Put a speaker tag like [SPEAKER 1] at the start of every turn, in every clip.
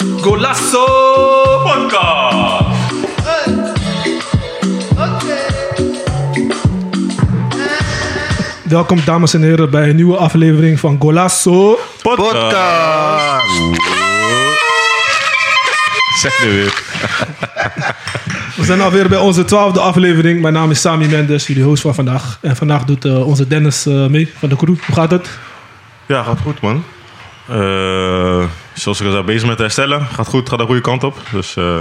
[SPEAKER 1] Tasso Podcast.
[SPEAKER 2] Welkom dames en heren bij een nieuwe aflevering van Golasso.
[SPEAKER 3] Podcast.
[SPEAKER 1] Zeg nu weer.
[SPEAKER 2] We zijn alweer bij onze twaalfde aflevering. Mijn naam is Sami Mendes, jullie host van vandaag. En vandaag doet eh, onze Dennis eh, mee van de crew. Hoe gaat het?
[SPEAKER 3] Ja, gaat goed man. Eh, zoals ik al zei, bezig met herstellen. Gaat goed, gaat de goede kant op. Dus eh,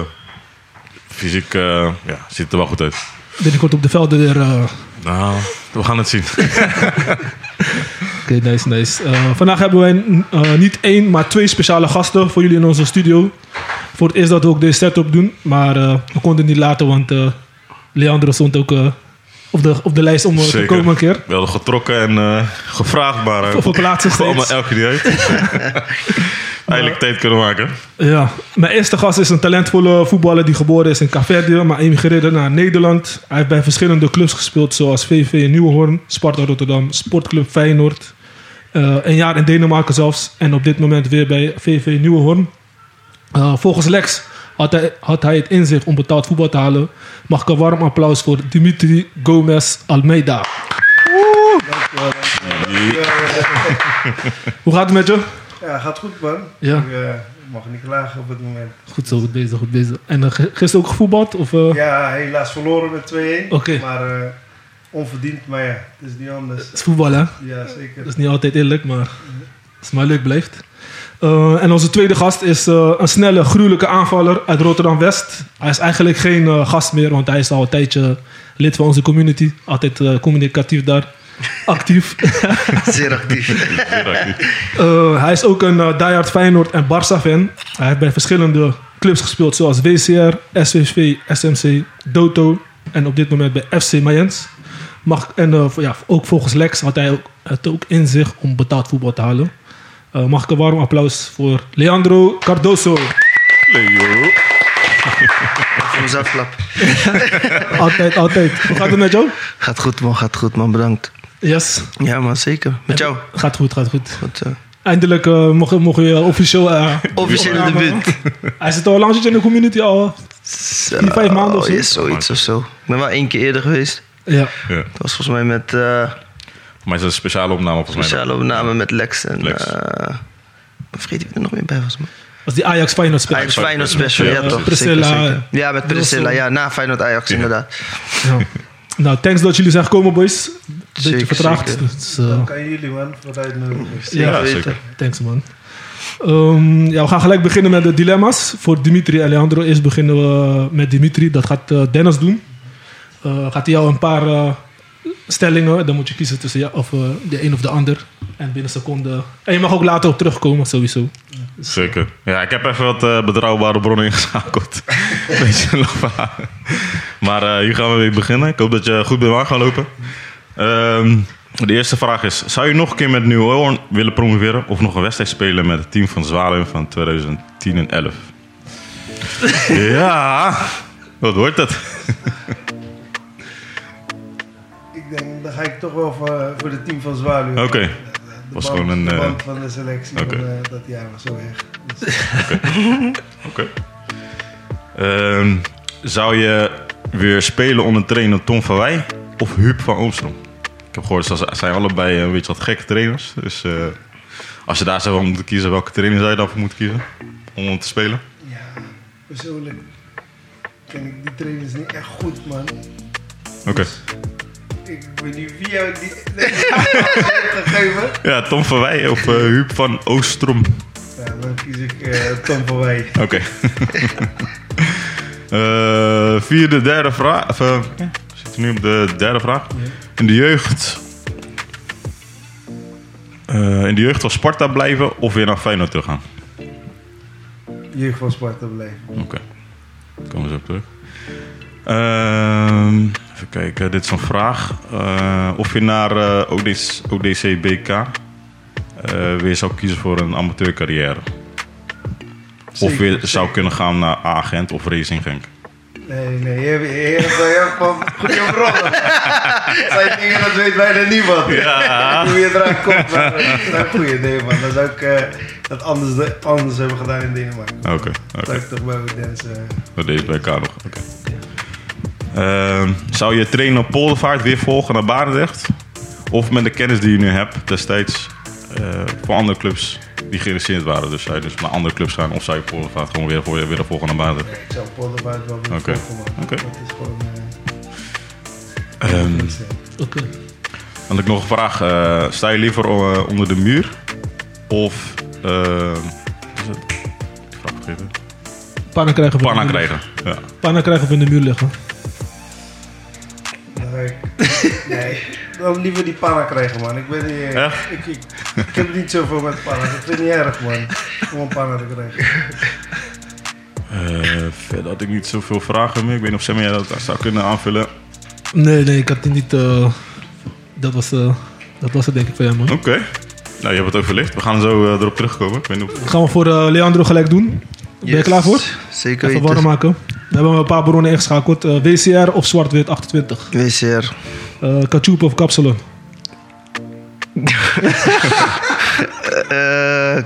[SPEAKER 3] fysiek eh, ja, ziet het er wel goed uit.
[SPEAKER 2] Binnenkort op de velden weer. eh, Oké,
[SPEAKER 3] Nou, we gaan het zien.
[SPEAKER 2] nice, nice. Eh, vandaag hebben wij eh, niet één, maar twee speciale gasten voor jullie in onze studio. Voor het eerst dat we ook deze setup doen, maar eh, we konden het niet laten, want eh, Leandro stond ook eh, op, de, op de lijst om eh, te
[SPEAKER 3] Zeker.
[SPEAKER 2] komen een keer.
[SPEAKER 3] We hadden getrokken en eh, gevraagd, maar eh,
[SPEAKER 2] Voor plaatsen
[SPEAKER 3] kwam
[SPEAKER 2] steeds.
[SPEAKER 3] er elke keer niet uit. Eindelijk tijd kunnen maken.
[SPEAKER 2] Ja, mijn eerste gast is een talentvolle voetballer die geboren is in Caverdië, maar emigreerde naar Nederland. Hij heeft bij verschillende clubs gespeeld, zoals VV Nieuwehoorn, Sparta Rotterdam, Sportclub Feyenoord. eh, een jaar in Denemarken zelfs en op dit moment weer bij VV Nieuwehoorn. Eh, volgens Lex had hij, had hij het inzicht om betaald voetbal te halen. Mag ik een warm applaus voor Dimitri Gomez Almeida. Hoe gaat het met je?
[SPEAKER 4] Ja, gaat goed man.
[SPEAKER 2] Ja.
[SPEAKER 3] Ah.
[SPEAKER 4] Ik eh, mag niet klagen op het moment.
[SPEAKER 2] Goed zo, goed bezig, goed bezig. En eh, g- gisteren ook gevoetbald? Of,
[SPEAKER 3] Oh.
[SPEAKER 2] eh?
[SPEAKER 4] Ja, helaas verloren met 2-1.
[SPEAKER 2] Oké.
[SPEAKER 4] Maar eh, onverdiend, maar ja, het is niet anders.
[SPEAKER 2] Het is voetbal, hè?
[SPEAKER 4] Ja,
[SPEAKER 2] Dat
[SPEAKER 4] zeker.
[SPEAKER 2] is niet altijd eerlijk, maar als het maar leuk blijft. Eh, en onze tweede gast is eh, een snelle, gruwelijke aanvaller uit Rotterdam-West. Hij is eigenlijk geen eh, gast meer, want hij is al een tijdje lid van onze community. Altijd eh, communicatief daar, actief.
[SPEAKER 5] Zeer actief.
[SPEAKER 2] Eh, hij is ook een eh diehard Feyenoord en Barça-fan. Hij heeft bij verschillende clubs gespeeld, zoals WCR, SVV, SMC, Doto en op dit moment bij FC Mayens. Mag, en eh, ja, ook volgens Lex had hij ook, het ook in zich om betaald voetbal te halen. Eh, mag ik een warm applaus voor Leandro Cardoso.
[SPEAKER 3] Leo.
[SPEAKER 5] Ons afklap.
[SPEAKER 2] Altijd, altijd. Hoe gaat het met jou?
[SPEAKER 5] Gaat goed man, gaat goed man, bedankt.
[SPEAKER 2] Yes,
[SPEAKER 5] Ja man, zeker. Met jou.
[SPEAKER 2] gaat goed, gaat goed.
[SPEAKER 5] Goed, eh,
[SPEAKER 2] Eindelijk eh, mogen mogen we officieel... eh,
[SPEAKER 5] officieel in de buurt.
[SPEAKER 2] hij zit al lang zit in de community al. Vier, vijf maanden of zo.
[SPEAKER 5] Oh, is zoiets of zo. Ik ben wel één keer eerder geweest.
[SPEAKER 2] Ja,
[SPEAKER 3] Ja.
[SPEAKER 5] Dat was volgens mij met eh,
[SPEAKER 3] Maar het is een speciale opname volgens mij.
[SPEAKER 5] speciale opname met Lex. En,
[SPEAKER 3] Lex.
[SPEAKER 5] eh, ik vergeet wie er nog meer bij was man.
[SPEAKER 2] was die Ajax Feyenoord speler.
[SPEAKER 5] Ajax Feyenoord special,
[SPEAKER 3] Ja,
[SPEAKER 5] ja, toch.
[SPEAKER 2] Priscilla.
[SPEAKER 5] Zeker, zeker. Ja, met Priscilla.
[SPEAKER 2] Wilson.
[SPEAKER 5] Ja, na Feyenoord Ajax inderdaad.
[SPEAKER 2] Ja. Nou, thanks dat jullie zijn gekomen, boys. Beetje
[SPEAKER 5] Zeker,
[SPEAKER 2] vertraagd.
[SPEAKER 5] zeker.
[SPEAKER 2] Dus, eh,
[SPEAKER 4] Dank aan jullie man voor het uitnodigen.
[SPEAKER 5] Zeker
[SPEAKER 2] Ja,
[SPEAKER 5] weten.
[SPEAKER 3] zeker.
[SPEAKER 2] thanks, man. Ehm, ja, we gaan gelijk beginnen met de dilemma's voor Dimitri en Leandro. Eerst beginnen we met Dimitri. Dat gaat eh, Dennis doen. Eh, gaat hij jou een paar eh, stellingen... Dan moet je kiezen tussen ja, of, eh, de een of de ander. En binnen een seconde... En je mag ook later op terugkomen, sowieso.
[SPEAKER 3] Zeker. Ja, ik heb even wat eh, betrouwbare bronnen ingeschakeld. Beetje een lang verhaal. Maar eh, hier gaan we weer beginnen. Ik hoop dat je goed bent aan gaan lopen. Ehm, de eerste vraag is: zou je nog een keer met New Orleans willen promoveren of nog een wedstrijd spelen met het team van Zwaluwen van 2010 en 11? ja, wat wordt het?
[SPEAKER 4] Ik denk, dan ga ik toch wel voor, eh, voor het team van Zwaluw.
[SPEAKER 3] Oké,
[SPEAKER 4] De
[SPEAKER 3] was
[SPEAKER 4] band-
[SPEAKER 3] gewoon een,
[SPEAKER 4] de
[SPEAKER 3] eh,
[SPEAKER 4] band van de selectie
[SPEAKER 3] oké.
[SPEAKER 4] van, eh, dat jaar was zo erg. Dus,
[SPEAKER 3] oké. Ehm, zou je weer spelen onder trainer Tom van Wij of Huub van Oomstrom? Ik heb gehoord, ze zijn allebei een beetje wat gekke trainers. Dus eh, als je daar zou van moeten kiezen, welke trainer zou je dan voor moeten kiezen? Om hem te spelen?
[SPEAKER 4] ja, persoonlijk ken ik die trainers niet echt goed man. Dus,
[SPEAKER 3] Oké.
[SPEAKER 4] Ik weet niet wie jou die die heeft gegeven.
[SPEAKER 3] Ja, Tom van Wij of eh, Huub van Oostrom.
[SPEAKER 4] Ja, dan kies ik eh, Tom van Wij.
[SPEAKER 3] Oké. Eh, vierde, derde vraag. Of, eh, we zitten nu op de derde vraag. In de jeugd. eh, in de jeugd was Sparta blijven of weer naar Feyenoord terug gaan?
[SPEAKER 4] Jeugd van Sparta blijven.
[SPEAKER 3] Oké. Komen we zo op terug. Ehm, even kijken, dit is een vraag. Eh, of je naar eh, ODC, ODC BK eh, weer zou kiezen voor een amateurcarrière. Of
[SPEAKER 4] Zeker,
[SPEAKER 3] weer
[SPEAKER 4] zeker.
[SPEAKER 3] zou kunnen gaan naar Agent of Racing Genk.
[SPEAKER 4] Nee, nee, je hebt je hebt- je hebt gewoon goed je rollen. Dat zijn dingen dat weet bijna niemand.
[SPEAKER 3] Ja.
[SPEAKER 4] Hoe je eraan komt, maar eh, dat is een goede idee, man. Dan zou ik eh, dat anders, anders hebben gedaan in Denemarken.
[SPEAKER 3] Oké, oké.
[SPEAKER 4] Dat ik toch bij mijn dansen.
[SPEAKER 3] Dat deed bij elkaar nog. Oké. Ehm, zou je trainen op Poldervaart weer volgen naar Barendrecht? Of met de kennis die je nu hebt destijds eh, voor andere clubs die geïnteresseerd waren? Dus zou je dus naar andere clubs gaan of zou je Poldervaart gewoon weer, voor je willen volgen naar Barendrecht?
[SPEAKER 4] Ik zou Polderbuit wel willen
[SPEAKER 3] Oké.
[SPEAKER 4] volgen, man.
[SPEAKER 3] Oké.
[SPEAKER 4] Dat is gewoon... eh,
[SPEAKER 3] Ehm
[SPEAKER 4] niks, hè.
[SPEAKER 2] Oké.
[SPEAKER 3] had ik nog een vraag. Eh, sta je liever eh, onder de muur of... ehm, wat is het? Die vraag vergeten.
[SPEAKER 2] Panna krijgen we.
[SPEAKER 3] Panna krijgen. Ja.
[SPEAKER 2] Panna krijgen we in de muur liggen.
[SPEAKER 4] Dan ga ik... Nee, dan liever die panna krijgen, man. Ik ben niet... eh,
[SPEAKER 3] Echt?
[SPEAKER 4] Ik, ik, ik heb niet zoveel met panna. Ik vind het niet erg, man. Om een panna te krijgen.
[SPEAKER 3] Eh, verder had ik niet zoveel vragen meer. Ik weet niet of Sammy jij dat zou kunnen aanvullen.
[SPEAKER 2] Nee, nee, ik had die niet. eh, dat, was, eh, dat was het denk ik voor jou, man.
[SPEAKER 3] Oké. Nou, je hebt het overlicht. We gaan zo eh, erop terugkomen. Ik weet niet of...
[SPEAKER 2] Gaan we voor eh, Leandro gelijk doen? Ben je
[SPEAKER 5] Yes.
[SPEAKER 2] klaar voor?
[SPEAKER 5] Zeker
[SPEAKER 2] Even warm
[SPEAKER 5] weten.
[SPEAKER 2] maken. We hebben een paar bronnen ingeschakeld. Eh, WCR of zwart-wit 28.
[SPEAKER 5] WCR.
[SPEAKER 2] Eh Kachoep of Kapsalon.
[SPEAKER 5] Eh,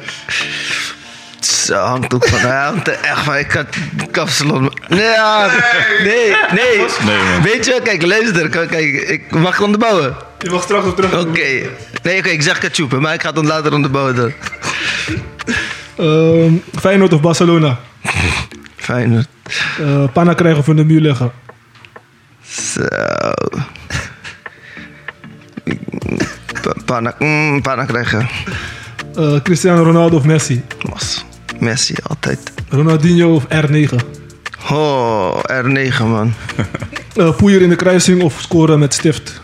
[SPEAKER 5] Zo, hangt ook van. nou Hij hangt er eh, echt van. Ik kan kapsalon. Nee, ja, nee, nee.
[SPEAKER 3] Nee, man.
[SPEAKER 5] Weet je, wel, kijk, luister. Kijk, kijk, ik mag het onderbouwen.
[SPEAKER 2] Je mag straks op terug.
[SPEAKER 5] Oké. Nee, oké, ik zeg kachoepen, maar ik ga het dan later onderbouwen. Dan.
[SPEAKER 2] Ehm, Feyenoord of Barcelona.
[SPEAKER 5] Fijn.
[SPEAKER 2] Eh panna krijgen of in de muur liggen.
[SPEAKER 5] Zo. Pa- Pana, mm, pana krijgen.
[SPEAKER 2] Eh, Cristiano Ronaldo of Messi.
[SPEAKER 5] Mas. Messi, altijd.
[SPEAKER 2] Ronaldinho of R9.
[SPEAKER 5] Oh, R9, man.
[SPEAKER 2] Eh poeier in de kruising of scoren met stift.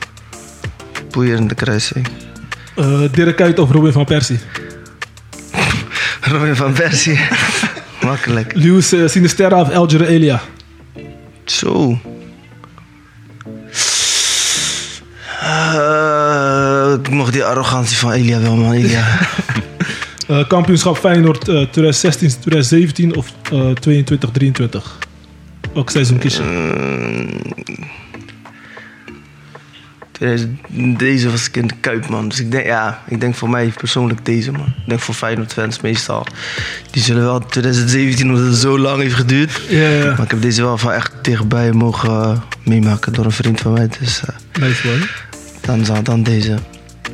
[SPEAKER 5] Poeier in de kruising.
[SPEAKER 2] Eh Dirk Kuyt of Robin van Persie.
[SPEAKER 5] Robin van Persie. Makkelijk.
[SPEAKER 2] Luis eh, Sinisterra of Alger Elia.
[SPEAKER 5] Zo. Eh, ik mocht die arrogantie van Elia wel, man. Elia.
[SPEAKER 2] Eh, kampioenschap Feyenoord eh, 2016, 2017 of eh 22, 23. Welk seizoen kies je?
[SPEAKER 5] Deze- Deze was ik in de kuip, man. Dus ik denk, ja, ik denk voor mij persoonlijk deze, man. Ik denk voor Feyenoord-fans meestal. Die zullen wel 2017, omdat het zo lang heeft geduurd.
[SPEAKER 2] Ja, ja, ja.
[SPEAKER 5] Maar ik heb deze wel van echt dichtbij mogen eh, meemaken door een vriend van mij. Dus eh,
[SPEAKER 2] Nice man.
[SPEAKER 5] dan, zou- dan deze.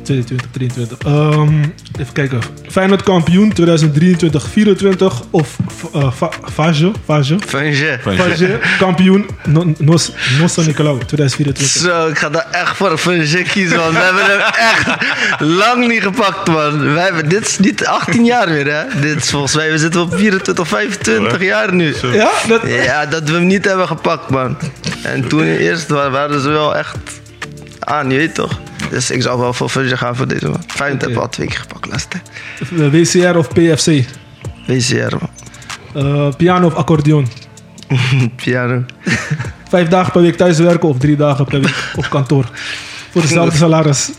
[SPEAKER 2] 22, 23. Ehm, even kijken. Feyenoord kampioen 2023, 24 of eh, Fa- Fage? Fage?
[SPEAKER 5] Van je.
[SPEAKER 2] Fage kampioen No- Nos- Nossa Nicolau 2024.
[SPEAKER 5] Zo, ik ga daar echt voor Van je kiezen, man. We hebben hem echt lang niet gepakt, man. Wij hebben, dit is niet 18 jaar meer, hè. Dit is volgens mij, we zitten op 24, 25 jaar nu.
[SPEAKER 3] Zo.
[SPEAKER 2] Ja, dat,
[SPEAKER 5] Ja, dat we hem niet hebben gepakt, man. En toen eerst wa- waren ze wel echt aan, je weet toch? Dus ik zou wel voor Fudge gaan voor deze man. Fijn
[SPEAKER 2] Oké.
[SPEAKER 5] hebben we al twee keer gepakt laatst. hè.
[SPEAKER 2] eh, WCR of PFC?
[SPEAKER 5] WCR, man.
[SPEAKER 2] Eh, piano of accordeon?
[SPEAKER 5] Piano.
[SPEAKER 2] Vijf dagen per week thuiswerken of drie dagen per week op kantoor? Voor dezelfde salaris.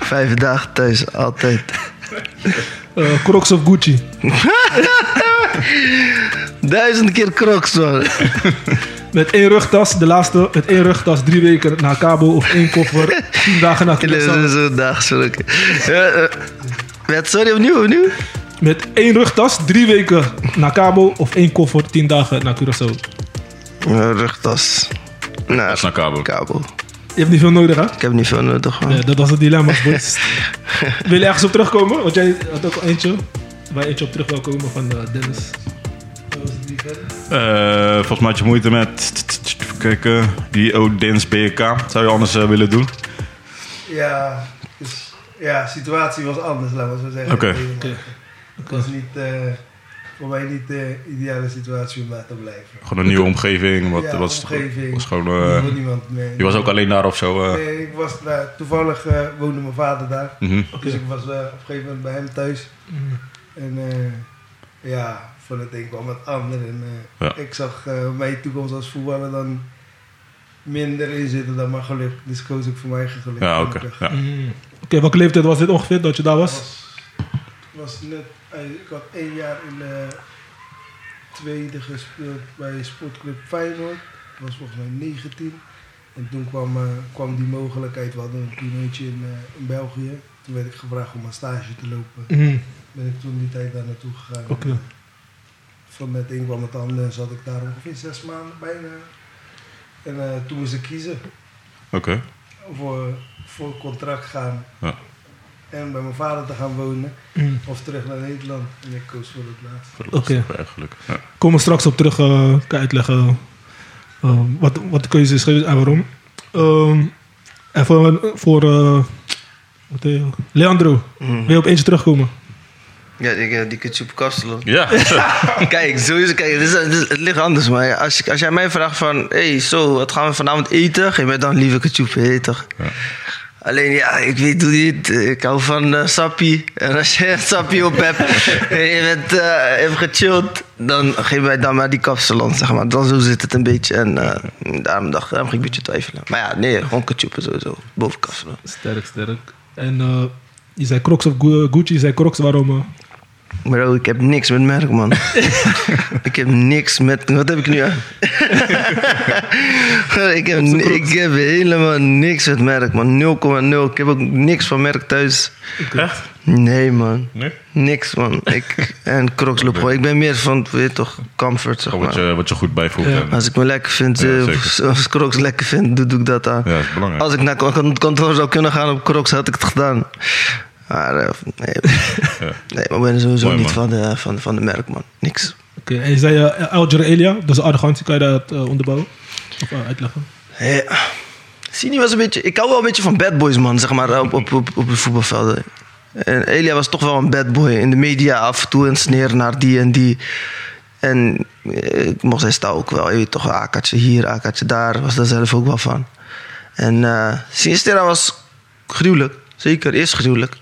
[SPEAKER 5] Vijf dagen thuis, altijd.
[SPEAKER 2] Eh, Crocs of Gucci?
[SPEAKER 5] Duizend keer crocs, man.
[SPEAKER 2] Met één rugtas, de laatste, met één rugtas drie weken naar Cabo of één koffer, tien dagen naar Curaçao.
[SPEAKER 5] Zo'n dag, zullen eh, Sorry, opnieuw, opnieuw.
[SPEAKER 2] Met één rugtas drie weken naar Cabo of één koffer, tien dagen naar Curaçao.
[SPEAKER 5] Eh, Rugtas.
[SPEAKER 3] Dat is naar
[SPEAKER 5] Nou,
[SPEAKER 3] kabel.
[SPEAKER 5] kabel.
[SPEAKER 2] Je hebt niet veel nodig, hè?
[SPEAKER 5] Ik heb niet veel nodig, man.
[SPEAKER 2] Ja, dat was het dilemma, boys. Wil je ergens op terugkomen? Want jij had ook eentje, waar je eentje op terug wil komen van eh, Dennis.
[SPEAKER 3] Eh, volgens mij had je moeite met... Even Kijken. Die Odins BK. Zou je anders eh, willen doen?
[SPEAKER 4] Ja, dus, ja, situatie was anders, laten we zo zeggen.
[SPEAKER 3] Oké.
[SPEAKER 2] Oké.
[SPEAKER 4] Het was niet, eh, voor mij niet de ideale situatie om daar te blijven.
[SPEAKER 3] Gewoon een nieuwe omgeving. Wat,
[SPEAKER 4] Ja,
[SPEAKER 3] wat is
[SPEAKER 4] omgeving.
[SPEAKER 3] was gewoon...
[SPEAKER 4] Ik
[SPEAKER 3] eh,
[SPEAKER 4] wil niemand, nee.
[SPEAKER 3] je was ook alleen daar of zo. eh.
[SPEAKER 4] Nee, ik was daar, toevallig eh, woonde mijn vader daar.
[SPEAKER 3] Mhm.
[SPEAKER 4] Dus ik was eh, op een gegeven moment bij hem thuis. En eh, ja, voor het een kwam het ander. En eh,
[SPEAKER 3] Ja.
[SPEAKER 4] ik zag eh, mijn toekomst als voetballer dan minder in zitten dan mijn geluk. Dus koos ik voor mijn eigen geluk.
[SPEAKER 3] Ja, oké.
[SPEAKER 4] Gelukkig.
[SPEAKER 3] Ja.
[SPEAKER 2] Mm. Oké, welke leeftijd was dit ongeveer dat je daar was?
[SPEAKER 4] was, was net, eh, ik had één jaar in de tweede gespeeld bij Sportclub Feyenoord. Dat was volgens mij 19. En toen kwam, eh, kwam die mogelijkheid. We hadden een tienertje in, eh, in België. Toen werd ik gevraagd om een stage te lopen.
[SPEAKER 2] Mhm.
[SPEAKER 4] Ben ik toen die tijd daar naartoe gegaan.
[SPEAKER 2] Oké.
[SPEAKER 4] En, eh, Van het een kwam het ander en zat ik daar ongeveer zes maanden bijna. En eh, toen moest ik kiezen
[SPEAKER 3] Oké.
[SPEAKER 4] voor, voor contract gaan.
[SPEAKER 3] Ja.
[SPEAKER 4] En bij mijn vader te gaan wonen.
[SPEAKER 2] Mhm.
[SPEAKER 4] Of terug naar Nederland. En ik koos voor het laatste.
[SPEAKER 3] Voor de laatste keer eigenlijk. Ja.
[SPEAKER 2] Kom er straks op terug, eh, kan je uitleggen eh, wat, wat de keuze is geweest en waarom. Ehm, even voor eh, wat heet hij? Leandro,
[SPEAKER 5] Mhm.
[SPEAKER 2] wil je op eentje terugkomen?
[SPEAKER 5] Ja, ik, eh, die kunt je op kapselen.
[SPEAKER 3] Ja, zo.
[SPEAKER 5] Kijk, sowieso, kijk, het, is, het, is- het ligt anders, maar als, ik- als jij mij vraagt van, hey, zo, wat gaan we vanavond eten? Geef mij dan liever ketchup, je weet toch? Alleen ja, ik weet hoe niet, ik hou van eh, sappie. En als je sappie op hebt en je bent, eh, even gechilled, dan geef mij dan maar die kapsalon, zeg maar. Dan zo zit het een beetje en eh, daarom dacht daarom ging ik een beetje twijfelen. Maar ja, nee, gewoon ketchup sowieso, boven kapsalon.
[SPEAKER 2] Sterk, sterk. En eh, je zei Crocs of Gu- eh, Gucci, je zei Crocs, waarom? eh?
[SPEAKER 5] Bro, ik heb niks met merk, man. ik heb niks met... Wat heb ik nu aan? ik, heb, ni- ik heb helemaal niks met merk, man. 0,0. Ik heb ook niks van merk thuis.
[SPEAKER 3] Echt?
[SPEAKER 5] Nee, man.
[SPEAKER 3] Nee?
[SPEAKER 5] Niks, man. Ik, en crocs loop gewoon. Ik ben meer van, weet je toch, comfort, zeg
[SPEAKER 3] Gewoon Oh, Wat
[SPEAKER 5] maar.
[SPEAKER 3] je, wat je goed bijvoegt.
[SPEAKER 2] Ja.
[SPEAKER 3] en-
[SPEAKER 5] Als ik me lekker vind,
[SPEAKER 3] Ja,
[SPEAKER 5] eh,
[SPEAKER 3] zeker.
[SPEAKER 5] of als crocs lekker vind, doe, doe ik dat aan.
[SPEAKER 3] Ja, dat is belangrijk.
[SPEAKER 5] Als ik naar het kantoor zou kunnen gaan op Crocs, had ik het gedaan. Maar eh, nee. nee, maar ik ben sowieso
[SPEAKER 3] Mooi,
[SPEAKER 5] niet
[SPEAKER 3] man.
[SPEAKER 5] van de, van, van de merk, man. Niks.
[SPEAKER 2] Oké, en je zei eh, Alger Elia, dat is arrogantie, kan je dat eh, onderbouwen? Of eh, uitleggen?
[SPEAKER 5] Ja. Sini was een beetje... Ik hou wel een beetje van bad boys, man, zeg maar, op, op, op, op de voetbalvelden. En Elia was toch wel een bad boy. In de media af en toe en sneer naar die en die. En eh, ik mocht steeds daar ook wel. Je weet toch, akkertje hier, akkertje daar. Was daar zelf ook wel van. En eh Sinistera was gruwelijk. Zeker, is gruwelijk.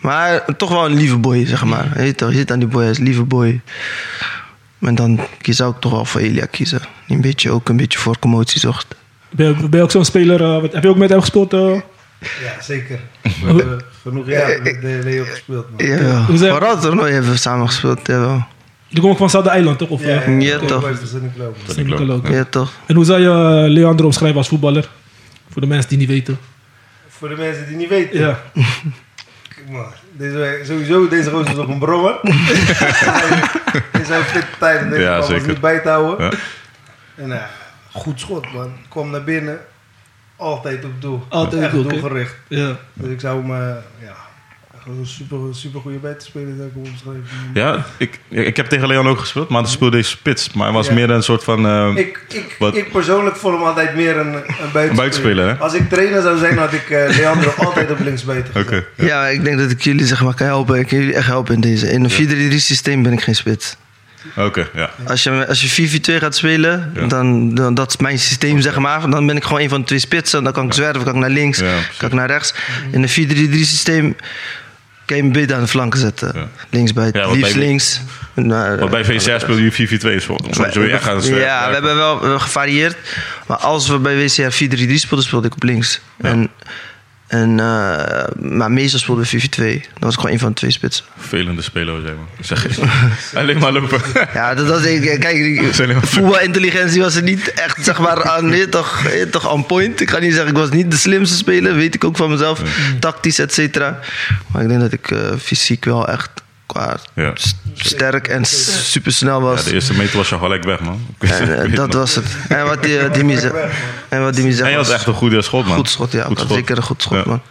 [SPEAKER 5] Maar toch wel een lieve boy, zeg maar. Je, weet toch, je zit aan die boy, hij is een lieve boy. En dan kies zou ik toch wel voor Elia kiezen. Die een beetje, ook een beetje voor commotie zocht.
[SPEAKER 2] Ben je, ben je ook zo'n speler, eh, wat, heb je ook met hem gespeeld? eh?
[SPEAKER 4] Ja, zeker. We hebben genoeg jaren
[SPEAKER 3] Eh,
[SPEAKER 4] met de Leo gespeeld.
[SPEAKER 2] eh,
[SPEAKER 4] Man.
[SPEAKER 5] Ja,
[SPEAKER 2] Hoe zei-
[SPEAKER 5] vooral toernooi hebben we samen gespeeld. Jawel.
[SPEAKER 2] die komt ook van Zuid Eiland, toch? Of, eh,
[SPEAKER 5] ja,
[SPEAKER 4] oké,
[SPEAKER 5] toch.
[SPEAKER 4] wij verzinnen het wel, man.
[SPEAKER 3] Dat ik
[SPEAKER 2] Sint-Nicolaas
[SPEAKER 3] loop.
[SPEAKER 2] ook.
[SPEAKER 5] Ja. toch.
[SPEAKER 2] En hoe zou je eh, Leandro omschrijven als voetballer? Voor de mensen die niet weten.
[SPEAKER 4] Voor de mensen die niet weten.
[SPEAKER 2] Ja.
[SPEAKER 4] Kijk maar, deze, sowieso, deze gozer is op een brommer. In zijn fitte tijd. en Deze
[SPEAKER 3] Ja,
[SPEAKER 4] man was
[SPEAKER 3] zeker.
[SPEAKER 4] niet bij te houden.
[SPEAKER 3] Ja.
[SPEAKER 4] En eh, goed schot, man. Ik kwam naar binnen. Altijd op doel.
[SPEAKER 2] Altijd op
[SPEAKER 4] Echt
[SPEAKER 2] doel, oké.
[SPEAKER 4] doelgericht.
[SPEAKER 2] ja.
[SPEAKER 4] Dus ik zou hem, eh, ja, gewoon een super, super goede bij te spelen, zou ik hem omschrijven.
[SPEAKER 3] Ja, ik, ik heb tegen Leon ook gespeeld, maar toen speelde hij spits. Maar hij was
[SPEAKER 4] Ja.
[SPEAKER 3] meer een soort van... ehm,
[SPEAKER 4] Ik, ik,
[SPEAKER 3] Wat?
[SPEAKER 4] ik persoonlijk vond hem altijd meer een, een buitenspeler.
[SPEAKER 3] buitenspeler, hè?
[SPEAKER 4] Als ik trainer zou zijn, had ik eh, Leandro altijd op links buiten
[SPEAKER 3] Oké.
[SPEAKER 4] gezet.
[SPEAKER 5] Ja, maar ik denk dat ik jullie zeg maar kan helpen. Ik kan jullie echt helpen in deze. In een 4-3-3 systeem ben ik geen spits.
[SPEAKER 3] Oké, ja.
[SPEAKER 5] Als je, als je 4-4-2 gaat spelen,
[SPEAKER 3] Ja.
[SPEAKER 5] dan, dan dat is mijn systeem zeg maar. Dan ben ik gewoon een van de twee spitsen. Dan kan ik zwerven, kan ik naar links,
[SPEAKER 3] Ja, precies.
[SPEAKER 5] kan ik naar rechts. In een 4-3-3 systeem kan je hem beter aan de flanken zetten.
[SPEAKER 3] Ja.
[SPEAKER 5] Links buiten,
[SPEAKER 3] Ja, want
[SPEAKER 5] liefst
[SPEAKER 3] bij-
[SPEAKER 5] links. Nou,
[SPEAKER 3] Want bij VCR speelde je 4-4-2. zo. Soms wil je echt gaan sterven.
[SPEAKER 5] Ja, we hebben wel eh, gevarieerd. Maar als we bij WCR 4-3-3 speelden, speelde ik op links. En, en, eh, maar meestal speelden we 4-4-2. Dat was gewoon een van de twee spitsen.
[SPEAKER 3] Vervelende speler, zeg maar. Ik Zeg je. Alleen maar lopen.
[SPEAKER 5] Ja, dat was... ik- Kijk, ik-
[SPEAKER 3] Zijn helemaal-
[SPEAKER 5] voetbalintelligentie was er niet echt, zeg maar, aan, weet je toch, weet je toch, on point. Ik ga niet zeggen, ik was niet de slimste speler. Weet ik ook van mezelf. Tactisch, et cetera. Maar ik denk dat ik eh, fysiek wel echt qua
[SPEAKER 3] Ja.
[SPEAKER 5] s- sterk en s- supersnel was.
[SPEAKER 3] Ja, de eerste meter was je gelijk weg, man. Ik weet-
[SPEAKER 5] En,
[SPEAKER 3] ik
[SPEAKER 5] eh,
[SPEAKER 3] weet het
[SPEAKER 5] dat
[SPEAKER 3] nog.
[SPEAKER 5] was het. En wat die, eh, Dimi zei. En wat Dimi zei.
[SPEAKER 3] En je had
[SPEAKER 5] was-
[SPEAKER 3] echt een goede schot, man.
[SPEAKER 5] Goed schot, ja.
[SPEAKER 3] Goed
[SPEAKER 5] dat
[SPEAKER 3] schot.
[SPEAKER 5] Zeker een goed schot,
[SPEAKER 3] Ja.
[SPEAKER 5] man.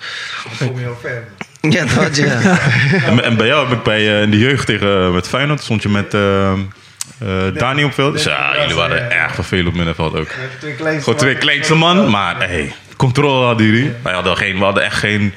[SPEAKER 4] Dan kom je al ver. man.
[SPEAKER 5] Ja, dat had je. ja.
[SPEAKER 3] En, en bij jou heb ik bij, eh, in de jeugd tegen eh, met Feyenoord stond je met eh, eh, Dani op veld. Dus ja, jullie waren erg vervelend op middenveld ook.
[SPEAKER 4] Je hebt Twee kleinste
[SPEAKER 3] Gewoon twee
[SPEAKER 4] man.
[SPEAKER 3] kleinste man, maar hey, controle hadden jullie. Wij hadden geen, we hadden echt geen,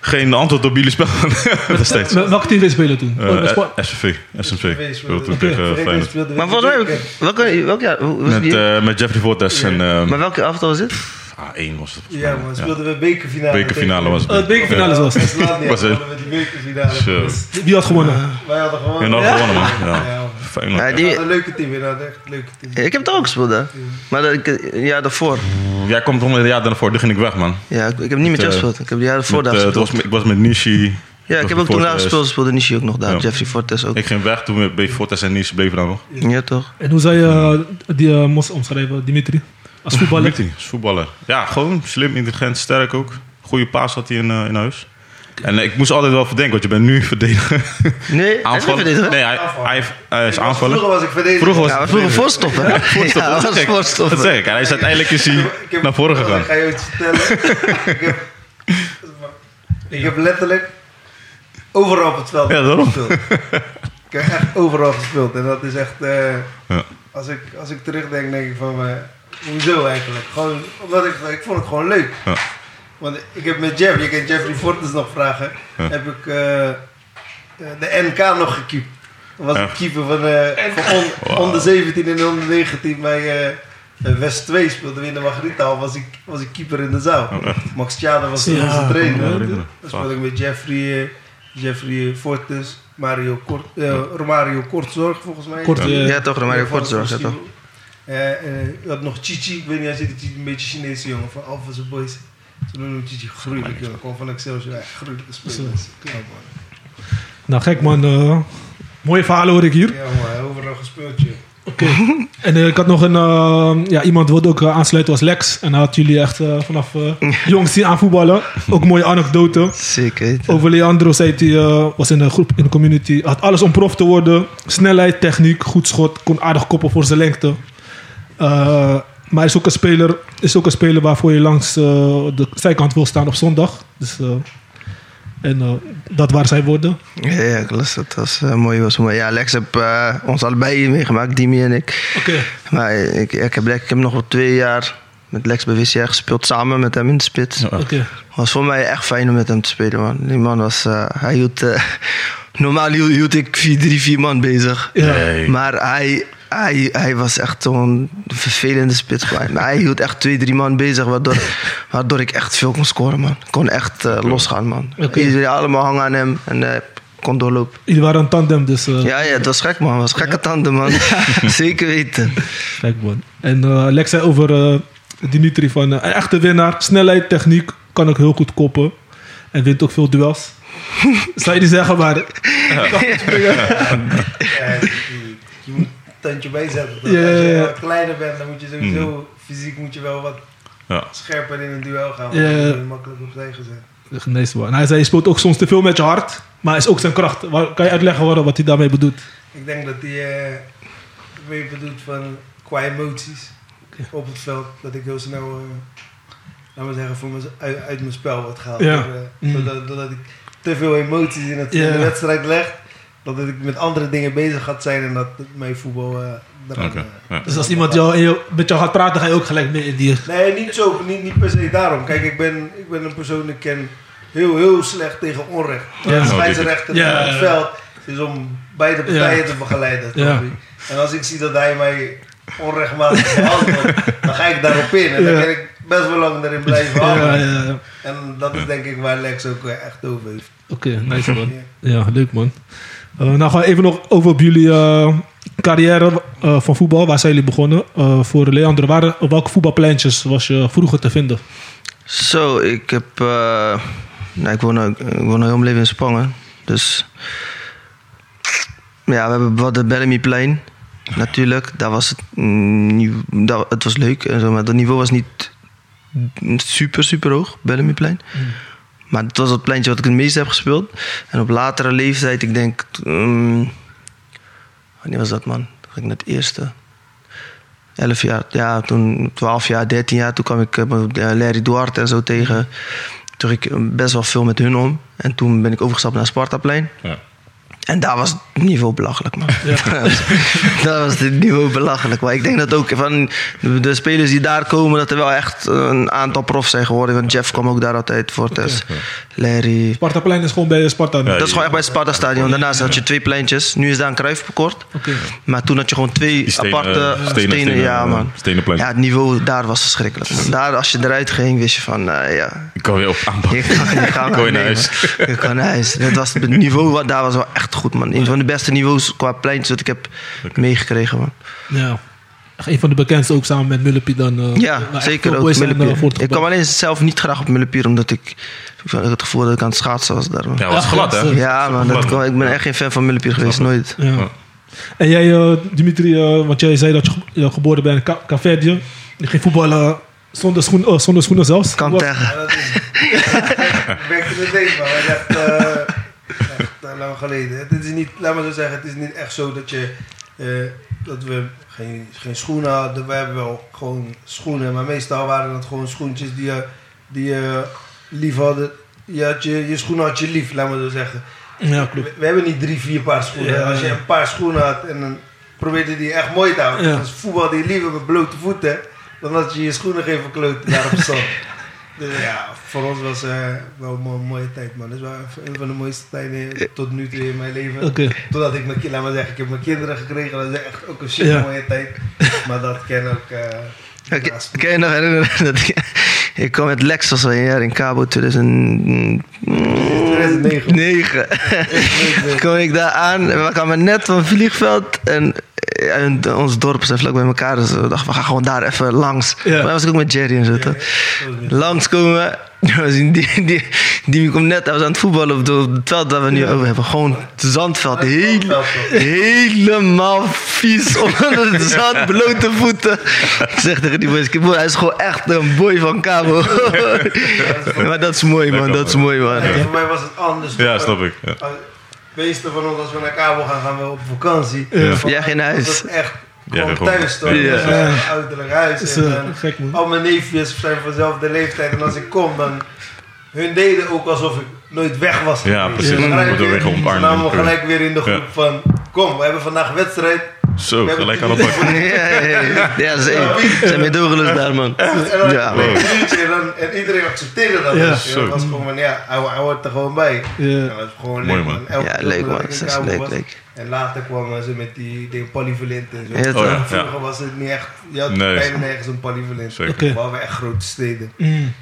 [SPEAKER 3] geen antwoord op jullie spel. Dat steeds.
[SPEAKER 2] Wel- Welke team wil je spelen toen? Oh, dat is
[SPEAKER 3] Eh
[SPEAKER 2] qua-
[SPEAKER 3] SVV, SMC.
[SPEAKER 4] Twee
[SPEAKER 3] Speelde toen
[SPEAKER 4] speelden-
[SPEAKER 3] tegen
[SPEAKER 4] Vergeet,
[SPEAKER 3] Feyenoord.
[SPEAKER 4] speelden we
[SPEAKER 5] Maar volgens mij,
[SPEAKER 4] twee keer.
[SPEAKER 5] ook- welke, welk jaar? hoe- was
[SPEAKER 3] Met,
[SPEAKER 5] die-
[SPEAKER 3] eh, met Jeffrey Fortes en eh,
[SPEAKER 5] maar welke aftal was dit?
[SPEAKER 3] A1 was het. volgens
[SPEAKER 4] Ja,
[SPEAKER 3] mij.
[SPEAKER 4] man, speelden we bekerfinale.
[SPEAKER 3] Bekerfinale was het.
[SPEAKER 2] Oh, het bekerfinale was het.
[SPEAKER 4] Slaatia
[SPEAKER 3] Was het.
[SPEAKER 4] hadden we die bekerfinale.
[SPEAKER 3] Zo.
[SPEAKER 4] Dus
[SPEAKER 2] Wie had gewonnen?
[SPEAKER 4] wij hadden gewoon...
[SPEAKER 3] En dan gewonnen, man. Ja.
[SPEAKER 4] Ja, man.
[SPEAKER 3] Feyenoord,
[SPEAKER 5] Ja,
[SPEAKER 3] ja.
[SPEAKER 5] die-
[SPEAKER 4] We hadden een leuke team inderdaad, echt een leuke team.
[SPEAKER 5] Ik heb het ook gespeeld, hè? Maar dat, ik, ja, daarvoor.
[SPEAKER 3] Eh, Jij komt om het jaar daarvoor, toen ging ik weg, man.
[SPEAKER 5] Ja, ik, ik heb niet met jou
[SPEAKER 3] eh,
[SPEAKER 5] gespeeld. Ik heb die jaar daarvoor
[SPEAKER 3] Met,
[SPEAKER 5] daar
[SPEAKER 3] eh, het
[SPEAKER 5] gespeeld.
[SPEAKER 3] was, ik was met Nishi,
[SPEAKER 5] Ja, ik heb ook toen
[SPEAKER 3] Fortes.
[SPEAKER 5] daar gespeeld, speelde Nishi ook nog daar.
[SPEAKER 3] Ja.
[SPEAKER 5] Jeffrey Fortes ook.
[SPEAKER 3] Ik ging weg toen bij Fortes en Nice bleven daar nog.
[SPEAKER 5] Ja, toch?
[SPEAKER 2] En hoe zou je eh, die eh, mos omschrijven, Dimitri? Als voetballer?
[SPEAKER 3] Mitty is voetballer. Ja, gewoon slim, intelligent, sterk ook. Goede paas had hij in, eh, in huis. En eh, ik moest altijd wel verdenken, want je bent nu verdediger.
[SPEAKER 5] Nee, aanvallen.
[SPEAKER 3] Aanvaller.
[SPEAKER 5] Nee,
[SPEAKER 3] Nee, hij, hij, hij is
[SPEAKER 4] Vroeger
[SPEAKER 3] aanvaller.
[SPEAKER 4] was ik verdediger.
[SPEAKER 3] Vroeger was
[SPEAKER 5] ja, we vroegen voorstop, hè?
[SPEAKER 3] voorstopper,
[SPEAKER 5] Ja,
[SPEAKER 3] dat
[SPEAKER 5] dat
[SPEAKER 3] is
[SPEAKER 5] was
[SPEAKER 3] gek.
[SPEAKER 5] voorstopper.
[SPEAKER 3] Dat zeg ik. En hij is uiteindelijk is hij
[SPEAKER 4] Ik heb-
[SPEAKER 3] naar voren gegaan.
[SPEAKER 4] Ik ga je iets vertellen. ik, heb, ik heb letterlijk overal op het veld
[SPEAKER 3] Ja, daarom.
[SPEAKER 4] gespeeld. Ik heb echt overal gespeeld. En dat is echt... eh,
[SPEAKER 3] Ja.
[SPEAKER 4] als, ik, als ik terugdenk, denk ik van... eh, hoezo eigenlijk? Gewoon, omdat ik, ik vond het gewoon leuk.
[SPEAKER 3] Ja.
[SPEAKER 4] Want ik heb met Jeff, je kent Jeffrey Fortes nog vragen,
[SPEAKER 3] Ja.
[SPEAKER 4] heb ik eh, eh, de NK nog gekiept. Dat was
[SPEAKER 3] Ja.
[SPEAKER 4] een keeper van, eh, van on- onder 17 en onder 19 bij eh West 2 speelde we in de Margarita. Was ik, was ik keeper in de zaal.
[SPEAKER 3] Oh, echt?
[SPEAKER 4] Max Tjada was
[SPEAKER 2] Ja,
[SPEAKER 4] onze
[SPEAKER 3] Ik kan me
[SPEAKER 4] trainer.
[SPEAKER 3] herinneren.
[SPEAKER 4] Dat speelde ik met Jeffrey, eh, Jeffrey Fortes, Mario Kort, eh, Romario Kortzorg volgens mij.
[SPEAKER 2] Kort, eh,
[SPEAKER 5] Ja, toch, dan maak ik voorzorg, ja, toch?
[SPEAKER 4] Eh, eh, je had nog Chichi, ik weet niet, hij zit Chichi, een beetje Chinese jongen van Alpha's Boys. Ze noemen hem Chichi gruwelijk, jongen. Kom van Excelsior, ja, gruwelijke spelers. Ja, man.
[SPEAKER 2] Nou, gek man. eh, mooie verhalen hoor ik hier.
[SPEAKER 4] Ja, man, overal gespeeld, joh.
[SPEAKER 2] Oké. en eh, ik had nog een... eh, ja, iemand wilde ook eh, aansluiten was Lex. En hij had jullie echt eh, vanaf eh jongs zien aan voetballen. Ook mooie anekdoten.
[SPEAKER 5] Zeker. weten.
[SPEAKER 2] Over Leandro zei hij, eh, was in een groep in de community. Had alles om prof te worden. Snelheid, techniek, goed schot. Kon aardig koppen voor zijn lengte. Eh, maar is ook, een speler, is ook een speler waarvoor je langs eh, de zijkant wil staan op zondag. Dus, eh, en eh, dat waren zijn woorden.
[SPEAKER 5] Ja, ja, ik las dat. Dat was eh, mooi. Was mooi. Ja, Lex heb eh, ons allebei meegemaakt, Dimi en ik.
[SPEAKER 2] Oké.
[SPEAKER 5] Maar ik, ik, heb, Lex- ik heb nog wel twee jaar met Lex bij WCR gespeeld, samen met hem in de spits.
[SPEAKER 3] Ja.
[SPEAKER 2] Oké.
[SPEAKER 5] was voor mij echt fijn om met hem te spelen, man. Die man was... eh, hij hield... eh, normaal hield, hield ik vier, drie, vier man bezig.
[SPEAKER 2] Ja.
[SPEAKER 3] Nee.
[SPEAKER 5] Maar hij, hij, hij was echt zo'n vervelende spits. Maar hij hield echt twee, drie man bezig, waardoor, waardoor ik echt veel kon scoren, man. Ik kon echt eh, losgaan, man.
[SPEAKER 2] Oké.
[SPEAKER 5] Iedereen allemaal hangen aan hem en eh, kon doorlopen.
[SPEAKER 2] Jullie waren een tandem, dus eh
[SPEAKER 5] Ja, ja, het was gek, man. Het was gekke tanden, man. Zeker weten.
[SPEAKER 2] kijk man. En eh, Lex zei over eh, Dimitri van eh, een echte winnaar. Snelheid, techniek, kan ook heel goed koppen. En wint ook veel duels. Zou je die zeggen, maar
[SPEAKER 4] Ja, je, je moet een tandje bijzetten. toch?
[SPEAKER 2] Ja, ja,
[SPEAKER 4] Als je
[SPEAKER 2] ja.
[SPEAKER 4] wat kleiner bent, dan moet je sowieso... Fysiek moet je wel wat
[SPEAKER 3] Ja.
[SPEAKER 4] scherper in een duel gaan. Want
[SPEAKER 2] Ja, ja.
[SPEAKER 4] je bent makkelijk opzij gezet.
[SPEAKER 2] Genees En hij zei, je speelt ook soms te veel met je hart. Maar is ook zijn kracht. Waar- Kan je uitleggen waarom- wat hij daarmee bedoelt?
[SPEAKER 4] Ik denk dat hij eh mee bedoelt van qua emoties op het veld. Dat ik heel snel, eh laten we zeggen, voor mijn, uit, uit mijn spel word gehaald.
[SPEAKER 2] Ja.
[SPEAKER 4] Eh,
[SPEAKER 2] Mm.
[SPEAKER 4] doordat, doordat ik te veel emoties in, het, in
[SPEAKER 2] Ja.
[SPEAKER 4] de wedstrijd leg. Dat ik met andere dingen bezig gaat zijn en dat mijn voetbal eh daaraan,
[SPEAKER 3] Oké,
[SPEAKER 4] eh,
[SPEAKER 3] ja.
[SPEAKER 2] Dus als iemand jou, in je- met jou gaat praten, ga je ook gelijk mee in die...
[SPEAKER 4] Nee, niet zo, niet, niet per se daarom. Kijk, ik ben, ik ben een persoon die ken heel, heel slecht tegen onrecht.
[SPEAKER 2] Ja. nou,
[SPEAKER 4] De scheidsrechter
[SPEAKER 2] Ja.
[SPEAKER 4] op het veld is om beide partijen te begeleiden. snap
[SPEAKER 2] Ja.
[SPEAKER 4] je? En als ik zie dat hij mij onrechtmatig behandelt, dan ga ik daarop in. En
[SPEAKER 2] Ja.
[SPEAKER 4] dan kan ik best wel lang erin blijven
[SPEAKER 2] Ja, ja,
[SPEAKER 4] hangen.
[SPEAKER 2] ja. Oké,
[SPEAKER 4] En dat is denk ik waar Lex ook eh, echt over heeft.
[SPEAKER 2] nice man.
[SPEAKER 4] Ja.
[SPEAKER 2] Ja, leuk man. Eh, nou gaan we even nog over op jullie eh, carrière eh, van voetbal. Waar zijn jullie begonnen? Eh, voor Leander, waar, op welke voetbalpleintjes was je vroeger te vinden?
[SPEAKER 5] Zo, ik heb... eh, nou, ik woon, al- ik woon al heel mijn leven in Spangen. Dus... Ja, we hebben wat het Bellamyplein. Natuurlijk, daar was het... mm, nieuw- daar- het was leuk en zo, maar het niveau was niet mm, super, super hoog. Bellamyplein. Maar het was het pleintje wat ik het meest heb gespeeld. En op latere leeftijd, ik denk... mm, wanneer was dat, man? Toen ging ik naar het eerste. 11 jaar, ja, toen 12 jaar, 13 jaar, toen kwam ik eh, Larry Duarte en zo tegen. Toen ging ik eh, best wel veel met hun om. En toen ben ik overgestapt naar Spartaplein.
[SPEAKER 3] Ja.
[SPEAKER 5] En daar was het niveau belachelijk, man.
[SPEAKER 2] Ja.
[SPEAKER 5] Daar was- daar was het niveau belachelijk. Maar ik denk dat ook van de spelers die daar komen, dat er wel echt een aantal profs zijn geworden. Want Jeff kwam ook daar altijd voor, Tess, Larry.
[SPEAKER 2] Spartaplein is gewoon bij Sparta. nu.
[SPEAKER 3] Ja.
[SPEAKER 5] Dat is gewoon echt bij het Sparta Stadion. Daarnaast had je twee pleintjes. Nu is daar een kruifkort.
[SPEAKER 2] Oké.
[SPEAKER 5] Maar toen had je gewoon twee
[SPEAKER 3] Die stenen,
[SPEAKER 5] aparte
[SPEAKER 3] eh,
[SPEAKER 5] stenen,
[SPEAKER 3] stenen, stenen,
[SPEAKER 5] Ja,
[SPEAKER 3] eh,
[SPEAKER 5] man.
[SPEAKER 3] stenen plein.
[SPEAKER 5] Ja, het niveau daar was verschrikkelijk. man. Daar, als je eruit ging, wist je van, eh, ja.
[SPEAKER 3] Ik kan weer op aanpakken.
[SPEAKER 5] Je kan, je kan,
[SPEAKER 3] Kon je naar
[SPEAKER 5] nee,
[SPEAKER 3] huis.
[SPEAKER 5] man. Je kan naar huis. Dat was, het niveau wat daar was wel echt goed, man. Een van de beste niveaus qua pleintjes dat ik heb meegekregen, man.
[SPEAKER 2] Ja. een van de bekendste ook samen met Mullepie dan. eh, waar
[SPEAKER 5] Ja,
[SPEAKER 2] echt
[SPEAKER 5] zeker
[SPEAKER 2] veel
[SPEAKER 5] ook
[SPEAKER 2] boys zijn, eh,
[SPEAKER 5] Millepier.
[SPEAKER 2] voor het
[SPEAKER 5] Ik kwam
[SPEAKER 2] gebouw.
[SPEAKER 5] alleen zelf niet graag op Millepier, omdat ik, ik had het gevoel dat ik aan het schaatsen was daar. man.
[SPEAKER 3] Ja, was
[SPEAKER 2] Ja,
[SPEAKER 3] glad, hè?
[SPEAKER 2] ja,
[SPEAKER 5] Ja, man, dat
[SPEAKER 3] Glad.
[SPEAKER 5] kwam- ik ben echt geen fan van Millepier geweest, nooit.
[SPEAKER 2] Ja.
[SPEAKER 3] Ja.
[SPEAKER 2] En jij, eh, Dimitri, eh, want jij zei dat je ge- eh, geboren bent in Ka- Kaverdië. Je ging voetballen zonder, schoen, eh, zonder schoenen zelfs.
[SPEAKER 5] Kan
[SPEAKER 2] Wat-
[SPEAKER 5] tegen.
[SPEAKER 4] dat is back to the days, man. Dat is echt, eh, echt, eh, lang geleden. Het is niet, laat maar zo zeggen, het is niet echt zo dat je... eh, dat we geen, geen schoenen hadden. We hebben wel gewoon schoenen. Maar meestal waren dat gewoon schoentjes die je, die je lief hadden. Je, had je, je schoenen had je lief, laat maar zo zeggen.
[SPEAKER 2] Ja, klopt.
[SPEAKER 4] We, we hebben niet drie, vier paar schoenen.
[SPEAKER 2] Ja.
[SPEAKER 4] Als je een paar schoenen had en dan probeerde die echt mooi te houden.
[SPEAKER 2] Ja.
[SPEAKER 4] Dus voetbalde je liever met blote voeten dan dat je je schoenen ging verkloten daar op zand. Dus ja, voor ons was eh wel een mooie, mooie tijd, man. Dat is wel een van de mooiste tijden tot nu toe in mijn leven.
[SPEAKER 2] Oké.
[SPEAKER 4] Totdat ik mijn kinderen, laat maar zeggen, ik heb mijn kinderen gekregen. Dat is echt ook een shit
[SPEAKER 2] Ja.
[SPEAKER 4] mooie tijd. Maar dat ken ook... eh,
[SPEAKER 5] Ja, ik-
[SPEAKER 4] naast-
[SPEAKER 5] Kan je nog herinneren dat ik... Ik kwam met Lex was al een jaar in Cabo
[SPEAKER 2] Oh.
[SPEAKER 4] 2009.
[SPEAKER 5] 2009. Kom ik daar aan, we kwamen net van het vliegveld en, en ons dorp zijn vlak bij elkaar. Dus we dachten, we gaan gewoon daar even langs.
[SPEAKER 2] Ja.
[SPEAKER 5] Maar was ik ook met Jerry en zo. toch? Langs komen we. we zien Die, die, die komt net, hij was aan het voetballen op, de- op het veld waar we nu over hebben. Gewoon het zandveld. Heel, helemaal vies onder het zand, blote voeten. Ik zeg tegen die boys, "Kijk, broer, hij is gewoon echt een boy van Cabo. maar dat is mooi man, dat is mooi man.
[SPEAKER 4] Ja, Voor mij was het anders.
[SPEAKER 3] Ja, snap ik. Ja.
[SPEAKER 4] Als- De meeste van ons, als we naar Kabel gaan, gaan we op vakantie.
[SPEAKER 2] Ja.
[SPEAKER 4] Van-
[SPEAKER 5] Jij ging naar huis.
[SPEAKER 4] was het echt
[SPEAKER 3] Jij
[SPEAKER 4] gewoon
[SPEAKER 3] ging gewoon-
[SPEAKER 4] thuis, toch?
[SPEAKER 3] Ja.
[SPEAKER 4] Dus, eh, Uiterlijk huis.
[SPEAKER 2] Dat is
[SPEAKER 4] en
[SPEAKER 2] eh,
[SPEAKER 4] dan-
[SPEAKER 2] gek, man.
[SPEAKER 4] al mijn neefjes zijn vanzelf de leeftijd. En als ik kom, dan... Hun deden ook alsof ik nooit weg was.
[SPEAKER 3] Ja,
[SPEAKER 4] geweest.
[SPEAKER 3] precies.
[SPEAKER 4] Ze
[SPEAKER 3] Ja.
[SPEAKER 4] gelijk
[SPEAKER 3] Moeten we
[SPEAKER 4] weer-
[SPEAKER 3] weer omarmen.
[SPEAKER 4] ze namen we gelijk weer in de groep
[SPEAKER 3] Ja.
[SPEAKER 4] van... Kom, we hebben vandaag wedstrijd.
[SPEAKER 3] Zo,
[SPEAKER 4] We hebben
[SPEAKER 3] gelijk aan het bak.
[SPEAKER 5] Ja, ja, ja. ja ze ze zijn meedogenloos daar, man.
[SPEAKER 4] En, dan
[SPEAKER 5] Ja,
[SPEAKER 3] man.
[SPEAKER 4] en, dan, en iedereen accepteerde dat.
[SPEAKER 2] Ja.
[SPEAKER 4] Dus, joh,
[SPEAKER 3] Zo.
[SPEAKER 4] dat was gewoon van, ja, hij, hij hoort er gewoon bij.
[SPEAKER 2] Ja.
[SPEAKER 4] Ja, dat is gewoon
[SPEAKER 3] Mooi,
[SPEAKER 4] leuk,
[SPEAKER 3] man.
[SPEAKER 4] Elke
[SPEAKER 5] Ja,
[SPEAKER 4] keer
[SPEAKER 5] leuk,
[SPEAKER 4] dat
[SPEAKER 5] man.
[SPEAKER 4] ik in
[SPEAKER 5] Dat is
[SPEAKER 4] Kabel
[SPEAKER 5] leuk,
[SPEAKER 4] was.
[SPEAKER 5] leuk.
[SPEAKER 4] En later kwamen ze met die ding polyvalent en zo.
[SPEAKER 5] Ja, toch?
[SPEAKER 3] Oh ja,
[SPEAKER 4] Vroeger
[SPEAKER 3] ja.
[SPEAKER 4] was het niet echt, je had
[SPEAKER 3] Nee.
[SPEAKER 4] bijna nergens een polyvalent.
[SPEAKER 3] Zeker.
[SPEAKER 2] Oké.
[SPEAKER 4] Behalve echt grote steden.
[SPEAKER 2] Mm.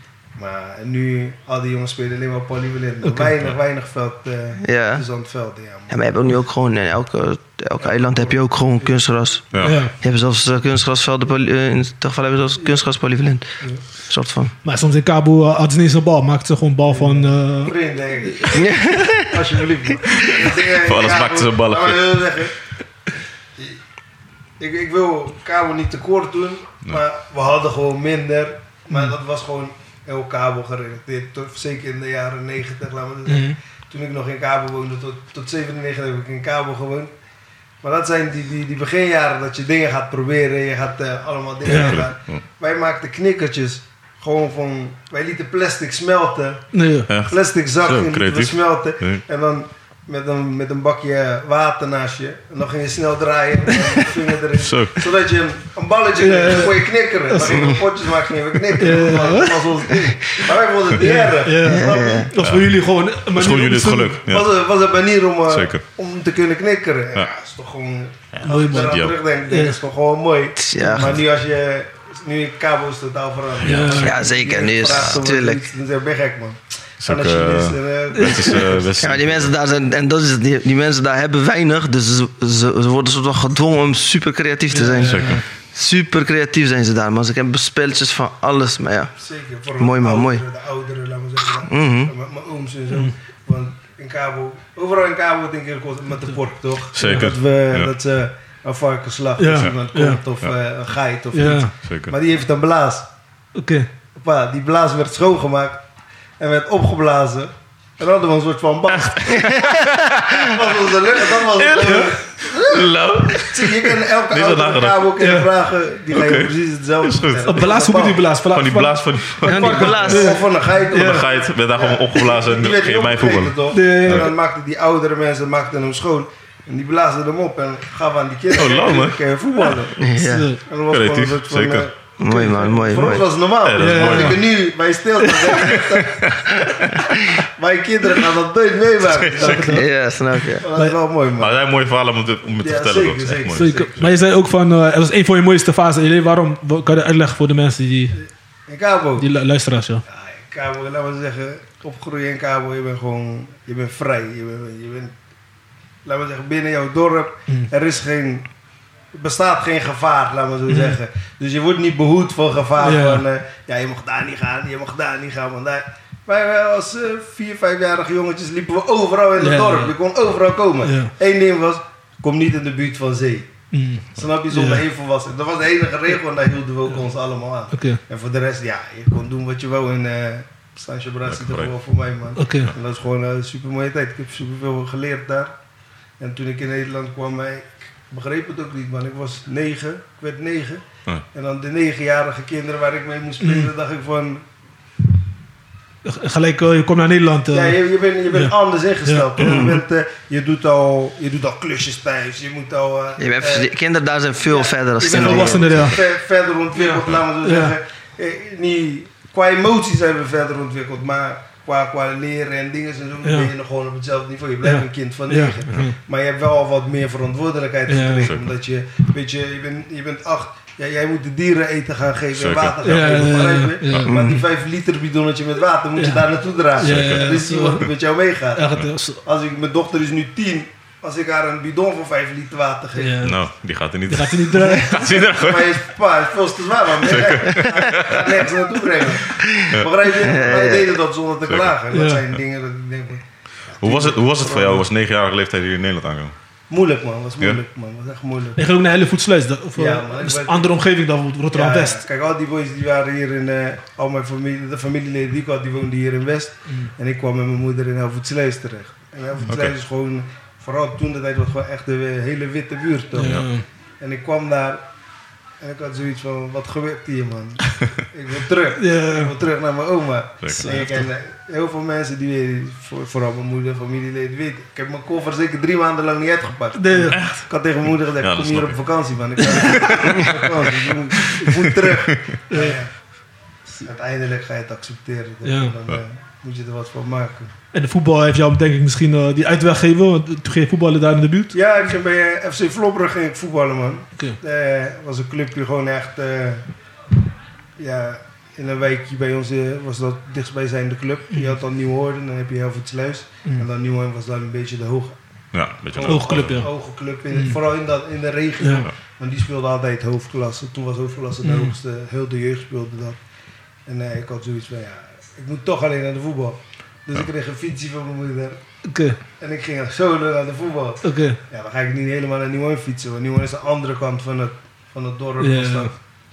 [SPEAKER 4] Maar nu, al die jongens spelen alleen maar polyvalent.
[SPEAKER 2] Oké.
[SPEAKER 4] Weinig, weinig veld, eh
[SPEAKER 5] Ja.
[SPEAKER 4] zandveld. Ja, man.
[SPEAKER 5] Ja, maar je hebt ook nu ook gewoon, in elke, elk eiland heb je ook gewoon kunstgras.
[SPEAKER 3] Ja.
[SPEAKER 2] Ja.
[SPEAKER 5] Je hebt zelfs eh, kunstgrasvelden, poly- eh, in het geval hebben ze zelfs kunstgras polyvalent. soort van.
[SPEAKER 2] Maar soms in Cabo had hadden ze niet eens een bal. Maakten ze gewoon bal van... eh,
[SPEAKER 4] Vriend, denk ik. Alsjeblieft. man.
[SPEAKER 3] Voor alles maakt ze een balletje.
[SPEAKER 4] Laat maar heel zeggen. Ik, ik wil Kabel niet tekort doen, maar we hadden gewoon minder. Maar
[SPEAKER 5] Mm.
[SPEAKER 4] dat was gewoon heel Kabel gerelateerd. Tot, zeker in de jaren 90, laten we dat zeggen.
[SPEAKER 2] mm.
[SPEAKER 4] Toen ik nog in Kabel woonde, tot, tot 97 heb ik in Kabel gewoond. Maar dat zijn die, die, die beginjaren dat je dingen gaat proberen. Je gaat eh, allemaal dingen
[SPEAKER 2] Ja.
[SPEAKER 4] gaan. Wij maakten knikkertjes. Gewoon van, wij lieten plastic smelten
[SPEAKER 2] Nee.
[SPEAKER 3] Echt.
[SPEAKER 4] plastic zak
[SPEAKER 3] Zo,
[SPEAKER 4] in die we
[SPEAKER 3] creatief.
[SPEAKER 4] smelten.
[SPEAKER 3] Ja.
[SPEAKER 4] En dan met een, met een bakje water naast je. En dan ging je snel draaien en dan je vinger erin.
[SPEAKER 3] Zo.
[SPEAKER 4] Zodat je een, een balletje
[SPEAKER 2] Ja, ja.
[SPEAKER 4] kreeg, dan kon je knikkeren. Maar in potjes maak je niet meer knikkeren.
[SPEAKER 2] Ja.
[SPEAKER 4] Dat was ons ding. Maar wij vonden het niet erg.
[SPEAKER 2] Ja.
[SPEAKER 4] Snap je?
[SPEAKER 2] Dat was voor jullie gewoon... Dat
[SPEAKER 3] Dat is gewoon jullie het geluk. Ja.
[SPEAKER 4] Was, een, was een manier om, eh,
[SPEAKER 3] Zeker.
[SPEAKER 4] om te kunnen knikkeren. Ja,
[SPEAKER 3] Ja.
[SPEAKER 4] is toch gewoon...
[SPEAKER 2] Mooi,
[SPEAKER 4] Als ik
[SPEAKER 2] man.
[SPEAKER 4] eraan
[SPEAKER 3] Ja.
[SPEAKER 4] terugdenk, denk ik,
[SPEAKER 2] Ja.
[SPEAKER 4] is toch gewoon mooi.
[SPEAKER 5] Tja,
[SPEAKER 4] maar nu als je... Nu in kabel is het totaal veranderd.
[SPEAKER 2] Ja.
[SPEAKER 5] Ja, zeker. Nu is
[SPEAKER 4] Vraagt om iets,
[SPEAKER 5] natuurlijk.
[SPEAKER 4] Dan ben je gek, man.
[SPEAKER 3] ook,
[SPEAKER 4] En als je
[SPEAKER 3] eh,
[SPEAKER 4] dit, eh,
[SPEAKER 3] Het is, eh, best-
[SPEAKER 5] Ja, maar die mensen daar zijn, en dat is het, die, die mensen daar hebben weinig, dus ze, ze, ze worden soort van gedwongen om super creatief te zijn.
[SPEAKER 3] Zeker.
[SPEAKER 5] Super creatief zijn ze daar, man. Ze hebben spelletjes van alles, maar ja.
[SPEAKER 4] Zeker. Voor
[SPEAKER 5] Mooi,
[SPEAKER 4] de
[SPEAKER 5] man,
[SPEAKER 4] ouderen,
[SPEAKER 5] mooi.
[SPEAKER 4] De ouderen, laten we zeggen.
[SPEAKER 5] Mhm.
[SPEAKER 4] Mijn- Mijn ooms en zo.
[SPEAKER 2] Mhm.
[SPEAKER 4] Want in Cabo, overal in Cabo denk ik ook met de pork, toch?
[SPEAKER 3] Zeker.
[SPEAKER 4] Dat, we,
[SPEAKER 3] Ja.
[SPEAKER 4] dat ze een varken slachten,
[SPEAKER 2] Ja.
[SPEAKER 4] als iemand
[SPEAKER 2] Ja.
[SPEAKER 4] komt of eh, een geit of iets.
[SPEAKER 2] Ja.
[SPEAKER 3] Zeker.
[SPEAKER 4] Maar die heeft een blaas.
[SPEAKER 2] Oké.
[SPEAKER 4] Pa, die blaas werd schoongemaakt en werd opgeblazen. En hadden we een soort van bast. dat was onze lucht, dat was onze
[SPEAKER 3] Hallo?
[SPEAKER 4] Zie, je kan elke
[SPEAKER 3] Niet zo
[SPEAKER 4] auto in
[SPEAKER 3] nagedacht.
[SPEAKER 4] Cabo kunnen
[SPEAKER 2] Ja.
[SPEAKER 4] vragen, die gaan je
[SPEAKER 3] Oké.
[SPEAKER 4] precies hetzelfde
[SPEAKER 3] Is goed.
[SPEAKER 4] vertellen.
[SPEAKER 2] Op Blaas, hoe moet die blaas?
[SPEAKER 3] Van die blaas van die, van
[SPEAKER 5] Ja, die blaas.
[SPEAKER 4] Of van een geit.
[SPEAKER 3] de geit werd daar gewoon opgeblazen en
[SPEAKER 4] Die werd
[SPEAKER 3] ging je mij
[SPEAKER 4] opgegeten,
[SPEAKER 3] voetballen.
[SPEAKER 4] toch?
[SPEAKER 2] Ja, ja, ja.
[SPEAKER 4] En dan maakten die oudere mensen maakten hem schoon. En die blazen hem op en gaven aan die kinderen.
[SPEAKER 3] Oh, lauw, hè?
[SPEAKER 4] En dan voetballen.
[SPEAKER 5] ja.
[SPEAKER 4] En dat was gewoon een
[SPEAKER 3] Creatief,
[SPEAKER 4] soort van,
[SPEAKER 3] zeker.
[SPEAKER 4] eh,
[SPEAKER 5] Mooi, man. Mooi,
[SPEAKER 4] voor ons
[SPEAKER 5] mooi.
[SPEAKER 4] was het normaal.
[SPEAKER 3] Ja, dat is
[SPEAKER 4] Als
[SPEAKER 3] mooi,
[SPEAKER 4] ik
[SPEAKER 3] man.
[SPEAKER 4] er nu bij stil sta, denk ik dat- Mijn kinderen gaan dat nooit meemaken. Dat,
[SPEAKER 5] Ja, snap je.
[SPEAKER 4] dat is wel mooi, man.
[SPEAKER 3] Maar zij mooie verhalen om te, om te
[SPEAKER 4] Ja,
[SPEAKER 3] vertellen.
[SPEAKER 4] zeker,
[SPEAKER 3] dat is echt
[SPEAKER 4] zeker.
[SPEAKER 3] mooi.
[SPEAKER 2] Zeker. Maar je zei ook van... eh, het was een van je mooiste fases. in je leven. Waarom? Wat Kan je uitleggen voor de mensen die,
[SPEAKER 4] In Cabo.
[SPEAKER 2] die lu- luisteraars? Ja.
[SPEAKER 4] Ja, Ah, in Cabo, laten we zeggen, opgroeien in Cabo, je bent gewoon, je bent
[SPEAKER 2] Mm.
[SPEAKER 4] vrij. Je bent, je bent laten we zeggen, binnen jouw dorp, er is geen bestaat geen gevaar, laat maar zo zeggen. Dus je wordt niet behoed voor gevaar.
[SPEAKER 2] Mm. Ja.
[SPEAKER 4] Van, eh, ja, je mag daar niet gaan, je mag daar niet gaan. Want daar... Wij wij als eh, vier, vijfjarige jongetjes liepen we overal in het
[SPEAKER 2] Ja,
[SPEAKER 4] dorp.
[SPEAKER 2] ja.
[SPEAKER 4] Je kon overal komen.
[SPEAKER 2] Ja.
[SPEAKER 4] Eén ding was, kom niet in de buurt van zee.
[SPEAKER 2] Mm,
[SPEAKER 4] Snap je, zonder
[SPEAKER 2] Ja.
[SPEAKER 4] één volwassene. Dat was de enige regel en daar hielden we ook ons allemaal aan.
[SPEAKER 2] Oké,
[SPEAKER 4] En voor de rest, ja, je kon doen wat je wou. En eh Sancho Braz zit er
[SPEAKER 3] gebruik.
[SPEAKER 4] gewoon voor mij, man.
[SPEAKER 2] oké.
[SPEAKER 4] En dat is gewoon een super mooie tijd. Ik heb superveel geleerd daar. En toen ik in Nederland kwam, eh, ik begreep het ook niet, man. Ik was negen, ik werd negen.
[SPEAKER 3] Ja.
[SPEAKER 4] En dan de negenjarige kinderen waar ik mee moest spelen, dacht ik van...
[SPEAKER 2] Gelijk, eh, je komt naar Nederland. eh,
[SPEAKER 4] Ja, je, je bent, je bent
[SPEAKER 2] ja. Mm.
[SPEAKER 4] anders ingesteld. Je, bent, eh, je, doet al, je doet al klusjes thuis, je moet al... eh,
[SPEAKER 5] Je bent
[SPEAKER 4] eh,
[SPEAKER 5] even- kinderen daar zijn veel
[SPEAKER 4] ja,
[SPEAKER 5] verder dan
[SPEAKER 4] je
[SPEAKER 2] bent
[SPEAKER 5] kinderen hier.
[SPEAKER 2] volwassenen, ja.
[SPEAKER 4] ver- verder ontwikkeld, laten we zo
[SPEAKER 2] Ja.
[SPEAKER 4] zeggen. Eh, niet, qua emoties zijn we verder ontwikkeld, maar qua, qua leren en dingen en zo
[SPEAKER 2] Ja.
[SPEAKER 4] ben je nog gewoon op hetzelfde niveau. Je blijft
[SPEAKER 2] Ja.
[SPEAKER 4] een kind van
[SPEAKER 2] ja.
[SPEAKER 4] negen.
[SPEAKER 2] mhm.
[SPEAKER 4] Maar je hebt wel al wat meer verantwoordelijkheid
[SPEAKER 2] Ja.
[SPEAKER 4] gekregen.
[SPEAKER 3] Zeker.
[SPEAKER 4] Omdat je, weet je, je, bent, je bent acht. Ja, jij moet de dieren eten gaan geven
[SPEAKER 3] Zeker.
[SPEAKER 4] en water gaan
[SPEAKER 2] Ja,
[SPEAKER 4] geven.
[SPEAKER 2] ja,
[SPEAKER 4] begrijp
[SPEAKER 2] ja,
[SPEAKER 4] je?
[SPEAKER 2] ja.
[SPEAKER 4] Maar die 5 liter bidonnetje met water moet je
[SPEAKER 2] Ja.
[SPEAKER 4] daar naartoe dragen.
[SPEAKER 2] Ja, ja, ja.
[SPEAKER 4] Dat is iemand die met jou meegaat.
[SPEAKER 2] Echt, eh, zo-
[SPEAKER 4] Als ik, mijn dochter is nu 10. Als ik haar een bidon van 5 liter water geef.
[SPEAKER 2] ja.
[SPEAKER 3] Nou, die gaat er niet.
[SPEAKER 2] eh, Je gaat er niet eh, draaien.
[SPEAKER 3] Gaat hij er gewoon.
[SPEAKER 4] Maar je pa is veel te zwaar, man. Ga nergens naartoe brengen. Begrijp je? Wij deden dat zonder te
[SPEAKER 3] Zeker.
[SPEAKER 4] klagen. Dat
[SPEAKER 2] Ja.
[SPEAKER 4] zijn dingen dat ik denk van...
[SPEAKER 3] Hoe was het, hoe was het voor jou als 9-jarige leeftijd hier in Nederland aankomen?
[SPEAKER 4] Moeilijk, man. was
[SPEAKER 3] Ja.
[SPEAKER 4] moeilijk, man. was echt moeilijk.
[SPEAKER 2] Je gaat ook naar Hellevoetsluis. dat- Of eh,
[SPEAKER 4] Ja, maar ik
[SPEAKER 2] dus
[SPEAKER 4] ben-
[SPEAKER 2] andere omgeving dan bijvoorbeeld
[SPEAKER 4] Ja, ja.
[SPEAKER 2] Rotterdam-West.
[SPEAKER 4] Kijk, al die boys die waren hier in... eh, al mijn familie, de familieleden die ik had, die woonden hier in West.
[SPEAKER 2] Mm.
[SPEAKER 4] En ik kwam met mijn moeder in Helvoetsluis terecht. En Helvoetsluis
[SPEAKER 3] Oké.
[SPEAKER 4] is gewoon... Vooral toen de tijd was gewoon echt een eh, hele witte buurt. toch?
[SPEAKER 2] Ja.
[SPEAKER 4] En ik kwam daar... En ik had zoiets van, wat gebeurt hier, man? ik wil terug. Ik
[SPEAKER 2] Eh, Ja.
[SPEAKER 4] wil terug naar mijn oma.
[SPEAKER 3] Zeker.
[SPEAKER 4] En ik ken, eh, heel veel mensen die weten, voor- vooral mijn moeder, familieleden, weten. Ik heb mijn koffer zeker drie maanden lang niet uitgepakt.
[SPEAKER 2] Nee, ja.
[SPEAKER 4] Ik had tegen mijn moeder gezegd,
[SPEAKER 3] Ja,
[SPEAKER 4] kom
[SPEAKER 3] dat
[SPEAKER 4] hier
[SPEAKER 3] snap
[SPEAKER 4] op
[SPEAKER 3] ik.
[SPEAKER 4] vakantie, man. Ik, kan niet op vakantie. ik, moet, ik moet terug. Nou ja, Uiteindelijk ga je het accepteren. toch?
[SPEAKER 2] Ja.
[SPEAKER 4] En Dan eh, moet je er wat van maken.
[SPEAKER 2] En de voetbal heeft jou denk ik misschien eh, die uitweg gegeven. Want toen ging je voetballen daar in de buurt.
[SPEAKER 4] Ja, ik ging bij eh, FC Vlobberg ging ik voetballen, man.
[SPEAKER 2] Oké.
[SPEAKER 4] Eh, was een clubje gewoon echt... eh, ja, in een wijkje bij ons eh, was dat dichtstbijzijnde club. Je had dan Nieuwhoorn, dan heb je heel veel sluis.
[SPEAKER 2] Mm.
[SPEAKER 4] En dan Nieuwhoorn was dan een beetje de hoge,
[SPEAKER 3] Ja, een beetje
[SPEAKER 2] Hoge club, ja.
[SPEAKER 4] hoge club. In, Vooral in, dat, in de regio.
[SPEAKER 2] Ja.
[SPEAKER 4] Want die speelde altijd hoofdklasse. Toen was hoofdklasse de
[SPEAKER 2] Mm.
[SPEAKER 4] hoogste. Heel de jeugd speelde dat. En eh, ik had zoiets van, ja, ik moet toch alleen naar de voetbal. Dus ik kreeg een fietsie van mijn moeder.
[SPEAKER 2] Oké,
[SPEAKER 4] En ik ging solo naar de voetbal.
[SPEAKER 2] oké.
[SPEAKER 4] Ja, dan ga ik niet helemaal naar Nieuwhoorn fietsen. Want Nieuwhoorn is de andere kant van het, van het dorp.
[SPEAKER 2] Ja.
[SPEAKER 4] was dat,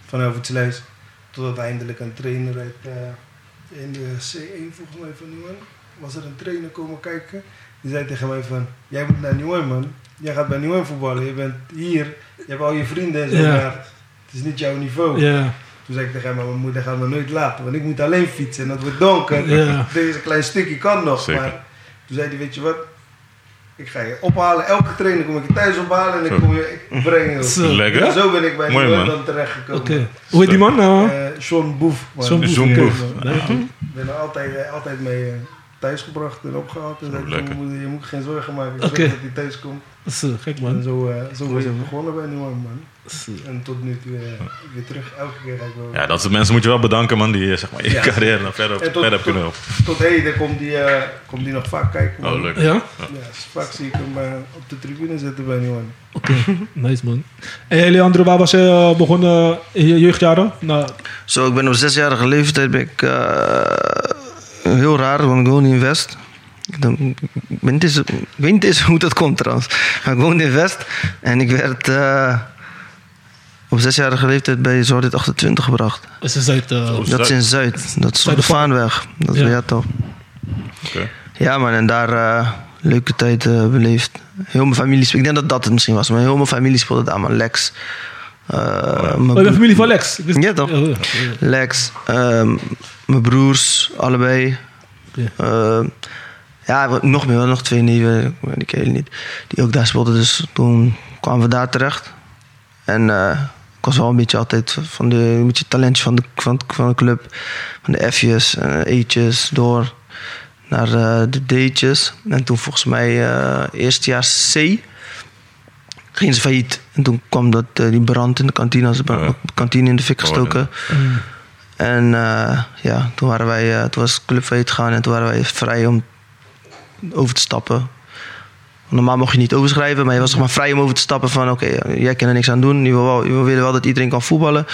[SPEAKER 4] van Overtsluis. Tot uiteindelijk een trainer uit... eh, in de C1 volgens mij van Nieuwhoorn. Was er een trainer komen kijken. Die zei tegen mij van... Jij moet naar Nieuwhoorn man. Jij gaat bij Nieuwhoorn voetballen. Je bent hier. Je hebt al je vrienden en zo.
[SPEAKER 2] Ja.
[SPEAKER 4] Maar het is niet jouw niveau.
[SPEAKER 2] Ja,
[SPEAKER 4] Toen zei ik tegen hem... Mijn moeder gaat me nooit laten. Want ik moet alleen fietsen. En dat wordt donker.
[SPEAKER 2] ja.
[SPEAKER 4] Deze klein stukje kan nog.
[SPEAKER 3] Zeker.
[SPEAKER 4] Maar toen zei hij, weet je wat? Ik ga je ophalen. Elke trainer kom ik je thuis ophalen en ik kom je ik breng je. op.
[SPEAKER 2] Zo. Oké.
[SPEAKER 3] Lekker?
[SPEAKER 4] En zo ben ik bij
[SPEAKER 3] Mooi, man.
[SPEAKER 4] Nieuw-Nederland terechtgekomen.
[SPEAKER 2] eh, Hoe heet die man nou?
[SPEAKER 4] Eh, Sean Boef. man.
[SPEAKER 2] Zo'n
[SPEAKER 4] Ik
[SPEAKER 2] boef.
[SPEAKER 3] Zo'n
[SPEAKER 2] oké.
[SPEAKER 3] boef.
[SPEAKER 2] Ja.
[SPEAKER 4] ben er altijd, eh, altijd mee eh, thuisgebracht en opgehaald. En zei ik tegen
[SPEAKER 3] lekker.
[SPEAKER 4] mijn moeder, je moet geen zorgen maken. Ik
[SPEAKER 2] Oké.
[SPEAKER 4] zorg dat hij thuis komt.
[SPEAKER 2] Zo, Gek
[SPEAKER 4] En
[SPEAKER 2] man.
[SPEAKER 4] zo, eh, zo ben
[SPEAKER 2] Mooi,
[SPEAKER 4] ik
[SPEAKER 2] man.
[SPEAKER 4] begonnen bij Nieuw-Nederland, man.
[SPEAKER 2] Zo.
[SPEAKER 4] En tot nu toe eh, weer terug. Elke keer ga ik wel.
[SPEAKER 3] Ja, dat soort mensen moet je wel bedanken, man, die eh, zeg maar, je
[SPEAKER 4] Ja.
[SPEAKER 3] carrière nog verder, op,
[SPEAKER 4] En tot-
[SPEAKER 3] verder op kunnen helpen.
[SPEAKER 4] Tot heden komt die, eh, komt die nog vaak kijken. man.
[SPEAKER 3] Oh, leuk.
[SPEAKER 2] Ja?
[SPEAKER 4] Ja, vaak zie ik hem eh, op de tribune zitten bij Nieuw-Nederland.
[SPEAKER 2] Oké, nice man. En jullie andere, waar was je eh, begonnen in je jeugdjaren? Nou,
[SPEAKER 5] Zo, ik ben op zesjarige leeftijd ben ik, eh, heel raar, want ik woon in West. Dan, ik, ben, het is, ik weet niet eens hoe dat komt trouwens. Maar ik woonde in West en ik werd eh, op zesjarige leeftijd bij Zordit 28 gebracht.
[SPEAKER 2] is het Zuid... eh,
[SPEAKER 3] Zo.
[SPEAKER 5] Dat is in Zuid. Dat is op de Vaanweg. Dat is
[SPEAKER 2] Ja.
[SPEAKER 5] ja toch.
[SPEAKER 3] Oké.
[SPEAKER 5] Ja man, en daar eh, leuke tijd eh, beleefd. Heel mijn familie, spe- ik denk dat dat het misschien was, maar heel mijn familie speelde daar man. Lex. eh, mijn
[SPEAKER 2] Oh, je bent
[SPEAKER 5] broer-
[SPEAKER 2] familie van Lex? Ik wist-
[SPEAKER 5] Ja, toch?
[SPEAKER 2] Ja, ja, ja.
[SPEAKER 5] Lex, ehm, mijn broers, allebei.
[SPEAKER 2] Oké.
[SPEAKER 5] Ehm, ja, wat- nog meer, wel nog twee nieuwe, die ken je niet. Die ook daar speelden, dus toen kwamen we daar terecht. En eh, ik was wel een beetje altijd van de, een beetje het talentje van de, van, van de club. Van de F'jes, eh, E'tjes, door naar eh, de D'tjes. En toen volgens mij eh eerstejaars C gingen ze failliet. En toen kwam dat, eh, die brand in de kantine, als de brand-
[SPEAKER 3] Ja.
[SPEAKER 5] kantine in de fik
[SPEAKER 3] Oh, ja.
[SPEAKER 5] gestoken.
[SPEAKER 2] Mm.
[SPEAKER 5] En eh, ja, toen, waren wij, eh, toen was het club failliet gegaan en toen waren wij vrij om over te stappen. Normaal mocht je niet overschrijven, maar je was zeg maar vrij om over te stappen van oké, jij kan er niks aan doen. Je wil, wel, je wil willen wel dat iedereen kan voetballen.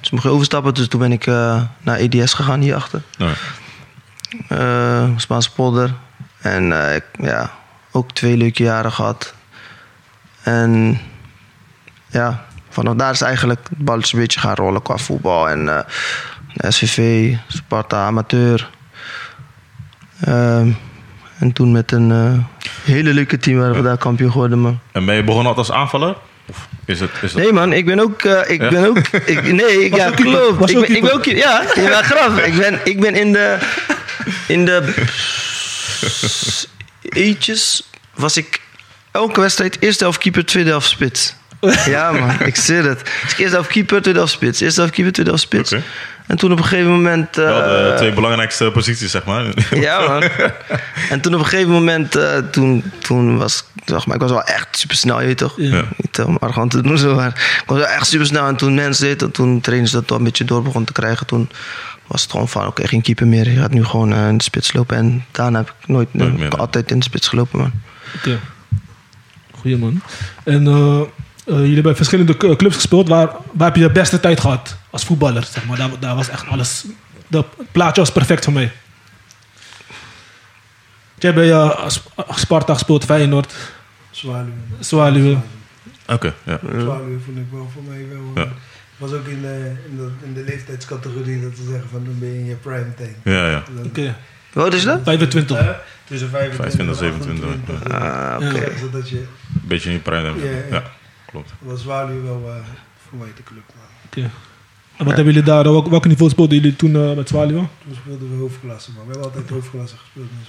[SPEAKER 5] Dus mocht je overstappen. Dus toen ben ik eh, naar EDS gegaan hierachter.
[SPEAKER 3] Nou,
[SPEAKER 5] Eh Spaanse polder. En eh, ik- ja, ook twee leuke jaren gehad. En ja, vanaf daar is eigenlijk het balletje een beetje gaan rollen qua voetbal. En eh, de SVV, Sparta, amateur. Ehm, en toen met een eh, hele leuke team waren we daar kampioen geworden, man.
[SPEAKER 3] En ben je begonnen altijd als aanvaller? Of is het... Is het...
[SPEAKER 5] Nee man, ik ben ook, eh, ik
[SPEAKER 3] Ja?
[SPEAKER 5] ben ook, ik, nee, ik,
[SPEAKER 2] Was
[SPEAKER 5] ja
[SPEAKER 2] ook keeper,
[SPEAKER 5] klopt.
[SPEAKER 2] was
[SPEAKER 5] ik,
[SPEAKER 2] ook
[SPEAKER 5] ben, ik ben
[SPEAKER 2] keeper.
[SPEAKER 5] ook, keeper. ja, ja graf. Ik ben, ik ben in de, in de eetjes was ik elke wedstrijd eerste helft keeper, tweede helft spits. Ja man, ik zit het. Dus ik eerste helft keeper, tweede helft spits, eerste helft keeper, tweede helft spits.
[SPEAKER 3] Oké.
[SPEAKER 5] En toen op een gegeven moment, eh,
[SPEAKER 3] Wel de twee belangrijkste posities, zeg maar.
[SPEAKER 5] ja, man. En toen op een gegeven moment, eh, toen, toen was ik, zeg maar, ik was wel echt super snel, je weet toch?
[SPEAKER 2] Ja.
[SPEAKER 5] Niet eh, om arrogant te doen, zo, maar ik was wel echt super snel. En toen mensen deed, dat, toen trainers dat wel een beetje door begon te krijgen, toen was het gewoon van, oké, geen keeper meer. Je gaat nu gewoon eh, in de spits lopen. En daarna heb ik nooit,
[SPEAKER 3] Nooit
[SPEAKER 5] eh,
[SPEAKER 3] meer,
[SPEAKER 5] ik
[SPEAKER 3] hè?
[SPEAKER 5] altijd in de spits gelopen, man.
[SPEAKER 2] Oké. Goeie man. En eh, eh, jullie hebben verschillende cu- clubs gespeeld. Waar, waar heb je de beste tijd gehad als voetballer? Zeg maar. daar, daar was echt alles. Dat plaatje was perfect voor mij. Jij hebt bij eh, Sp- Sparta gespeeld, Feyenoord,
[SPEAKER 4] Zwaluwen.
[SPEAKER 2] Zwaluwe.
[SPEAKER 3] Oké, ja.
[SPEAKER 4] Zwaluwen vond ik wel voor mij wel...
[SPEAKER 3] Ja.
[SPEAKER 4] eh, was ook in de, in, de, in de leeftijdscategorie dat ze zeggen van dan ben je in je prime time.
[SPEAKER 3] Ja, ja.
[SPEAKER 4] Dan-
[SPEAKER 2] Oké,
[SPEAKER 5] Hoe oud is dat?
[SPEAKER 2] 25.
[SPEAKER 4] Eh, tussen 25 en
[SPEAKER 3] 27,
[SPEAKER 4] 28.
[SPEAKER 5] Ah, oké.
[SPEAKER 2] Ja.
[SPEAKER 4] Ja, Zodat je...
[SPEAKER 3] Beetje in je prime. hebben.
[SPEAKER 4] Ja, ja.
[SPEAKER 3] Ja, klopt.
[SPEAKER 4] Was Zwaluwen wel eh, voor mij de club, man.
[SPEAKER 2] Oké. En wat hebben jullie daar, welk, welk niveau speelden jullie toen eh, met Zwaluwe? Oké.
[SPEAKER 4] Toen speelden we hoofdklasse, man. We hebben altijd hoofdklasse gespeeld in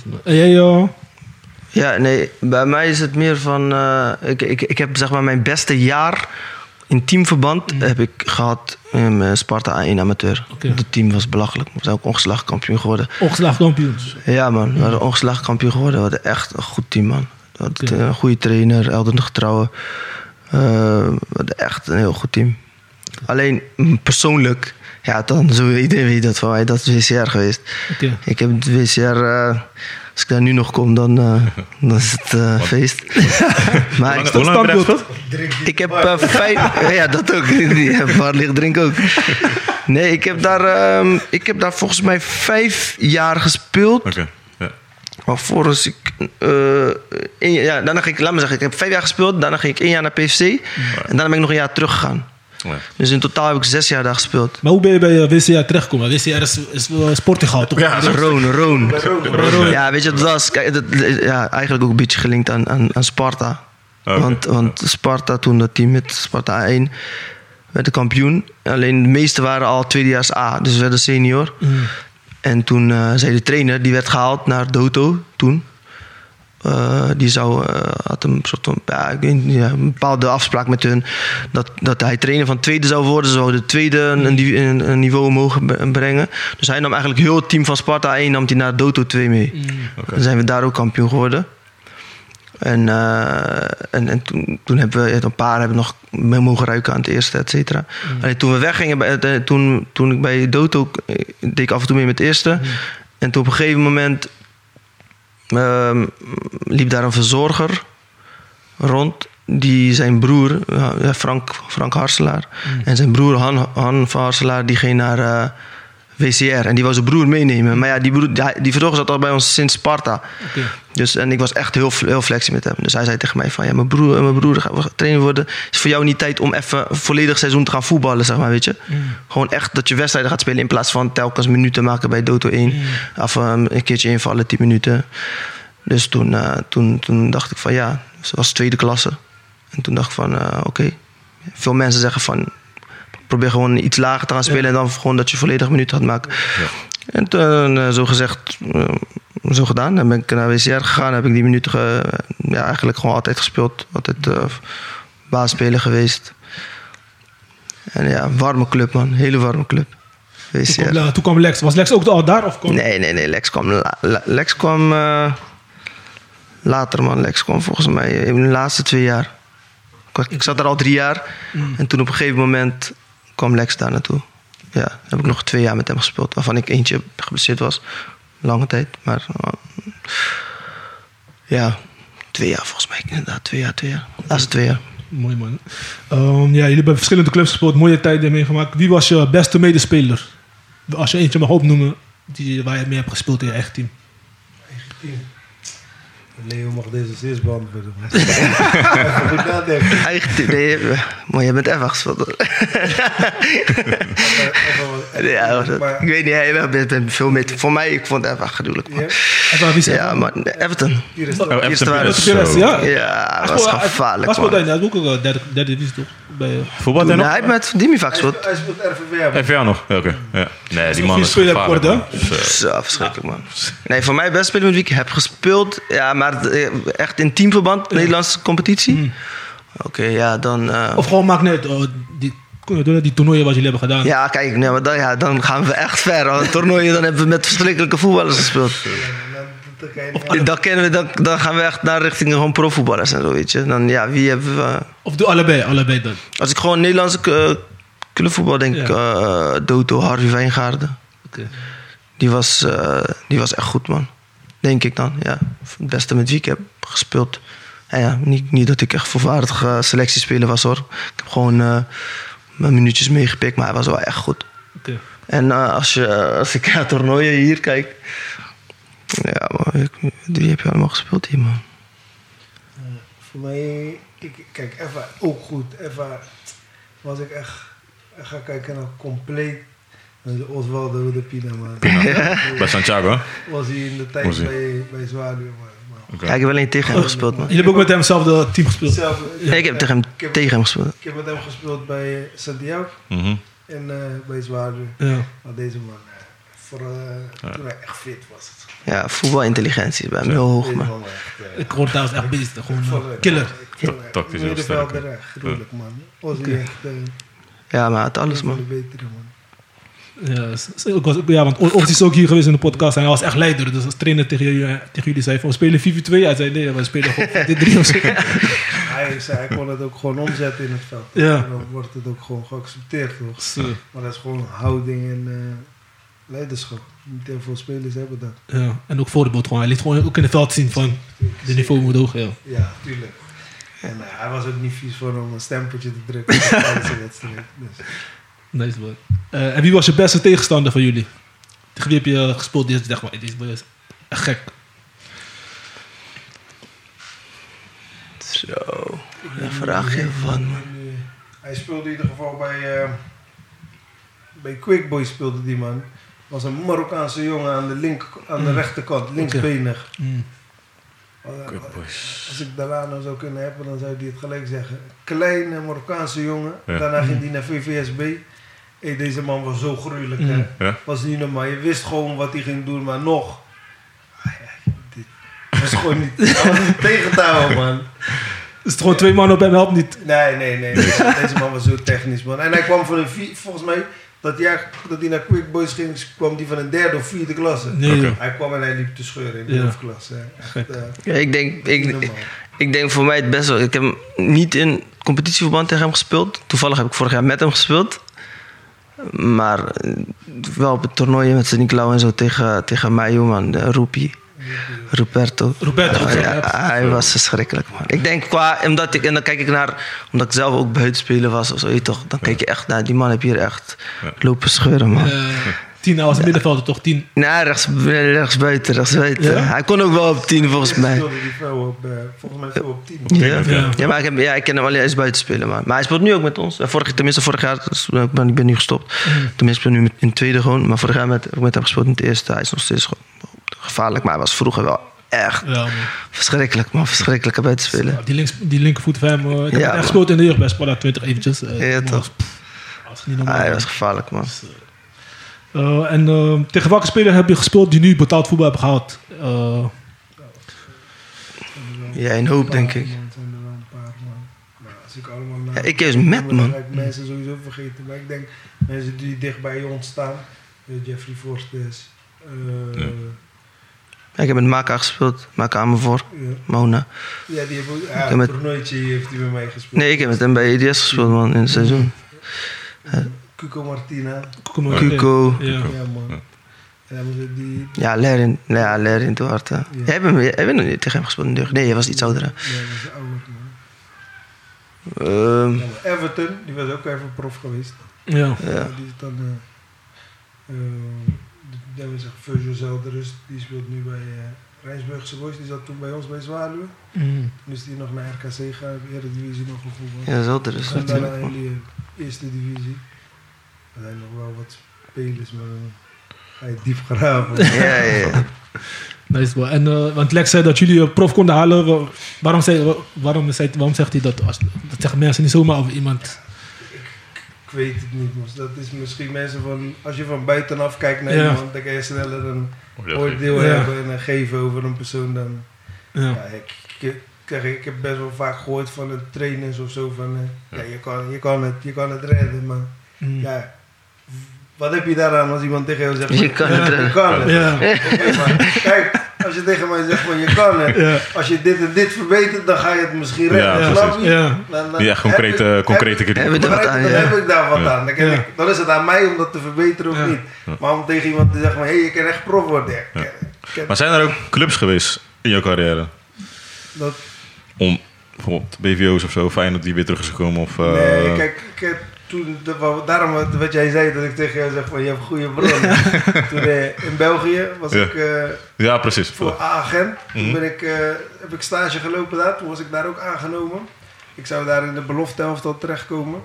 [SPEAKER 4] Zwaluwen.
[SPEAKER 2] En jij, eh,
[SPEAKER 5] Ja, nee, bij mij is het meer van. eh, ik, ik, ik heb zeg maar mijn beste jaar in teamverband heb ik gehad in mijn Sparta A1 amateur.
[SPEAKER 2] Mhm. Oké.
[SPEAKER 5] Het team was belachelijk. We zijn ook ongeslagen kampioen geworden.
[SPEAKER 2] ongeslagen kampioens.
[SPEAKER 5] Ja, man, we waren ongeslagen kampioen geworden. We hadden echt een goed team, man. We hadden
[SPEAKER 2] Oké.
[SPEAKER 5] een goede trainer, Elden Getrouwen. Eh, we hadden echt een heel goed team. Alleen mm, persoonlijk, ja, dan zo iedereen weet dat van mij, dat is WCR geweest.
[SPEAKER 2] Oké.
[SPEAKER 5] Ik heb het WCR, eh, als ik daar nu nog kom, dan, eh, dan is het eh, feest. maar
[SPEAKER 3] Hoe lang-
[SPEAKER 5] ik,
[SPEAKER 3] hoe lang heb je dat gespeeld?
[SPEAKER 4] Drink die
[SPEAKER 5] ik heb eh, vijf. ja, dat ook. Ja, Bar ligt drink ook. Nee, ik heb, daar, ehm, ik heb daar volgens mij vijf jaar gespeeld.
[SPEAKER 3] Oké, ja.
[SPEAKER 5] Alvorens ik. eh, één jaar- ja, daarna ging ik, laat me zeggen, ik heb vijf jaar gespeeld. Daarna ging ik één jaar naar PFC. En daarna ben ik nog een jaar teruggegaan.
[SPEAKER 3] Ja.
[SPEAKER 5] Dus in totaal heb ik zes jaar daar gespeeld.
[SPEAKER 2] Maar hoe ben je bij eh, WCR terechtgekomen? WCR is, is eh, Sportigaal, toch?
[SPEAKER 3] Ja, zo.
[SPEAKER 5] Roon, Roon.
[SPEAKER 3] Roon,
[SPEAKER 5] Ja, weet je wat het was? Kijk, dat, ja, eigenlijk ook een beetje gelinkt aan, aan, aan Sparta.
[SPEAKER 3] Oké.
[SPEAKER 5] Want, want Sparta, toen dat team met Sparta A1, werd de kampioen. Alleen de meesten waren al tweedejaars A, dus werden senior.
[SPEAKER 2] Mhm.
[SPEAKER 5] En toen eh, zei de trainer, die werd gehaald naar Doto toen. Eh, die zou, eh, had een soort van, ja, ik weet niet, ja, een bepaalde afspraak met hun. Dat, dat hij trainer van tweede zou worden. Ze zouden de tweede een, een die- een, een niveau omhoog b- brengen. Dus hij nam eigenlijk heel het team van Sparta 1 nam hij naar Doto 2 mee.
[SPEAKER 3] Oké.
[SPEAKER 5] Dan zijn we daar ook kampioen geworden. En, eh, en, en toen, toen hebben we ja, een paar hebben nog mee mogen ruiken aan het eerste, et cetera. Alleen toen we weggingen, bij, eh, toen, toen ik bij Doto eh, deed ik af en toe mee met het eerste. En toen op een gegeven moment ehm, liep daar een verzorger rond. Die zijn broer, eh, ja, Frank, Frank Harselaar. En zijn broer Han, Han van Harselaar, die ging naar eh, WCR. En die wou zijn broer meenemen. Maar ja, die, broer, die, die verzorger zat al bij ons sinds Sparta.
[SPEAKER 2] Oké.
[SPEAKER 5] Dus, en ik was echt heel, heel flexie met hem. Dus hij zei tegen mij van... Ja, mijn broer, mijn broer gaat trainer worden. is voor jou niet tijd om even een volledig seizoen te gaan voetballen, zeg maar, weet je. Gewoon echt dat je wedstrijden gaat spelen... in plaats van telkens minuten maken bij Doto 1. Of ehm, een keertje invallen, 10 minuten. Dus toen, eh, toen, toen dacht ik van... Ja, het was tweede klasse. En toen dacht ik van... eh, Oké, veel mensen zeggen van... Probeer gewoon iets lager te gaan spelen en dan gewoon dat je volledig minuten gaat maken. En toen, eh, zo gezegd, eh, zo gedaan. Dan ben ik naar WCR gegaan. Heb ik die minuten ge- ja, eigenlijk gewoon altijd gespeeld. Altijd eh baasspeler geweest. En ja, warme club man. Hele warme club.
[SPEAKER 2] Toen kwam,
[SPEAKER 5] WCR.
[SPEAKER 2] La- toen kwam Lex. Was Lex ook al daar? Of kwam...
[SPEAKER 5] Nee, nee, nee. Lex kwam, la- la- Lex kwam eh, later, man. Lex kwam volgens mij Eh, in de laatste twee jaar. Ik wa- Ik zat er al drie jaar. En toen op een gegeven moment kwam Lex daar naartoe. Ja, dan heb ik nog twee jaar met hem gespeeld. Waarvan ik eentje geblesseerd was. Lange tijd, maar... eh, Ja, twee jaar volgens mij. Inderdaad, twee jaar, twee jaar. Laatste twee jaar.
[SPEAKER 2] Mooi man. Ehm, ja, jullie hebben verschillende clubs gespeeld, mooie tijden meegemaakt. Wie was je beste medespeler? Als je eentje mag opnoemen die, waar je mee hebt gespeeld in je eigen team.
[SPEAKER 4] Eigen team. Leo mag deze zes beantwoorden. maar- Even goed nadenken.
[SPEAKER 5] Eigen team. Nee, eh, maar jij bent even gespeeld.
[SPEAKER 4] Even- even-
[SPEAKER 5] Ja, dat-
[SPEAKER 4] maar-
[SPEAKER 5] ik weet niet, jij bent, bent veel meer. Voor mij, ik vond het even gedoedelijk.
[SPEAKER 4] Ja,
[SPEAKER 5] Man.
[SPEAKER 2] En waar wist je?
[SPEAKER 5] Ja, maar Everton.
[SPEAKER 4] hier is het.
[SPEAKER 3] Oh, Everton
[SPEAKER 5] waar.
[SPEAKER 3] Pires,
[SPEAKER 2] Pires,
[SPEAKER 3] zo.
[SPEAKER 2] ja.
[SPEAKER 5] Ja, dat was
[SPEAKER 2] Hij speelde- Hij
[SPEAKER 5] gevaarlijk,
[SPEAKER 2] speelde
[SPEAKER 5] man.
[SPEAKER 2] hij ook ook eh, derde, derde divisie toch? Bij, eh,
[SPEAKER 3] Voetbal
[SPEAKER 5] Toen
[SPEAKER 3] en nog?
[SPEAKER 5] hij met Dimi vaak
[SPEAKER 4] Hij speelt-
[SPEAKER 5] speelt.
[SPEAKER 4] Hij speelt RVW.
[SPEAKER 3] FVA nog? Ja, Oké. Ja. Nee, die man
[SPEAKER 2] Vier
[SPEAKER 3] is
[SPEAKER 2] spelen
[SPEAKER 3] gevaarlijk.
[SPEAKER 2] kort,
[SPEAKER 3] man. Dus, Zo.
[SPEAKER 5] Zo, verschrikkelijk, man. Nee, voor mij best spelen met wie ik heb gespeeld. Ja, maar het, eh, echt in teamverband, Nederlandse competitie.
[SPEAKER 2] hm.
[SPEAKER 5] Oké, ja, dan... eh,
[SPEAKER 2] Hmm. Of gewoon maakt net eh, die, die toernooien wat jullie hebben gedaan.
[SPEAKER 5] ja, kijk, nee, maar dan, ja, dan gaan we echt ver. Want toernooien, dan hebben we met verschrikkelijke voetballers gespeeld. Dan, kennen we, dan, dan gaan we echt naar richting gewoon profvoetballers en zo, weet je. Dan, ja, wie hebben we...
[SPEAKER 2] Of doe allebei, allebei dan.
[SPEAKER 5] Als ik gewoon Nederlandse eh, clubvoetbal denk,
[SPEAKER 2] Ja.
[SPEAKER 5] ik eh, Doto, Harvey Wijngaarden.
[SPEAKER 2] Oké.
[SPEAKER 5] Die was, eh, die was echt goed, man. Denk ik dan, ja. Het beste met wie ik heb gespeeld. Ja, ja, niet, niet dat ik echt volwaardig eh, selectiespeler was, hoor. Ik heb gewoon eh, mijn minuutjes meegepikt, maar hij was wel echt goed.
[SPEAKER 2] oké.
[SPEAKER 5] En eh, als, je, als ik naar toernooien hier kijk... Ja, man, ik- die heb je allemaal gespeeld hier, man.
[SPEAKER 4] Voor mij, ik, kijk, Eva ook goed. Eva was ik echt, ik ga kijken naar compleet. naar De Oswaldo de Pina, man.
[SPEAKER 3] eh, Bij Santiago, hè?
[SPEAKER 4] Was hij in de
[SPEAKER 3] Was
[SPEAKER 4] tijd
[SPEAKER 3] hij?
[SPEAKER 4] bij, bij Zwaluw, man. Maar
[SPEAKER 5] Ja, ik heb alleen tegen hem gespeeld, man.
[SPEAKER 2] Jullie hebben ook met hemzelfde team gespeeld.
[SPEAKER 4] zelf,
[SPEAKER 5] Nee, ik heb tegen hem,
[SPEAKER 4] ik heb-
[SPEAKER 5] tegen hem gespeeld.
[SPEAKER 4] ik heb met hem gespeeld bij eh, Santiago
[SPEAKER 3] Mhm.
[SPEAKER 4] en eh, bij Zwaluw.
[SPEAKER 2] Ja.
[SPEAKER 4] Maar deze man, eh, vooral eh, toen hij echt fit was.
[SPEAKER 5] Ja, voetbalintelligentie is bij hem heel hoog,
[SPEAKER 4] Deze
[SPEAKER 5] man.
[SPEAKER 4] man, echt, eh,
[SPEAKER 2] Ik hoor daar echt beesten. Gewoon
[SPEAKER 4] ik
[SPEAKER 2] eh,
[SPEAKER 4] vond het-
[SPEAKER 2] killer.
[SPEAKER 4] ik vond het-
[SPEAKER 3] Tactisch heel
[SPEAKER 4] middenvelder,
[SPEAKER 3] sterk,
[SPEAKER 4] eh, gruwelijk, man. Was hij
[SPEAKER 2] Oké.
[SPEAKER 4] echt eh,
[SPEAKER 5] Ja, maar hij had
[SPEAKER 4] een
[SPEAKER 5] alles,
[SPEAKER 4] van de
[SPEAKER 5] man.
[SPEAKER 4] betere, man.
[SPEAKER 2] Ja, s- s- ik was, ook- ja, want O- Ortiz is ook hier geweest in de podcast en hij was echt leider. Dus als trainer tegen jullie, tegen jullie zei van we spelen 4-2. Hij zei nee, we spelen gewoon 4-3 of zo.
[SPEAKER 4] Hij, zei, hij kon het ook gewoon omzetten in het veld.
[SPEAKER 2] Ja.
[SPEAKER 4] En dan wordt het ook gewoon geaccepteerd, toch?
[SPEAKER 2] Zo,
[SPEAKER 4] Maar dat is gewoon houding en eh, leiderschap. Niet heel veel spelers hebben dat.
[SPEAKER 2] ja. En ook voorbeeld gewoon. Hij liet gewoon ook in het veld zien van de niveau moet hoog. Ja.
[SPEAKER 4] Ja, tuurlijk. En eh, hij was ook niet vies voor om een stempeltje te drukken tijdens de wedstrijd. Dus,
[SPEAKER 2] Nice man. Eh, en wie was je beste tegenstander van jullie? Tegen wie heb je eh, gespeeld? Die is echt, die is- die is echt gek.
[SPEAKER 5] Zo. Daar vraag je van, man.
[SPEAKER 4] En, eh, hij speelde in ieder geval bij, eh, bij Quick Boys speelde die man. Was een Marokkaanse jongen aan de, link, aan de
[SPEAKER 2] Mm.
[SPEAKER 4] rechterkant, linksbenig.
[SPEAKER 2] Mm.
[SPEAKER 4] Eh,
[SPEAKER 3] boys.
[SPEAKER 4] Als ik Dalano zou kunnen hebben, dan zou hij het gelijk zeggen. Kleine Marokkaanse jongen.
[SPEAKER 3] Ja.
[SPEAKER 4] Daarna ging hij naar VVSB. Hey, deze man was zo gruwelijk. hè.
[SPEAKER 2] Mm.
[SPEAKER 3] Ja.
[SPEAKER 4] Was niet normaal. Je wist gewoon wat hij ging doen, maar nog. Ah, ja, dit was gewoon niet, hij was niet tegen te houden, man.
[SPEAKER 2] Is het gewoon twee mannen op hem helpt niet?
[SPEAKER 4] Nee, nee, nee. Deze, deze man was zo technisch, man. En hij kwam van een vier, volgens mij, dat jaar dat hij naar Quick Boys ging, kwam hij van een derde of vierde klasse.
[SPEAKER 2] Nee,
[SPEAKER 3] Oké.
[SPEAKER 2] joh.
[SPEAKER 4] Hij kwam en hij liep te scheuren in de
[SPEAKER 2] Ja.
[SPEAKER 4] hoofdklasse. hè. Echt, eh,
[SPEAKER 5] Ja, ik, denk,
[SPEAKER 4] niet
[SPEAKER 5] ik,
[SPEAKER 4] normaal.
[SPEAKER 5] ik denk voor mij het best wel. Ik heb hem niet in competitieverband tegen hem gespeeld. Toevallig heb ik vorig jaar met hem gespeeld. Maar eh, wel op het toernooi met Sint-Nicolaou en zo tegen, tegen mij, man. Eh, Rupi. Roberto.
[SPEAKER 2] Roberto,
[SPEAKER 5] Ja,
[SPEAKER 2] ja.
[SPEAKER 5] hij was verschrikkelijk, man. Ik denk qua, omdat ik, en dan kijk ik naar, omdat ik zelf ook buitenspelen was of zo, weet je toch. Dan kijk je echt naar, die man heb hier echt
[SPEAKER 3] Ja.
[SPEAKER 5] lopen scheuren, man.
[SPEAKER 2] Eh, tien, hij was middenvelder toch? Tien.
[SPEAKER 5] Nee, rechts, rechts buiten, rechts buiten.
[SPEAKER 2] Ja?
[SPEAKER 5] Hij kon ook wel op 10 volgens
[SPEAKER 4] Eerst
[SPEAKER 5] mij.
[SPEAKER 4] speelde die vrouw op, eh, volgens mij veel op 10.
[SPEAKER 5] Ja,
[SPEAKER 3] het,
[SPEAKER 2] ja.
[SPEAKER 5] ja. maar ik, heb, ja, ik ken hem alleen als buitenspelen. Maar, maar hij speelt nu ook met ons. Eh, Vorig, tenminste, vorig jaar, dus, eh, ik ben, ik ben nu gestopt. Tenminste, ik ben nu met- in het tweede gewoon. Maar vorig jaar met, heb ik met hem gespeeld in het eerste. Hij is nog steeds gewoon gevaarlijk. Maar hij was vroeger wel echt
[SPEAKER 2] Ja, man.
[SPEAKER 5] verschrikkelijk, man. Verschrikkelijke buitenspelen.
[SPEAKER 2] Die, links, die linkervoet van hem. eh, ik heb
[SPEAKER 5] Ja,
[SPEAKER 2] echt
[SPEAKER 5] man.
[SPEAKER 2] gespeeld in de jeugd bij Sparta 20 eventjes. eh,
[SPEAKER 5] Ja,
[SPEAKER 2] maar
[SPEAKER 5] toch.
[SPEAKER 2] pff, was niet normaal.
[SPEAKER 5] Ah, hij
[SPEAKER 2] man.
[SPEAKER 5] was gevaarlijk, man.
[SPEAKER 2] Eh, en eh, tegen welke speler heb je gespeeld die nu betaald voetbal hebt gehaald? Eh,
[SPEAKER 5] Ja, in hoop, denk ik.
[SPEAKER 4] Het zijn er wel een paar, man. Maar als ik allemaal
[SPEAKER 5] Ja,
[SPEAKER 4] naar...
[SPEAKER 5] ik juist met,
[SPEAKER 4] Dan
[SPEAKER 5] man.
[SPEAKER 4] ga ik mensen sowieso vergeten. Maar ik denk, mensen die dicht bij ons staan. eh, Jeffrey Forstes. eh,
[SPEAKER 3] Ja.
[SPEAKER 5] Ja, ik heb met Maka gespeeld. Maka aan me voor.
[SPEAKER 4] ja.
[SPEAKER 5] Mona.
[SPEAKER 4] Ja, die heeft ook... Ja,
[SPEAKER 5] Ik heb met-
[SPEAKER 4] een toernooitje heeft hij bij mij gespeeld.
[SPEAKER 5] Nee, ik heb met hem bij EDS gespeeld, man, in het seizoen.
[SPEAKER 4] Cuco Martina.
[SPEAKER 2] Cuco Martinez.
[SPEAKER 5] Cuco.
[SPEAKER 2] Ja.
[SPEAKER 4] Ja, man.
[SPEAKER 3] Ja.
[SPEAKER 4] Ja. Ja, maar die...
[SPEAKER 5] Ja, Lerin. Ja, Lerin Duarte. Jij hebt hem- jij hebt nog niet tegen hem gespeeld natuurlijk. Nee, hij was iets ouder. hè.
[SPEAKER 4] Ja, dat is ouder, man.
[SPEAKER 5] Ehm,
[SPEAKER 4] Ja, maar Everton, die was ook even prof geweest.
[SPEAKER 2] Ja.
[SPEAKER 5] ja.
[SPEAKER 4] Die is dan... eh eh, dat was echt Virgil Zelderus. Die speelt nu bij eh Rijnsburgse Boys. Die zat toen bij ons bij Zwaluwe.
[SPEAKER 2] Mm.
[SPEAKER 4] Nu is die nog naar RKC gegaan. Eredivisie nog gevoerd.
[SPEAKER 5] ja, dat is ouder dus
[SPEAKER 4] En daarna
[SPEAKER 5] natuurlijk.
[SPEAKER 4] in die eh, eerste divisie. Er zijn nog wel wat spelers, maar dan ga je diep graven.
[SPEAKER 5] Ja, ja, ja.
[SPEAKER 2] Nice boy. En, eh, want Lex zei dat jullie een prof konden halen. Wa- Waarom, zei, waarom, zei, waarom zegt hij dat? Als, dat zeggen mensen niet zomaar over iemand.
[SPEAKER 4] Ik weet het niet, man. Dat is misschien mensen van... Als je van buitenaf kijkt naar
[SPEAKER 2] Ja.
[SPEAKER 4] iemand, dan kan je sneller een
[SPEAKER 3] Oordeel.
[SPEAKER 4] oordeel
[SPEAKER 2] Ja.
[SPEAKER 4] hebben en een geven over een persoon dan... Ja,
[SPEAKER 2] Ja.
[SPEAKER 4] ik, ik, kijk, ik heb best wel vaak gehoord van de trainers of zo van... eh, ja, je, kan, je, kan het, je kan het redden, maar...
[SPEAKER 2] Mm.
[SPEAKER 4] Ja, wat heb je daaraan als iemand tegen jou zegt...
[SPEAKER 5] Je kan het redden.
[SPEAKER 4] Je kan het.
[SPEAKER 2] Ja.
[SPEAKER 4] Oké, maar kijk, als je tegen mij zegt van je kan het...
[SPEAKER 2] Ja.
[SPEAKER 4] als je dit en dit verbetert, dan ga je het misschien redden.
[SPEAKER 3] Ja,
[SPEAKER 4] snap
[SPEAKER 3] precies.
[SPEAKER 4] je?
[SPEAKER 2] Ja.
[SPEAKER 4] Dan, dan
[SPEAKER 3] Ja, concrete,
[SPEAKER 4] heb ik-
[SPEAKER 3] concrete
[SPEAKER 4] heb ik-
[SPEAKER 3] kritiek.
[SPEAKER 5] Hebben we
[SPEAKER 4] begrijp je,
[SPEAKER 5] daar wat
[SPEAKER 4] Dan
[SPEAKER 5] aan, ja.
[SPEAKER 4] heb ik daar wat
[SPEAKER 3] Ja.
[SPEAKER 4] aan. Dan, kan
[SPEAKER 2] Ja.
[SPEAKER 4] ik, dan is het aan mij om dat te verbeteren of
[SPEAKER 2] Ja.
[SPEAKER 4] niet.
[SPEAKER 3] Ja.
[SPEAKER 4] Maar om tegen iemand te zeggen van, hé, hey, je kan echt prof worden. Ja, ik ken- ik ken-
[SPEAKER 3] Maar zijn er ook clubs geweest in jouw carrière?
[SPEAKER 4] dat,
[SPEAKER 3] Om bijvoorbeeld BVO's of zo, fijn dat die weer terug is gekomen? Of, eh,
[SPEAKER 4] nee, kijk, ik heb toen, dat wou- daarom wat, wat jij zei, dat ik tegen jou zeg van, je hebt goede bronnen. toen eh, in België was
[SPEAKER 3] Ja.
[SPEAKER 4] ik... eh,
[SPEAKER 3] Ja, precies.
[SPEAKER 4] voor agent. Toen
[SPEAKER 3] Mhm.
[SPEAKER 4] ben ik, eh, heb ik stage gelopen daar. Toen was ik daar ook aangenomen. Ik zou daar in de belofte helft al terechtkomen.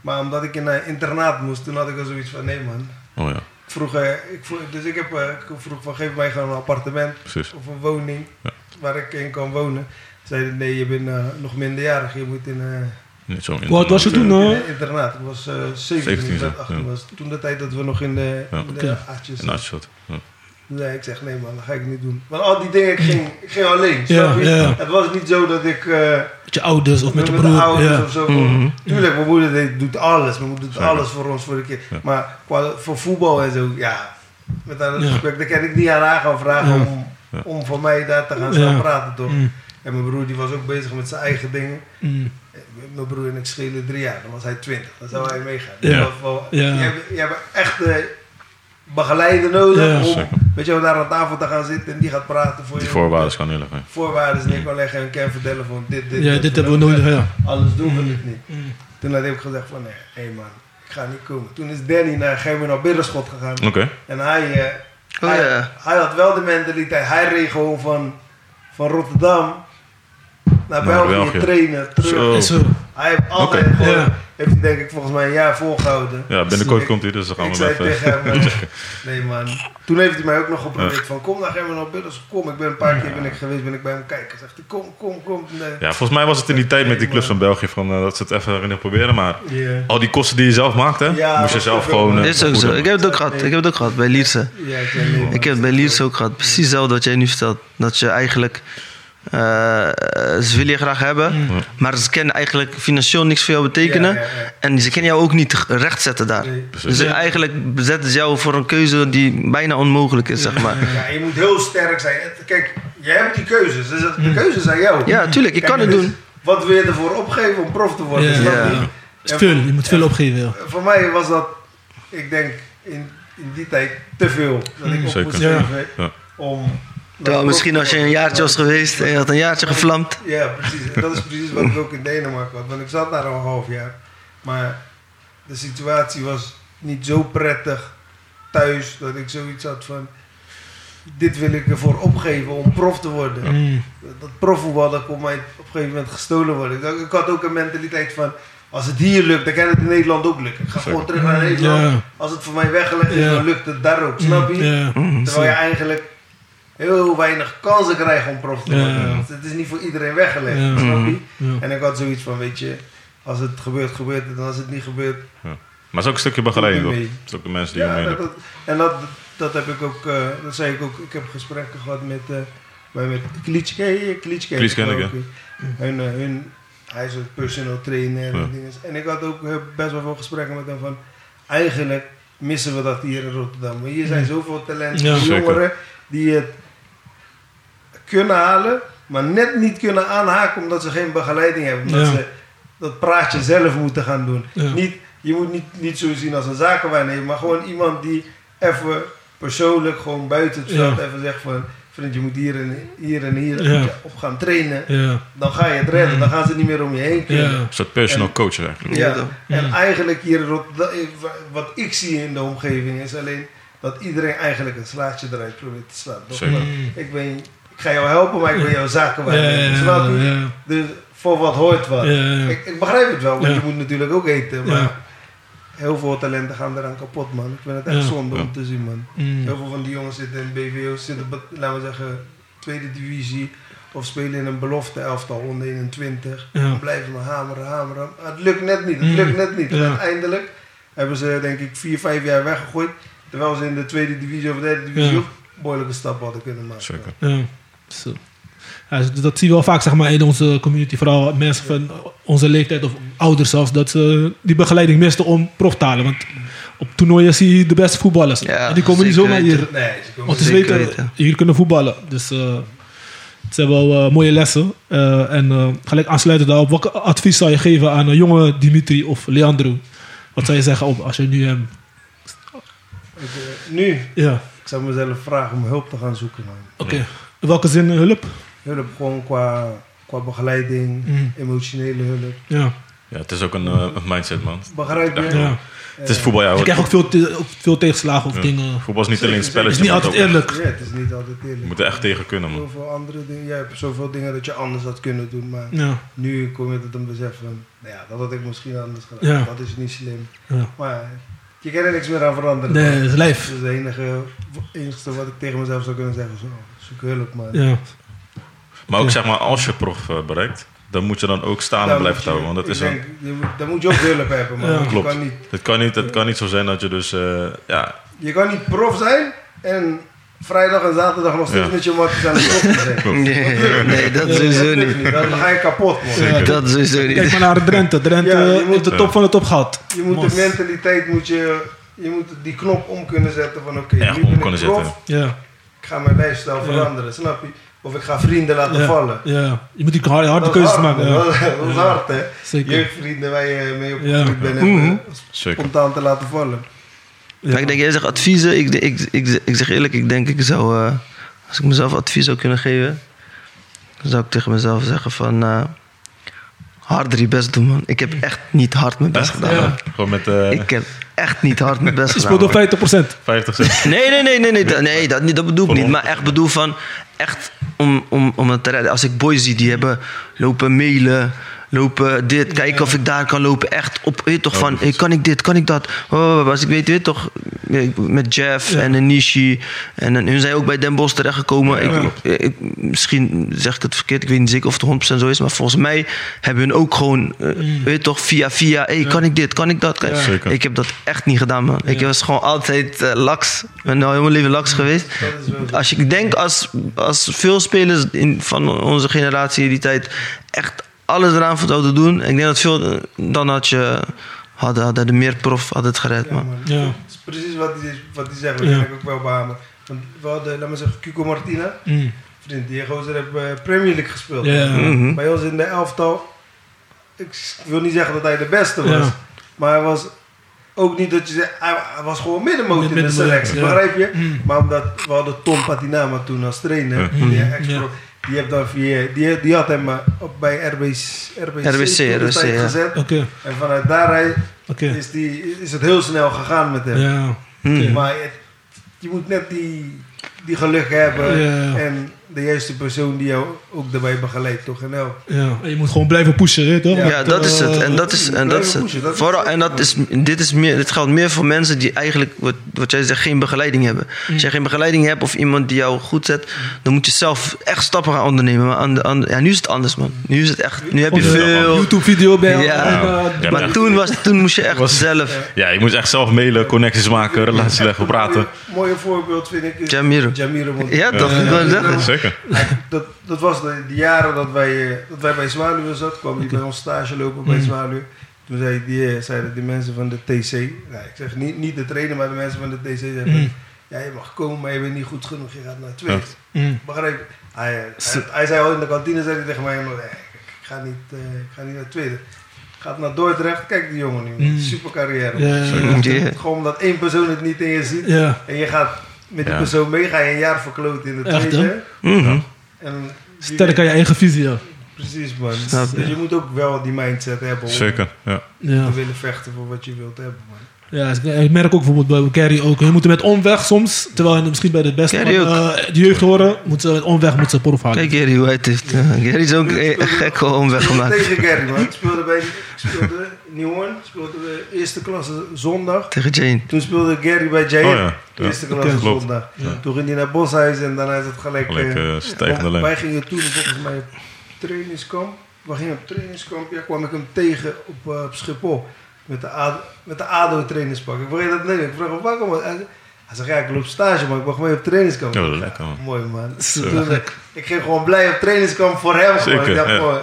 [SPEAKER 4] Maar omdat ik in een internaat moest, toen had ik al zoiets van nee man.
[SPEAKER 3] Oh ja,
[SPEAKER 4] Ik vroeg, eh, ik vroeg, dus ik, heb, eh, ik vroeg van geef mij gewoon een appartement
[SPEAKER 3] precies.
[SPEAKER 4] of een woning
[SPEAKER 3] Ja.
[SPEAKER 4] waar ik in kan wonen. Ze Zeiden nee, je bent eh, nog minderjarig, je moet in eh,
[SPEAKER 3] Niet zo
[SPEAKER 2] Wat was je toen?
[SPEAKER 4] in
[SPEAKER 2] eh?
[SPEAKER 4] een internaat. Ik was eh 17,
[SPEAKER 3] 17,
[SPEAKER 4] of
[SPEAKER 3] nou? ja.
[SPEAKER 4] 18 was. Toen de tijd dat we nog in de,
[SPEAKER 3] Ja.
[SPEAKER 4] in de
[SPEAKER 2] Oké.
[SPEAKER 4] aardjes
[SPEAKER 3] Een uitschot. Ja.
[SPEAKER 4] Nee, ik zeg nee man, dat ga ik niet doen. Want al die dingen, ik ging, ik ging alleen,
[SPEAKER 2] Ja,
[SPEAKER 4] snap je?
[SPEAKER 2] ja.
[SPEAKER 4] Het was niet zo dat ik eh,
[SPEAKER 2] Met je ouders of met je
[SPEAKER 4] de
[SPEAKER 2] broer.
[SPEAKER 4] ouders
[SPEAKER 2] Ja.
[SPEAKER 4] of zo...
[SPEAKER 5] Mhm.
[SPEAKER 4] Tuurlijk, mijn moeder deed- doet alles. Mijn moeder doet
[SPEAKER 3] Zeker.
[SPEAKER 4] alles voor ons, voor de kind.
[SPEAKER 3] Ja.
[SPEAKER 4] Maar qua, voor voetbal en zo, ja... Met haar
[SPEAKER 2] Ja.
[SPEAKER 4] gesprek, daar kan ik niet aan haar gaan vragen
[SPEAKER 2] Ja.
[SPEAKER 4] om,
[SPEAKER 3] Ja.
[SPEAKER 4] om van mij daar te gaan staan
[SPEAKER 2] Ja.
[SPEAKER 4] praten, toch?
[SPEAKER 2] Mm.
[SPEAKER 4] En mijn broer die was ook bezig met zijn eigen dingen.
[SPEAKER 2] Mm.
[SPEAKER 4] Eh, Mijn broer en ik schelen drie jaar, dan was hij twintig. Dan zou hij meegaan.
[SPEAKER 2] Ja.
[SPEAKER 4] Dat was wel-
[SPEAKER 2] Ja.
[SPEAKER 4] Je, hebt, je hebt echt eh, begeleider nodig
[SPEAKER 2] Ja.
[SPEAKER 4] om
[SPEAKER 3] Zeker.
[SPEAKER 4] weet je, wel, daar aan tafel te gaan zitten en die gaat praten voor
[SPEAKER 3] Die
[SPEAKER 4] je.
[SPEAKER 3] voorwaarden kan heel erg mee.
[SPEAKER 4] Voorwaarden neer kan leggen en kan vertellen van dit, dit. Oh.
[SPEAKER 2] ja,
[SPEAKER 4] dat
[SPEAKER 2] dit
[SPEAKER 4] en
[SPEAKER 2] hebben we
[SPEAKER 4] dat.
[SPEAKER 2] nodig. Ja.
[SPEAKER 4] Anders doen we het niet.
[SPEAKER 2] Mm.
[SPEAKER 4] Toen had ik gezegd van nee, hé man, ik ga niet komen. Toen is Danny naar Gerben naar Binnenschot gegaan.
[SPEAKER 3] Oké.
[SPEAKER 4] En hij, eh,
[SPEAKER 5] Oh
[SPEAKER 4] hij,
[SPEAKER 5] ja.
[SPEAKER 4] hij had wel de mentaliteit. Hij reed gewoon van, van Rotterdam naar
[SPEAKER 3] Naar
[SPEAKER 4] België,
[SPEAKER 3] België.
[SPEAKER 4] trainen, terug.
[SPEAKER 3] Zo. Oh.
[SPEAKER 2] En zo.
[SPEAKER 4] Hij heeft altijd
[SPEAKER 2] Oké.
[SPEAKER 4] gewoon,
[SPEAKER 2] Ja.
[SPEAKER 4] heeft hij denk ik volgens mij een jaar volgehouden.
[SPEAKER 3] Ja, binnenkort komt hij, dus dan gaan
[SPEAKER 4] ik
[SPEAKER 3] we
[SPEAKER 4] zei
[SPEAKER 3] even...
[SPEAKER 4] tegen hem, eh, nee man. Toen heeft hij mij ook nog geprobeerd van kom naar Germen op Biddels, kom. Ik ben een paar keer ben ik geweest, ben ik bij hem kijken. Zegt hij kom, kom, kom. Nee.
[SPEAKER 3] Ja, volgens mij was het in die tijd met die clubs van België van eh, dat ze het even erin proberen, maar
[SPEAKER 4] Ja.
[SPEAKER 3] al die kosten die je zelf maakt, hè,
[SPEAKER 4] Ja,
[SPEAKER 3] moest je
[SPEAKER 4] dat
[SPEAKER 3] zelf
[SPEAKER 4] is ook wel-
[SPEAKER 3] gewoon... eh,
[SPEAKER 5] Dit is ook zo.
[SPEAKER 3] vergoeden.
[SPEAKER 5] Ik heb het ook gehad. Ik heb het ook gehad bij Lierse.
[SPEAKER 4] Ja, ik zei, nee, man.
[SPEAKER 5] Ik heb het bij Leeds ook gehad. Precies hetzelfde wat jij nu vertelt. Dat je eigenlijk... eh, ze willen je graag hebben, maar ze kennen eigenlijk financieel niks voor jou betekenen.
[SPEAKER 4] Ja, ja, ja.
[SPEAKER 5] En ze kennen jou ook niet rechtzetten daar.
[SPEAKER 4] Nee.
[SPEAKER 5] Dus
[SPEAKER 3] Ja.
[SPEAKER 5] eigenlijk zetten ze jou voor een keuze die bijna onmogelijk is, zeg maar.
[SPEAKER 4] Ja, je moet heel sterk zijn. Het- Kijk, jij hebt die keuzes. Dus dat- de keuzes zijn jou.
[SPEAKER 5] Hmm. Ja, tuurlijk, je
[SPEAKER 4] Kijk,
[SPEAKER 5] kan het
[SPEAKER 4] dus
[SPEAKER 5] doen.
[SPEAKER 4] Wat wil je ervoor opgeven om prof te worden?
[SPEAKER 2] Ja.
[SPEAKER 4] Snap je?
[SPEAKER 5] Ja.
[SPEAKER 4] En
[SPEAKER 2] Is Veel, je moet veel opgeven. Ja.
[SPEAKER 4] voor mij was dat, ik denk, in, in die tijd te veel. Dat ik op
[SPEAKER 3] Zeker.
[SPEAKER 4] moest
[SPEAKER 2] Ja.
[SPEAKER 4] geven
[SPEAKER 3] Ja.
[SPEAKER 4] om...
[SPEAKER 5] Terwijl misschien als je een jaartje was geweest en je had een jaartje gevlamd.
[SPEAKER 4] Ja, precies. En dat is precies wat ik ook in Denemarken had. Want ik zat daar al een half jaar. Maar de situatie was niet zo prettig thuis dat ik zoiets had van... Dit wil ik ervoor opgeven om prof te worden.
[SPEAKER 2] Mm.
[SPEAKER 4] Dat profvoetbal dat kon mij op een gegeven moment gestolen worden. Ik, dacht- ik had ook een mentaliteit van... Als het hier lukt, dan kan het in Nederland ook lukken. Ik ga gewoon terug naar Nederland.
[SPEAKER 2] Mm. Ja.
[SPEAKER 4] Als het voor mij weggelegd is,
[SPEAKER 2] Ja.
[SPEAKER 4] dan lukt het daar ook. Snap je?
[SPEAKER 2] Ja.
[SPEAKER 5] Mm.
[SPEAKER 4] Terwijl je eigenlijk heel weinig kansen krijgt om prof te
[SPEAKER 2] Ja.
[SPEAKER 4] worden. Want het is niet voor iedereen weggelegd,
[SPEAKER 2] Ja.
[SPEAKER 4] snap je?
[SPEAKER 2] Ja.
[SPEAKER 4] En ik had zoiets van, weet je, als het gebeurt, gebeurt het. En als het niet gebeurt,
[SPEAKER 3] Maar het is ook een stukje begeleiding,
[SPEAKER 4] Doe
[SPEAKER 3] toch?
[SPEAKER 4] mee.
[SPEAKER 3] Het is ook de mensen die je
[SPEAKER 4] ja,
[SPEAKER 3] mee
[SPEAKER 4] dat, dat- en dat, dat heb ik ook, eh, dat zei ik ook, ik heb gesprekken gehad met, eh bij- met Klitschke, eh, Klitschke.
[SPEAKER 3] Klitschke ken ik, ja.
[SPEAKER 4] hun, eh, hun, hij is een personal trainer
[SPEAKER 3] Ja.
[SPEAKER 4] en dingen. En ik had ook eh, best wel veel gesprekken met hem van, eigenlijk missen we dat hier in Rotterdam. Want hier zijn zoveel talenten,
[SPEAKER 2] Ja.
[SPEAKER 3] Zeker.
[SPEAKER 4] jongeren, die het kunnen halen, maar net niet kunnen aanhaken omdat ze geen begeleiding hebben. Omdat
[SPEAKER 2] Ja.
[SPEAKER 4] ze dat praatje zelf moeten gaan doen.
[SPEAKER 2] Ja.
[SPEAKER 4] Niet, je moet niet, niet zo zien als een zakenwaarnemer, maar gewoon iemand die even persoonlijk gewoon buiten het veld
[SPEAKER 2] Ja.
[SPEAKER 4] even zeggen van... Vriend, je moet hier en hier en hier
[SPEAKER 2] Ja.
[SPEAKER 4] op gaan trainen.
[SPEAKER 2] Ja,
[SPEAKER 4] Dan ga je het redden. Dan gaan ze niet meer om je heen kunnen.
[SPEAKER 2] ja.
[SPEAKER 3] Een soort personal coach eigenlijk.
[SPEAKER 4] Ja.
[SPEAKER 5] Ja.
[SPEAKER 4] En
[SPEAKER 2] Ja.
[SPEAKER 4] eigenlijk hier in Rotterdam, wat ik zie in de omgeving is alleen dat iedereen eigenlijk een slaatje eruit probeert te slaan. Toch?
[SPEAKER 3] Zeker.
[SPEAKER 4] Ik, ben, ik ga jou helpen, maar ik ben jouw zaken
[SPEAKER 2] Ja, ja,
[SPEAKER 4] Snap je?
[SPEAKER 2] ja.
[SPEAKER 4] Dus voor wat hoort wat.
[SPEAKER 2] Ja, ja, ja.
[SPEAKER 4] Ik, ik begrijp het wel, want
[SPEAKER 2] Ja.
[SPEAKER 4] je moet natuurlijk ook eten. Maar
[SPEAKER 2] Ja.
[SPEAKER 4] heel veel talenten gaan eraan kapot, man. Ik vind het echt
[SPEAKER 2] Ja.
[SPEAKER 4] zonde
[SPEAKER 3] Ja.
[SPEAKER 4] om te zien, man.
[SPEAKER 2] Mm.
[SPEAKER 4] Heel veel van die jongens zitten in BVO, zitten, be- laten we zeggen, tweede divisie. Of spelen in een belofte elftal, onder 21.
[SPEAKER 2] Ja.
[SPEAKER 4] Blijven maar hameren, hameren. Maar Het lukt net niet, het
[SPEAKER 2] Mm.
[SPEAKER 4] lukt net niet. En
[SPEAKER 2] Ja.
[SPEAKER 4] Uiteindelijk hebben ze denk ik vier, vijf jaar weggegooid. Terwijl ze in de tweede divisie of derde divisie
[SPEAKER 2] Ja.
[SPEAKER 4] ook behoorlijke stappen hadden kunnen maken.
[SPEAKER 3] Zeker.
[SPEAKER 2] Ja. Zo. Ja, dus dat zien we wel vaak zeg maar, in onze community. Vooral mensen van onze leeftijd of ouders zelfs. Dat ze die begeleiding misten om prof te halen. Want op toernooien zie je de beste voetballers.
[SPEAKER 5] Ja,
[SPEAKER 2] en die komen niet
[SPEAKER 5] zeker
[SPEAKER 2] zomaar
[SPEAKER 5] weten.
[SPEAKER 2] hier.
[SPEAKER 4] Nee, ze komen
[SPEAKER 2] Want ze
[SPEAKER 5] Zeker
[SPEAKER 2] weten,
[SPEAKER 5] weten.
[SPEAKER 2] jullie kunnen voetballen. Dus eh het zijn wel eh, mooie lessen. Eh, en eh, gelijk aansluiten daarop. Welk advies zou je geven aan een jonge Dimitri of Leandro? Wat zou je zeggen op, als je nu hem...
[SPEAKER 4] Ik, eh, nu,
[SPEAKER 2] Ja,
[SPEAKER 4] ik zou mezelf vragen om hulp te gaan zoeken. Man.
[SPEAKER 2] oké. In welke zin eh, hulp?
[SPEAKER 4] Hulp gewoon qua, qua begeleiding,
[SPEAKER 2] Mm.
[SPEAKER 4] emotionele hulp.
[SPEAKER 2] Ja.
[SPEAKER 3] Ja, het is ook een, eh, een mindset, man.
[SPEAKER 4] Begrijp je? Eh,
[SPEAKER 2] ja.
[SPEAKER 3] Het is voetbal, ja.
[SPEAKER 2] Je
[SPEAKER 3] hoor.
[SPEAKER 2] krijgt ook veel, te- ook veel tegenslagen of
[SPEAKER 3] Ja.
[SPEAKER 2] dingen.
[SPEAKER 3] Voetbal is niet alleen een
[SPEAKER 2] Het is
[SPEAKER 3] spelletje.
[SPEAKER 2] niet
[SPEAKER 3] maar het
[SPEAKER 2] altijd
[SPEAKER 3] ook-
[SPEAKER 2] eerlijk.
[SPEAKER 4] Ja, het is niet altijd
[SPEAKER 3] Je
[SPEAKER 4] eerlijk.
[SPEAKER 3] moet er echt tegen kunnen, man.
[SPEAKER 4] Zoveel andere dingen. Jij hebt zoveel dingen dat je anders had kunnen doen, maar...
[SPEAKER 2] Ja,
[SPEAKER 4] Nu kom je tot een besef van, nou ja, dat had ik misschien anders gedaan.
[SPEAKER 2] Ja.
[SPEAKER 4] Dat is niet slim.
[SPEAKER 2] ja.
[SPEAKER 4] Maar je kan er niks meer aan veranderen.
[SPEAKER 2] Nee, het is
[SPEAKER 4] Dat
[SPEAKER 2] lijf.
[SPEAKER 4] is het enige, enige wat ik tegen mezelf zou kunnen zeggen. Zo, zoek hulp, man.
[SPEAKER 2] Ja,
[SPEAKER 3] Maar ook
[SPEAKER 2] Ja.
[SPEAKER 3] zeg maar, als je prof eh, bereikt, dan moet je dan ook staan en
[SPEAKER 4] Dan
[SPEAKER 3] blijven
[SPEAKER 4] moet je-
[SPEAKER 3] houden. Want dat
[SPEAKER 4] ik
[SPEAKER 3] is een,
[SPEAKER 4] denk, je moet- Dan moet je ook hulp hebben, man.
[SPEAKER 2] Ja.
[SPEAKER 4] Want Je,
[SPEAKER 3] Klopt.
[SPEAKER 4] kan niet,
[SPEAKER 3] het, kan niet, het kan niet zo zijn dat je dus, eh, ja,
[SPEAKER 4] je kan niet prof zijn en vrijdag en zaterdag nog steeds
[SPEAKER 3] Ja.
[SPEAKER 4] met je matjes aan de prof zijn.
[SPEAKER 5] Nee, nee, dat
[SPEAKER 4] Dat
[SPEAKER 5] sowieso
[SPEAKER 4] lukt
[SPEAKER 5] niet.
[SPEAKER 4] Dan ga je kapot, man.
[SPEAKER 3] Zeker.
[SPEAKER 5] Dat sowieso
[SPEAKER 2] kijk
[SPEAKER 5] niet.
[SPEAKER 2] maar naar Drenthe. Drenthe
[SPEAKER 4] Ja, je
[SPEAKER 2] eh,
[SPEAKER 4] moet-
[SPEAKER 2] heeft de top van de top gehad.
[SPEAKER 4] Je moet
[SPEAKER 2] Mos.
[SPEAKER 4] de mentaliteit, moet je, je moet die knop om kunnen zetten van oké,
[SPEAKER 3] Echt
[SPEAKER 4] nu
[SPEAKER 3] om
[SPEAKER 4] ben ik
[SPEAKER 3] kunnen
[SPEAKER 4] prof.
[SPEAKER 3] zetten.
[SPEAKER 2] Ja,
[SPEAKER 4] ik ga mijn lifestyle
[SPEAKER 2] Ja.
[SPEAKER 4] veranderen, snap je? Of ik ga vrienden laten
[SPEAKER 2] ja,
[SPEAKER 4] vallen.
[SPEAKER 2] ja. Je moet die harde, harde
[SPEAKER 4] Dat is
[SPEAKER 2] keuzes
[SPEAKER 4] hard,
[SPEAKER 2] maken.
[SPEAKER 4] man.
[SPEAKER 2] Ja.
[SPEAKER 4] Dat is hard, hè?
[SPEAKER 2] Zeker.
[SPEAKER 4] Jeugdvrienden waar je mee
[SPEAKER 2] Ja.
[SPEAKER 4] opgegroeid bent,
[SPEAKER 5] Mhm.
[SPEAKER 4] hebben,
[SPEAKER 3] zeker.
[SPEAKER 4] spontaan te laten vallen.
[SPEAKER 5] Maar ik denk, jij zegt adviezen. Ik, ik, ik, ik zeg eerlijk, ik denk, ik zou, eh, als ik mezelf advies zou kunnen geven, dan zou ik tegen mezelf zeggen van, eh, harder je best doen, man. Ik heb echt niet hard mijn best
[SPEAKER 3] Echt?
[SPEAKER 5] gedaan,
[SPEAKER 2] Ja.
[SPEAKER 5] man.
[SPEAKER 3] Gewoon met eh,
[SPEAKER 5] Ik heb echt niet hard mijn best
[SPEAKER 2] Je
[SPEAKER 5] gedaan.
[SPEAKER 2] speelt
[SPEAKER 5] man.
[SPEAKER 2] op 50%.
[SPEAKER 3] 50 cent.
[SPEAKER 5] Nee, nee, nee, nee, nee, dat, nee, dat, niet, dat bedoel ik
[SPEAKER 3] Van
[SPEAKER 5] niet. Maar echt bedoel van, echt om, om, om het te redden. Als ik boys zie die hebben lopen mailen, lopen dit, kijken of ik daar kan lopen. Echt op, weet je toch, van, hey, kan ik dit, kan ik dat? Oh, als ik weet, weet je toch, ik- met Jeff
[SPEAKER 2] Ja.
[SPEAKER 5] en een Nishi. En een- hun zijn ook bij Den Bosch terechtgekomen.
[SPEAKER 3] Ja,
[SPEAKER 5] ik, ik- misschien zeg ik het verkeerd, ik weet niet zeker of het 100% zo is. Maar volgens mij hebben hun ook gewoon, eh, weet je toch, via via, hey, kan ik dit, kan ik dat? Kan
[SPEAKER 2] Ja.
[SPEAKER 3] Zeker.
[SPEAKER 5] Ik heb dat echt niet gedaan, man. Ik was gewoon altijd eh, laks. Ik ben al heel mijn leven laks geweest.
[SPEAKER 4] Dat is wel zo.
[SPEAKER 5] Als je- ik denk als, als veel spelers in, van onze generatie in die tijd echt alles eraan zouden doen. Ik denk dat veel, eh, dan had je, hadden, hadden de meer prof had het gered,
[SPEAKER 4] Ja,
[SPEAKER 5] man.
[SPEAKER 4] man.
[SPEAKER 2] Ja.
[SPEAKER 4] Dat is precies wat die, wat die zegt, dat
[SPEAKER 2] Ja.
[SPEAKER 4] kan ik ook wel behamen. Want we hadden, laat maar zeggen, Cuco Martina,
[SPEAKER 2] Mm.
[SPEAKER 4] vriend, die gozer heeft eh, Premier League gespeeld.
[SPEAKER 2] Ja.
[SPEAKER 5] Mhm.
[SPEAKER 4] Bij ons in de elftal, ik wil niet zeggen dat hij de beste was,
[SPEAKER 2] Ja.
[SPEAKER 4] maar hij was ook niet dat je zegt, hij hij was gewoon middenmoot in de
[SPEAKER 2] Middenmoot,
[SPEAKER 4] selectie,
[SPEAKER 2] ja.
[SPEAKER 4] begrijp je?
[SPEAKER 2] Mm.
[SPEAKER 4] Maar omdat we hadden Tom Patinama toen als trainer,
[SPEAKER 3] Ja.
[SPEAKER 4] die,
[SPEAKER 2] Mhm.
[SPEAKER 4] ex-
[SPEAKER 2] Ja.
[SPEAKER 4] die, heeft dan via, die, die had hem eh, op, bij RBC, RBC,
[SPEAKER 5] RBC,
[SPEAKER 4] toen de tijd
[SPEAKER 5] ja.
[SPEAKER 4] gezet.
[SPEAKER 2] Oké,
[SPEAKER 4] En vanuit daaruit
[SPEAKER 2] oké.
[SPEAKER 4] is, die, is het heel snel gegaan met hem.
[SPEAKER 2] Ja.
[SPEAKER 5] Mhm.
[SPEAKER 4] Maar het- je moet net die, die geluk hebben
[SPEAKER 2] Ja.
[SPEAKER 4] en de juiste persoon die jou ook daarbij begeleidt, toch? En nou,
[SPEAKER 2] Ja. En je moet gewoon blijven pushen, hè, toch?
[SPEAKER 4] Ja.
[SPEAKER 5] Ja, dat is het. En dat is, en dat is het.
[SPEAKER 4] Pushen, dat is-
[SPEAKER 5] Vooral, en dat is, dit, is meer, dit geldt meer voor mensen die eigenlijk, wat, wat jij zegt, geen begeleiding hebben. Als jij geen begeleiding hebt of iemand die jou goed zet, dan moet je zelf echt stappen gaan ondernemen. Maar aan de, aan de- ja, nu is het anders, man. Nu is het echt, nu heb je
[SPEAKER 2] Of een
[SPEAKER 5] veel.
[SPEAKER 2] YouTube-video Eh, bij jou.
[SPEAKER 5] Ja.
[SPEAKER 2] En, eh,
[SPEAKER 3] Ja,
[SPEAKER 5] Maar toen, was, toen moest je echt zelf.
[SPEAKER 3] Ja, je moet echt zelf mailen, connecties maken, relaties leggen, praten.
[SPEAKER 4] Mooi, mooie voorbeeld vind ik is
[SPEAKER 5] Jamiro.
[SPEAKER 4] Jamiro Montero.
[SPEAKER 5] Ja, toch? Ik wou zeggen.
[SPEAKER 3] Zeker.
[SPEAKER 4] Dat, dat was de, de jaren dat wij, eh, dat wij bij Zwaluwe zat, kwam die bij ons stage lopen
[SPEAKER 2] Mm.
[SPEAKER 4] bij Zwaluwe. Toen zei die, eh, zeiden de mensen van de TC, nou, ik zeg niet, niet de trainer, maar de mensen van de TC zeiden,
[SPEAKER 2] Mm.
[SPEAKER 4] ja je mag komen, maar je bent niet goed genoeg, je gaat naar Twente.
[SPEAKER 3] Ja.
[SPEAKER 2] Mm.
[SPEAKER 4] Begrijp je? Hij, eh,
[SPEAKER 2] Zo.
[SPEAKER 4] hij, hij zei al in de kantine zei hij tegen mij, "Nee, ik, ga niet, eh, ik ga niet naar Tweede. Gaat naar Dordrecht, kijk die jongen nu,
[SPEAKER 2] Mm.
[SPEAKER 4] super carrière.
[SPEAKER 2] Ja.
[SPEAKER 5] Ja.
[SPEAKER 4] Gewoon omdat één persoon het niet in je ziet
[SPEAKER 2] Ja.
[SPEAKER 4] en je gaat met die
[SPEAKER 3] Ja.
[SPEAKER 4] persoon mee ga je een jaar verkloot in de
[SPEAKER 2] Echt,
[SPEAKER 4] tweede.
[SPEAKER 5] Mhm.
[SPEAKER 4] En die-
[SPEAKER 2] Sterk aan je eigen visie, ja.
[SPEAKER 4] Precies, man.
[SPEAKER 5] Snap je.
[SPEAKER 4] Dus je moet ook wel die mindset hebben om
[SPEAKER 3] Zeker, ja.
[SPEAKER 2] Ja,
[SPEAKER 4] te willen vechten voor wat je wilt hebben, man.
[SPEAKER 2] ja ik merk ook bijvoorbeeld bij Carry ook. Je moet met omweg soms, terwijl je misschien bij de beste van
[SPEAKER 5] Carry
[SPEAKER 2] eh, de jeugd horen, moet ze met omweg moet ze prof halen.
[SPEAKER 5] Kijk Gary hoe hij het heeft. Ja, Gary is ook eh, een een gekke omweg gemaakt.
[SPEAKER 4] Tegen Gary, man. Ik speelde bij ik speelde Nieuwen, speelde we eerste klasse zondag.
[SPEAKER 5] Tegen Jane.
[SPEAKER 4] Toen speelde Gary bij Jair.
[SPEAKER 3] Oh ja, ja.
[SPEAKER 4] Eerste klasse
[SPEAKER 2] Oké.
[SPEAKER 3] Klopt.
[SPEAKER 4] zondag. Toen ging hij naar Boshuis en daarna is het gelijk...
[SPEAKER 3] Gelijk
[SPEAKER 4] eh,
[SPEAKER 3] eh, stijgende
[SPEAKER 4] wij-
[SPEAKER 3] lijn.
[SPEAKER 4] Wij gingen toen volgens mij op trainingskamp. We gingen op trainingskamp. Ja, kwam ik hem tegen op, eh, op Schiphol. Met de, ADO, met de ADO trainingspak. Ik vergeet dat niet. Ik vraag hem, waar kom je? Hij hij zegt, ja, ik loop stage, maar ik mag mee op trainingskamp.
[SPEAKER 3] Ja, dat is lekker, man.
[SPEAKER 4] Mooi man.
[SPEAKER 2] Zo.
[SPEAKER 4] Toen, eh, ik ging gewoon blij op trainingskamp voor hem. gewoon.
[SPEAKER 3] Zeker,
[SPEAKER 4] ik dacht,
[SPEAKER 3] ja.
[SPEAKER 4] gewoon,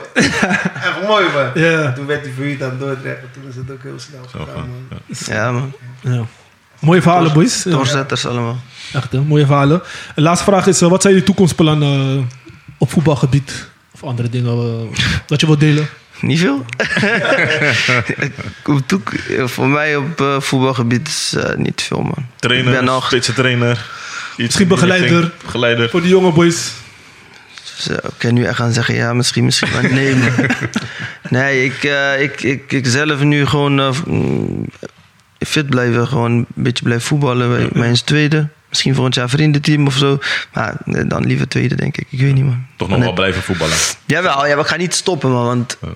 [SPEAKER 4] echt mooi man.
[SPEAKER 2] Ja,
[SPEAKER 4] Toen werd hij verhuurd aan Dordrecht. en Toen is het ook heel snel
[SPEAKER 3] Zo
[SPEAKER 4] gegaan
[SPEAKER 3] gaan.
[SPEAKER 4] man.
[SPEAKER 3] Ja.
[SPEAKER 5] Ja man,
[SPEAKER 2] ja. Mooie verhalen, boys. Ja,
[SPEAKER 5] doorzetters allemaal.
[SPEAKER 2] echt, hè, mooie verhalen. En laatste vraag is, eh, wat zijn je toekomstplannen eh, op voetbalgebied? Of andere dingen eh, dat je wilt delen?
[SPEAKER 5] Niet veel? Op toek- voor mij op eh, voetbalgebied is eh, niet veel man. Ik ben
[SPEAKER 3] Trainer,
[SPEAKER 5] nog-
[SPEAKER 3] spitsentrainer. Iets in die
[SPEAKER 2] begeleider.
[SPEAKER 3] richting. Begeleider.
[SPEAKER 2] Voor die jonge boys.
[SPEAKER 5] Dus, eh, ik kan nu echt gaan zeggen, ja, misschien, misschien, maar nee. man. Nee, ik, eh, ik, ik, ik zelf nu gewoon eh, mm, fit blijven. Gewoon een beetje blijven voetballen. Bij Mijn tweede. Misschien volgend jaar vriendenteam of zo. Maar eh, dan liever tweede, denk ik. Ik weet niet, man.
[SPEAKER 3] Toch nog
[SPEAKER 5] Nee.
[SPEAKER 3] wel blijven voetballen.
[SPEAKER 5] Jawel, ja, maar ik ga niet stoppen, man. Want
[SPEAKER 3] Ja.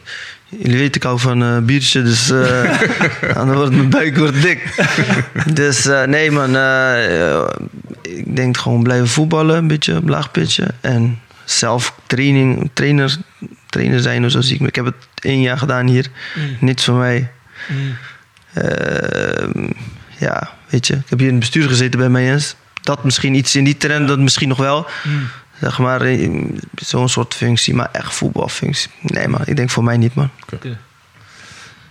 [SPEAKER 5] jullie weten, ik hou van eh, biertje, dus eh, dan wordt mijn buik wordt dik. dus eh, nee, man. eh, eh, ik denk gewoon blijven voetballen, een beetje op laag pitje. En zelf training, trainer, trainer zijn of zo zie ik me. Ik heb het één jaar gedaan hier. Niets van mij.
[SPEAKER 2] Mm.
[SPEAKER 5] Ehm, ja, weet je. Ik heb hier in het bestuur gezeten bij Mayens. Dat misschien iets in die trend, dat misschien nog wel.
[SPEAKER 2] Mm.
[SPEAKER 5] Zeg maar, eh, zo'n soort functie, maar echt voetbalfunctie. Nee, man, ik denk voor mij niet, man.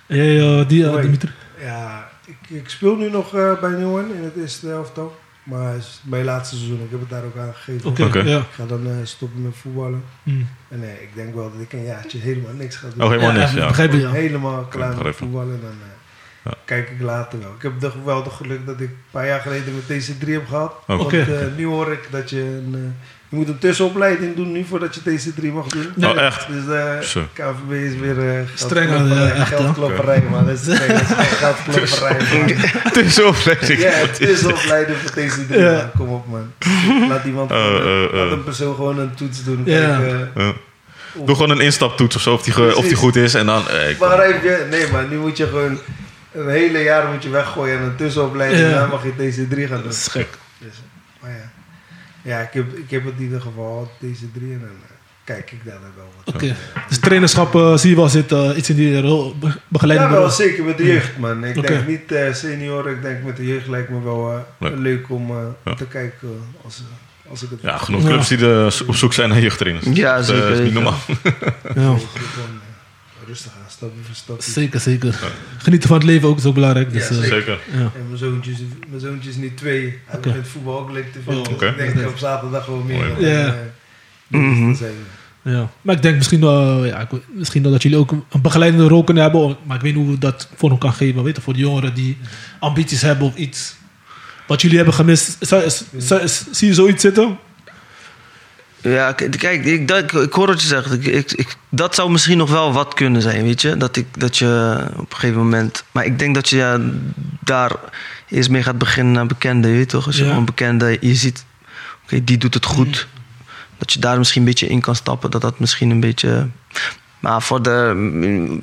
[SPEAKER 2] En jij, eh, die, eh,
[SPEAKER 4] Mooi.
[SPEAKER 2] Dimitri?
[SPEAKER 4] Ja, ik, ik speel nu nog eh, bij Nieuwen in het eerste helftal. Maar het is mijn laatste seizoen. Ik heb het daar ook aan gegeven.
[SPEAKER 2] Oké,
[SPEAKER 3] Oké.
[SPEAKER 2] ja.
[SPEAKER 4] Ik ga dan eh, stoppen met voetballen.
[SPEAKER 2] Mm.
[SPEAKER 4] En nee, ik denk wel dat ik een jaartje helemaal niks ga doen.
[SPEAKER 3] Oh, helemaal
[SPEAKER 2] Ja,
[SPEAKER 3] niks,
[SPEAKER 2] even
[SPEAKER 3] ja.
[SPEAKER 2] Begrijp je, ja.
[SPEAKER 4] Helemaal klaar met
[SPEAKER 3] begrijpen.
[SPEAKER 4] voetballen. Dan eh,
[SPEAKER 3] Ja.
[SPEAKER 4] kijk ik later wel. Ik heb de, wel het geluk dat ik een paar jaar geleden met TC3 heb gehad.
[SPEAKER 3] Oh, Oké.
[SPEAKER 4] Want eh, nu hoor ik dat je een... eh, je moet een tussenopleiding doen nu voordat je TC3 mag doen.
[SPEAKER 2] Ja.
[SPEAKER 3] Oh, echt?
[SPEAKER 4] Dus eh
[SPEAKER 3] Zo.
[SPEAKER 4] KVB is weer... eh
[SPEAKER 2] Streng aan,
[SPEAKER 4] geldklopperij-
[SPEAKER 2] eh, echt, hè?
[SPEAKER 4] Geldklopperij, man. Dat is streng. Dat is echt geldklopperij, man.
[SPEAKER 3] Tussenopleiding.
[SPEAKER 4] Ja, het is opleiden voor deze drie.
[SPEAKER 2] Ja.
[SPEAKER 4] man. Kom op, man. Laat iemand.
[SPEAKER 3] Eh, eh, eh.
[SPEAKER 4] laat een persoon gewoon een toets doen.
[SPEAKER 2] Ja.
[SPEAKER 4] Kijk, eh,
[SPEAKER 3] Ja. Doe gewoon een instaptoets of zo, of die, ge- of die goed is. En dan... eh, ik-
[SPEAKER 4] maar heb je. Nee, maar nu moet je gewoon. Een hele jaar moet je weggooien en een tussenopleiding.
[SPEAKER 2] Ja.
[SPEAKER 4] en Dan mag je deze drie gaan doen.
[SPEAKER 2] Dat is gek.
[SPEAKER 4] Dus, maar ja. Ja, ik heb, ik heb het in ieder geval. Deze drie. En dan eh, kijk ik daar dan wel wat.
[SPEAKER 2] Oké. Dus trainerschap eh, zie je wel zitten, eh, iets in die rol, be-
[SPEAKER 4] Ja,
[SPEAKER 2] begeleidende
[SPEAKER 4] wel
[SPEAKER 2] rol.
[SPEAKER 4] zeker met de jeugd, man. Ik
[SPEAKER 2] Oké.
[SPEAKER 4] denk niet eh, senior, ik denk met de jeugd lijkt me wel eh,
[SPEAKER 3] Leuk.
[SPEAKER 4] leuk. om eh,
[SPEAKER 3] Ja.
[SPEAKER 4] te kijken als, eh, als ik het
[SPEAKER 3] Ja, genoeg clubs die eh, zo- op zoek zijn naar jeugdtrainers.
[SPEAKER 5] Ja,
[SPEAKER 3] Dat, eh,
[SPEAKER 5] zeker.
[SPEAKER 3] is niet
[SPEAKER 5] weten.
[SPEAKER 3] normaal.
[SPEAKER 2] Ja.
[SPEAKER 4] Dus gewoon, eh, rustig aan, stapje voor stapje.
[SPEAKER 2] Zeker, zeker. Genieten van het leven ook is ook belangrijk. Dus,
[SPEAKER 4] Ja,
[SPEAKER 2] eh,
[SPEAKER 3] Zeker.
[SPEAKER 2] ja.
[SPEAKER 4] En mijn zoontje, is, mijn zoontje is nu twee. Hij
[SPEAKER 2] Oké.
[SPEAKER 4] begint voetbal ook leuk te vinden.
[SPEAKER 2] Oh,
[SPEAKER 4] Dus
[SPEAKER 3] oké.
[SPEAKER 4] ik denk dat op zaterdag gewoon meer.
[SPEAKER 3] Mooi,
[SPEAKER 4] dan,
[SPEAKER 2] man. Ja.
[SPEAKER 4] eh, dingen
[SPEAKER 5] Mhm.
[SPEAKER 4] zijn.
[SPEAKER 2] Ja. Maar ik denk misschien, eh, ja, ik weet- misschien dat jullie ook een begeleidende rol kunnen hebben. Maar ik weet niet hoe dat voor hem kan geven. Weet je, voor de jongeren die ambities hebben of iets. Wat jullie hebben gemist. Zou- is- zou- is- zie je zoiets zitten?
[SPEAKER 5] Ja, k- kijk, ik, dat, ik hoor wat je zegt. Ik, ik, ik- dat zou misschien nog wel wat kunnen zijn, weet je? Dat, ik, dat je op een gegeven moment... Maar ik denk dat je ja, daar eerst mee gaat beginnen naar bekenden, je weet toch? Als je
[SPEAKER 2] Ja.
[SPEAKER 5] gewoon bekende, je ziet, oké, die doet het goed. Dat je daar misschien een beetje in kan stappen. Dat dat misschien een beetje... Maar voor de... mm,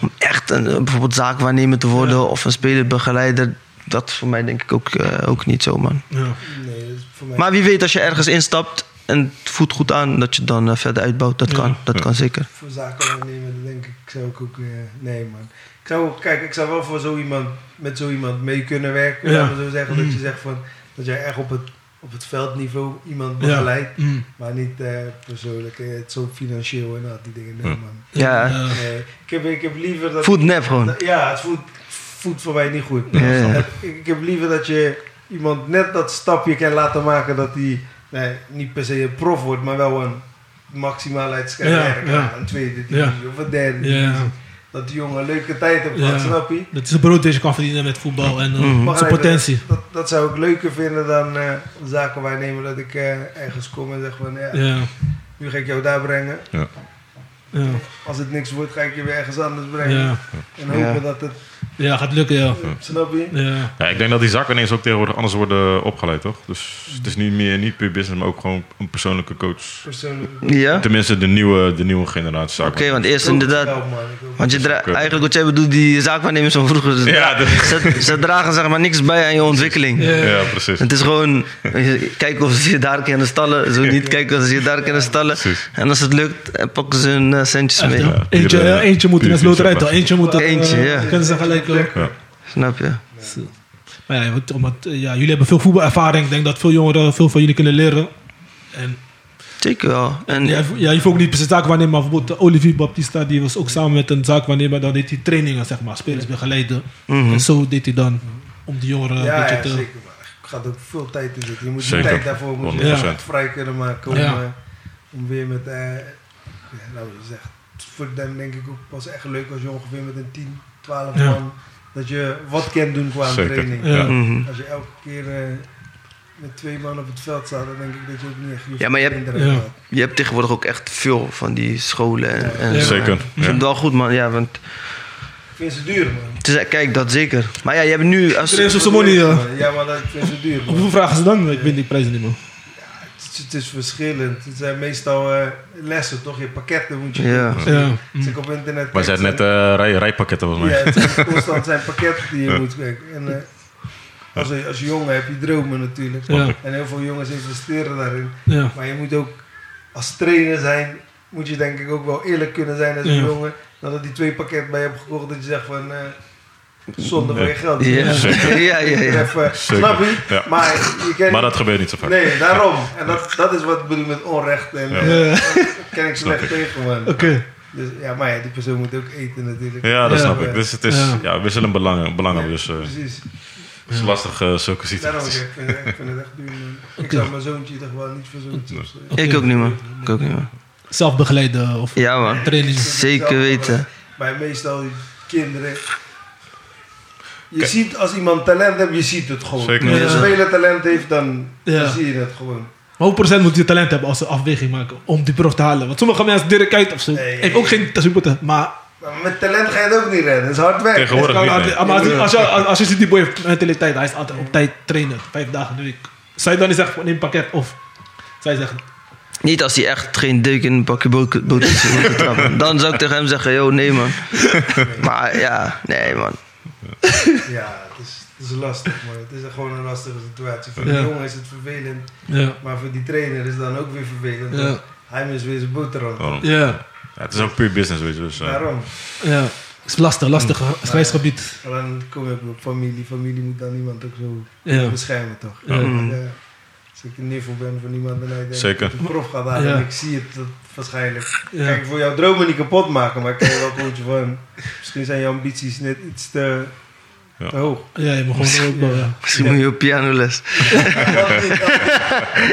[SPEAKER 5] Om echt een, bijvoorbeeld zaakwaarnemer te worden
[SPEAKER 2] Ja.
[SPEAKER 5] of een spelerbegeleider... Dat is voor mij denk ik ook, eh, ook niet zo, man.
[SPEAKER 2] Ja.
[SPEAKER 4] Nee, dat is voor mij.
[SPEAKER 5] Maar wie weet als je ergens instapt en het voelt goed aan, dat je het dan eh, verder uitbouwt. Dat
[SPEAKER 2] Ja.
[SPEAKER 5] kan, dat kan zeker.
[SPEAKER 4] voor zaken aannemen, dan denk ik, ik zou ik ook, eh, nee man. Ik zou ook, kijk, ik zou wel voor zo iemand, met zo iemand mee kunnen werken.
[SPEAKER 2] Ja. Mhm.
[SPEAKER 4] Laten we zo zeggen, dat je zegt van, dat jij echt op het, op het veldniveau iemand
[SPEAKER 2] Ja.
[SPEAKER 4] begeleidt.
[SPEAKER 2] Mm.
[SPEAKER 4] Maar niet eh, persoonlijk, eh, het zo financieel en al die dingen. Nee
[SPEAKER 3] Ja.
[SPEAKER 4] man.
[SPEAKER 5] Ja,
[SPEAKER 2] Ja.
[SPEAKER 4] Nee, ik, heb, ik heb liever dat...
[SPEAKER 5] voelt nep
[SPEAKER 2] Oh.
[SPEAKER 5] gewoon.
[SPEAKER 4] dat- Nou, ja, het voelt, voelt voor mij niet goed.
[SPEAKER 5] Ja.
[SPEAKER 4] Het- Ik, ik heb liever dat je iemand net dat stapje kan laten maken dat hij nee, niet per se een prof wordt, maar wel een maximaal uitschrijver.
[SPEAKER 2] Ja, ja.
[SPEAKER 4] Een tweede
[SPEAKER 2] Ja.
[SPEAKER 4] divisie of een derde
[SPEAKER 2] Ja.
[SPEAKER 4] divisie. dat die jongen een leuke tijd heeft gehad,
[SPEAKER 2] Ja.
[SPEAKER 4] snap je?
[SPEAKER 2] Dat is een brood deze kan verdienen met voetbal en eh,
[SPEAKER 5] Mhm.
[SPEAKER 2] zijn
[SPEAKER 4] Maar
[SPEAKER 2] potentie.
[SPEAKER 4] Dat, dat zou ik leuker vinden dan eh, zaken waarnemen dat ik eh, ergens kom en zeg van ja,
[SPEAKER 2] Ja,
[SPEAKER 4] nu ga ik jou daar brengen.
[SPEAKER 2] ja,
[SPEAKER 4] Als het niks wordt, ga ik je weer ergens anders brengen.
[SPEAKER 2] ja.
[SPEAKER 4] En hopen
[SPEAKER 5] Ja.
[SPEAKER 4] dat het,
[SPEAKER 2] Ja, gaat lukken, ja.
[SPEAKER 4] snap je?
[SPEAKER 2] Ja,
[SPEAKER 3] Ja, ik denk dat die zakken ineens ook tegenwoordig anders worden opgeleid, toch? Dus het is niet meer niet puur business, maar ook gewoon een persoonlijke coach.
[SPEAKER 4] Persoonlijk.
[SPEAKER 5] Ja? Oké,
[SPEAKER 3] Tenminste, de nieuwe, de nieuwe generatie zakken.
[SPEAKER 5] want
[SPEAKER 2] Dus
[SPEAKER 5] eerst inderdaad...
[SPEAKER 4] Wel, man, ik hoop-
[SPEAKER 5] Want je dra-
[SPEAKER 3] Oké.
[SPEAKER 5] eigenlijk wat jij bedoelt, die zaakwaarnemers van vroeger, ze,
[SPEAKER 3] Ja,
[SPEAKER 5] dra- ze, ze dragen zeg maar niks bij aan je ontwikkeling.
[SPEAKER 3] Ja, precies.
[SPEAKER 5] Het is gewoon, kijken of ze je daar kunnen stallen. Zo niet, kijken of ze je daar kunnen stallen.
[SPEAKER 3] Precies.
[SPEAKER 5] En als het lukt, eh, pakken ze hun eh, centjes mee.
[SPEAKER 2] ja.
[SPEAKER 3] Ja,
[SPEAKER 2] Eentje,
[SPEAKER 3] iedereen,
[SPEAKER 2] eh, eentje moet in
[SPEAKER 3] puur
[SPEAKER 2] het loterij
[SPEAKER 3] fysiek,
[SPEAKER 2] toch? Eentje moet dat... eh,
[SPEAKER 5] Eentje, ja.
[SPEAKER 2] Kunnen ze gelijk... eh,
[SPEAKER 5] Snap je?
[SPEAKER 2] Maar ja, want- omdat, eh, ja, jullie hebben veel voetbalervaring. Ik denk dat veel jongeren veel van jullie kunnen leren. En
[SPEAKER 5] Zeker wel. En
[SPEAKER 2] ja, ja, je hoeft ook niet per se zaakwaarnemer, maar bijvoorbeeld eh, Olivier Baptista, die was ook samen met een zaakwaarnemer. Dan deed hij trainingen, zeg maar, spelers begeleiden.
[SPEAKER 5] Mhm.
[SPEAKER 2] En zo deed hij dan, om die jongeren een
[SPEAKER 4] Ja,
[SPEAKER 2] beetje
[SPEAKER 4] ja,
[SPEAKER 2] te...
[SPEAKER 4] zeker. Maar er gaat ook veel tijd in zitten. Je moet
[SPEAKER 3] Zeker.
[SPEAKER 4] die tijd daarvoor moet je
[SPEAKER 3] 100%.
[SPEAKER 4] echt vrij kunnen maken om,
[SPEAKER 2] Ja.
[SPEAKER 4] eh, om weer met... eh, ja, nou, dat is echt voor hem denk ik ook pas echt leuk als je ongeveer met een 10, 12
[SPEAKER 2] Ja.
[SPEAKER 4] man... dat je wat kan doen qua
[SPEAKER 3] Zeker.
[SPEAKER 4] training.
[SPEAKER 2] Ja.
[SPEAKER 5] Mhm.
[SPEAKER 4] Als je elke keer eh, met twee man op het veld staat... dan denk ik dat je ook niet echt...
[SPEAKER 5] Ja, maar je hebt-
[SPEAKER 4] hebt...
[SPEAKER 2] Ja.
[SPEAKER 5] je hebt tegenwoordig ook echt veel van die scholen. En, en
[SPEAKER 2] Ja.
[SPEAKER 5] zo.
[SPEAKER 3] Zeker,
[SPEAKER 5] Ik vind
[SPEAKER 3] ja.
[SPEAKER 5] het wel goed, man. Ja, want
[SPEAKER 4] Ik vind ze duur, man.
[SPEAKER 5] het is- kijk, dat zeker. Maar ja, je hebt nu... Als,
[SPEAKER 2] Iedereen is op zijn money, ja.
[SPEAKER 4] Ja, maar dat ik vind ze duur, man.
[SPEAKER 2] Hoeveel vragen ze dan? Ik weet die prijzen niet meer.
[SPEAKER 4] Het, het is verschillend. Het zijn meestal eh, lessen, toch? Je pakketten moet je...
[SPEAKER 5] Ja.
[SPEAKER 2] Ja.
[SPEAKER 4] Als ik op internet
[SPEAKER 3] Maar
[SPEAKER 4] kijk,
[SPEAKER 3] zijn
[SPEAKER 4] zijn-
[SPEAKER 3] net eh, rij, rijpakketten volgens mij.
[SPEAKER 4] Ja, het zijn constant zijn pakketten die je moet kijken. En eh, als, eh, als jongen heb je dromen natuurlijk.
[SPEAKER 2] Ja,
[SPEAKER 4] En heel veel jongens investeren daarin.
[SPEAKER 2] ja.
[SPEAKER 4] Maar je moet ook als trainer zijn, moet je denk ik ook wel eerlijk kunnen zijn als een
[SPEAKER 2] Ja.
[SPEAKER 4] jongen. Dat er die twee pakketten bij je hebt gekocht, dat je zegt van eh zonde van je geld.
[SPEAKER 5] Ja,
[SPEAKER 3] Zeker.
[SPEAKER 5] ja, ja. ja.
[SPEAKER 4] Even,
[SPEAKER 3] Zeker.
[SPEAKER 4] snap je?
[SPEAKER 3] Ja.
[SPEAKER 4] Maar je kent
[SPEAKER 3] Maar dat gebeurt niet zo vaak.
[SPEAKER 4] Nee, daarom. En dat, dat is wat ik bedoel met onrecht. En
[SPEAKER 3] Ja.
[SPEAKER 4] eh,
[SPEAKER 2] Ja.
[SPEAKER 4] daar ken ik
[SPEAKER 3] Snap
[SPEAKER 4] slecht tegen, man.
[SPEAKER 2] Oké.
[SPEAKER 4] Dus, ja, maar ja, die persoon moet ook eten natuurlijk.
[SPEAKER 3] Ja, dat
[SPEAKER 2] Ja.
[SPEAKER 3] snap ik. Dus het is
[SPEAKER 2] Ja.
[SPEAKER 3] ja. wisselend belangen, belangen
[SPEAKER 4] Ja,
[SPEAKER 3] dus eh,
[SPEAKER 4] Precies.
[SPEAKER 3] het is lastig eh, zulke
[SPEAKER 4] Daarom,
[SPEAKER 3] situaties.
[SPEAKER 4] ik vind, ik vind het echt duur. man. Ik
[SPEAKER 2] Oké.
[SPEAKER 4] zou mijn zoontje toch wel niet Dus, eh, voor zo'n tips geven.
[SPEAKER 5] Ik ook niet, man. Ik ook niet, man.
[SPEAKER 2] Zelf begeleiden of
[SPEAKER 5] Ja, man.
[SPEAKER 2] trainingen.
[SPEAKER 5] Zeker weten.
[SPEAKER 4] eh, Maar meestal die kinderen... Je
[SPEAKER 3] Kijk.
[SPEAKER 4] ziet als iemand talent heeft, je ziet het gewoon.
[SPEAKER 3] Zeker.
[SPEAKER 4] Als een
[SPEAKER 2] Ja.
[SPEAKER 4] speler talent heeft, dan, dan
[SPEAKER 2] Ja.
[SPEAKER 4] zie je het gewoon.
[SPEAKER 2] Maar hoeveel procent moet je talent hebben als ze afweging maken om die prof te halen? Want sommige mensen, Dirk Kuyt of zo,
[SPEAKER 4] Nee.
[SPEAKER 2] heeft ook geen supertalent. Maar,
[SPEAKER 4] Maar met talent ga je het ook niet redden. Dat is hard werk.
[SPEAKER 3] Tegenwoordig.
[SPEAKER 2] maar
[SPEAKER 3] niet,
[SPEAKER 2] als,
[SPEAKER 3] nee.
[SPEAKER 2] je- als, je, als, je ziet die boy heeft mentaliteit, hij is altijd op tijd trainen, vijf dagen in de week. Zij dan niet zeggen, van, neem een pakket of... Zij zeggen,
[SPEAKER 5] Niet als hij echt geen deuk in een pakje boter boter zit te trappen. Dan zou ik tegen hem zeggen, yo, nee, man. Maar ja, nee, man.
[SPEAKER 4] Ja, het is, het is lastig, man. Het is gewoon een lastige situatie. Voor
[SPEAKER 2] Ja.
[SPEAKER 4] de jongen is het vervelend.
[SPEAKER 2] ja,
[SPEAKER 4] Maar voor die trainer is het dan ook weer vervelend.
[SPEAKER 2] ja,
[SPEAKER 4] want Hij mist weer zijn boterham.
[SPEAKER 3] Daarom.
[SPEAKER 2] ja,
[SPEAKER 3] Ja, het is ook puur business, weet je. Dus, eh,
[SPEAKER 4] Daarom.
[SPEAKER 2] ja. Het is lastig, lastig, hè. Het is grijs gebied.
[SPEAKER 4] En dan kom je op een familie. Familie moet dan iemand ook zo
[SPEAKER 2] Ja,
[SPEAKER 4] beschermen, toch?
[SPEAKER 2] Ja.
[SPEAKER 5] Mm.
[SPEAKER 4] Ja. Als ik een niffel ben van iemand en hij denkt
[SPEAKER 3] Zeker.
[SPEAKER 4] dat de prof gaat daar
[SPEAKER 2] Ja.
[SPEAKER 4] en ik zie het dat waarschijnlijk.
[SPEAKER 2] ja,
[SPEAKER 4] Kijk, ik wil jouw dromen niet kapot maken, maar ik kan je wel coachen van... Misschien zijn je ambities net iets te,
[SPEAKER 3] Ja.
[SPEAKER 4] te hoog.
[SPEAKER 2] ja je moet gewoon ook wel, ja.
[SPEAKER 5] Misschien moet je op pianoles.
[SPEAKER 4] Dat is niet- dat is niet-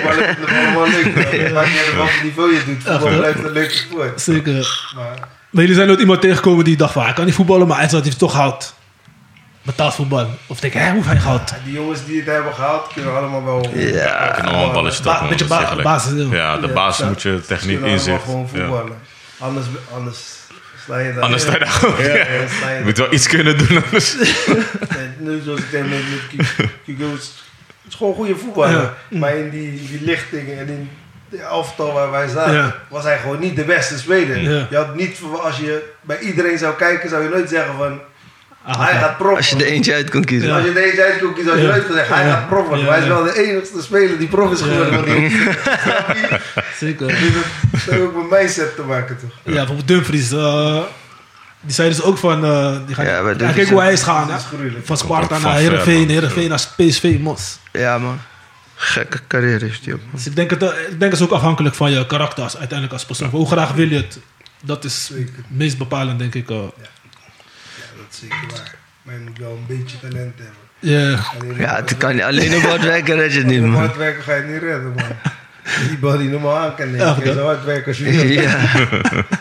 [SPEAKER 4] Maar het is allemaal leuk. man. Het maakt niet uit op welk niveau je doet. Voetbal
[SPEAKER 2] Echt, hè?
[SPEAKER 4] blijft een leuke sport.
[SPEAKER 2] Zeker.
[SPEAKER 4] Maar
[SPEAKER 2] Maar jullie zijn nooit iemand tegengekomen die dacht van, hij kan niet voetballen, maar hij is dat hij toch houdt. Betaald voetbal. Of denk, hè, hoe heeft hij gehaald?
[SPEAKER 4] die jongens die het hebben gehaald, kunnen allemaal wel...
[SPEAKER 5] Ja.
[SPEAKER 3] kunnen allemaal balletjes
[SPEAKER 2] Ba-
[SPEAKER 3] trappen,
[SPEAKER 2] beetje
[SPEAKER 3] dat is
[SPEAKER 2] ba-
[SPEAKER 3] echt lekker.
[SPEAKER 2] basis. Ja.
[SPEAKER 3] Ja, de
[SPEAKER 4] Ja,
[SPEAKER 3] basis
[SPEAKER 4] ja.
[SPEAKER 3] moet je techniek
[SPEAKER 4] kunnen allemaal
[SPEAKER 3] inzicht.
[SPEAKER 4] gewoon
[SPEAKER 3] Ja.
[SPEAKER 4] voetballen. Anders, anders sla je daar...
[SPEAKER 3] Anders sta je daar gewoon.
[SPEAKER 4] Ja,
[SPEAKER 3] ja.
[SPEAKER 4] ja, sla
[SPEAKER 3] Je
[SPEAKER 4] je
[SPEAKER 3] moet wel iets kunnen doen. Anders.
[SPEAKER 4] En nu zoals ik denk met, met Kiko, het is- het is gewoon een goede voetballer. Maar in die, die lichting en in de elftal waar wij zaten,
[SPEAKER 2] Ja.
[SPEAKER 4] was hij gewoon niet de beste speler.
[SPEAKER 2] Ja.
[SPEAKER 4] Je had niet, verwa- als je bij iedereen zou kijken, zou je nooit zeggen van, hij
[SPEAKER 2] Ah, ja.
[SPEAKER 4] gaat prof.
[SPEAKER 5] Als je er eentje uit kon kiezen.
[SPEAKER 4] Als je deze uitkomt, zou je
[SPEAKER 2] Ja.
[SPEAKER 4] nooit zeggen, hij
[SPEAKER 2] Ja.
[SPEAKER 4] gaat prof
[SPEAKER 2] Ja,
[SPEAKER 4] worden. Maar hij is
[SPEAKER 2] ja.
[SPEAKER 4] wel de enigste speler die prof is geworden. Want die, snap je?
[SPEAKER 2] Zeker.
[SPEAKER 4] Dus dat heeft ook met mindset te maken, toch?
[SPEAKER 2] Ja, bijvoorbeeld Dumfries. eh, die zei dus ook van... eh, die gaat,
[SPEAKER 5] Ja, bij
[SPEAKER 2] ja,
[SPEAKER 5] Dumfries
[SPEAKER 2] kijk hoe hij is gegaan.
[SPEAKER 4] Dat
[SPEAKER 2] hè.
[SPEAKER 4] is gruwelijk.
[SPEAKER 2] Van Sparta
[SPEAKER 3] Van
[SPEAKER 2] naar
[SPEAKER 3] ver,
[SPEAKER 2] Heerenveen,
[SPEAKER 3] man.
[SPEAKER 2] Heerenveen naar PSV, Mos.
[SPEAKER 5] Ja, man. Gekke carrière heeft hij op.
[SPEAKER 2] Dus ik denk, het, eh, ik denk het is ook afhankelijk van je karakter als, uiteindelijk als persoon. Hoe graag wil je het? Dat is
[SPEAKER 4] Zeker.
[SPEAKER 2] het meest bepalend, denk ik. eh.
[SPEAKER 4] Ja, dat is zeker waar. Maar je moet wel een beetje talent hebben.
[SPEAKER 2] Ja,
[SPEAKER 4] Alleen-
[SPEAKER 5] Ja, het kan niet. Alleen op hard werken red je het niet,
[SPEAKER 4] Met
[SPEAKER 5] man.
[SPEAKER 4] hard werken ga je het niet redden, man. die body normaal aan kan nemen. Je kan zo hard werken als je wil.
[SPEAKER 5] Ja,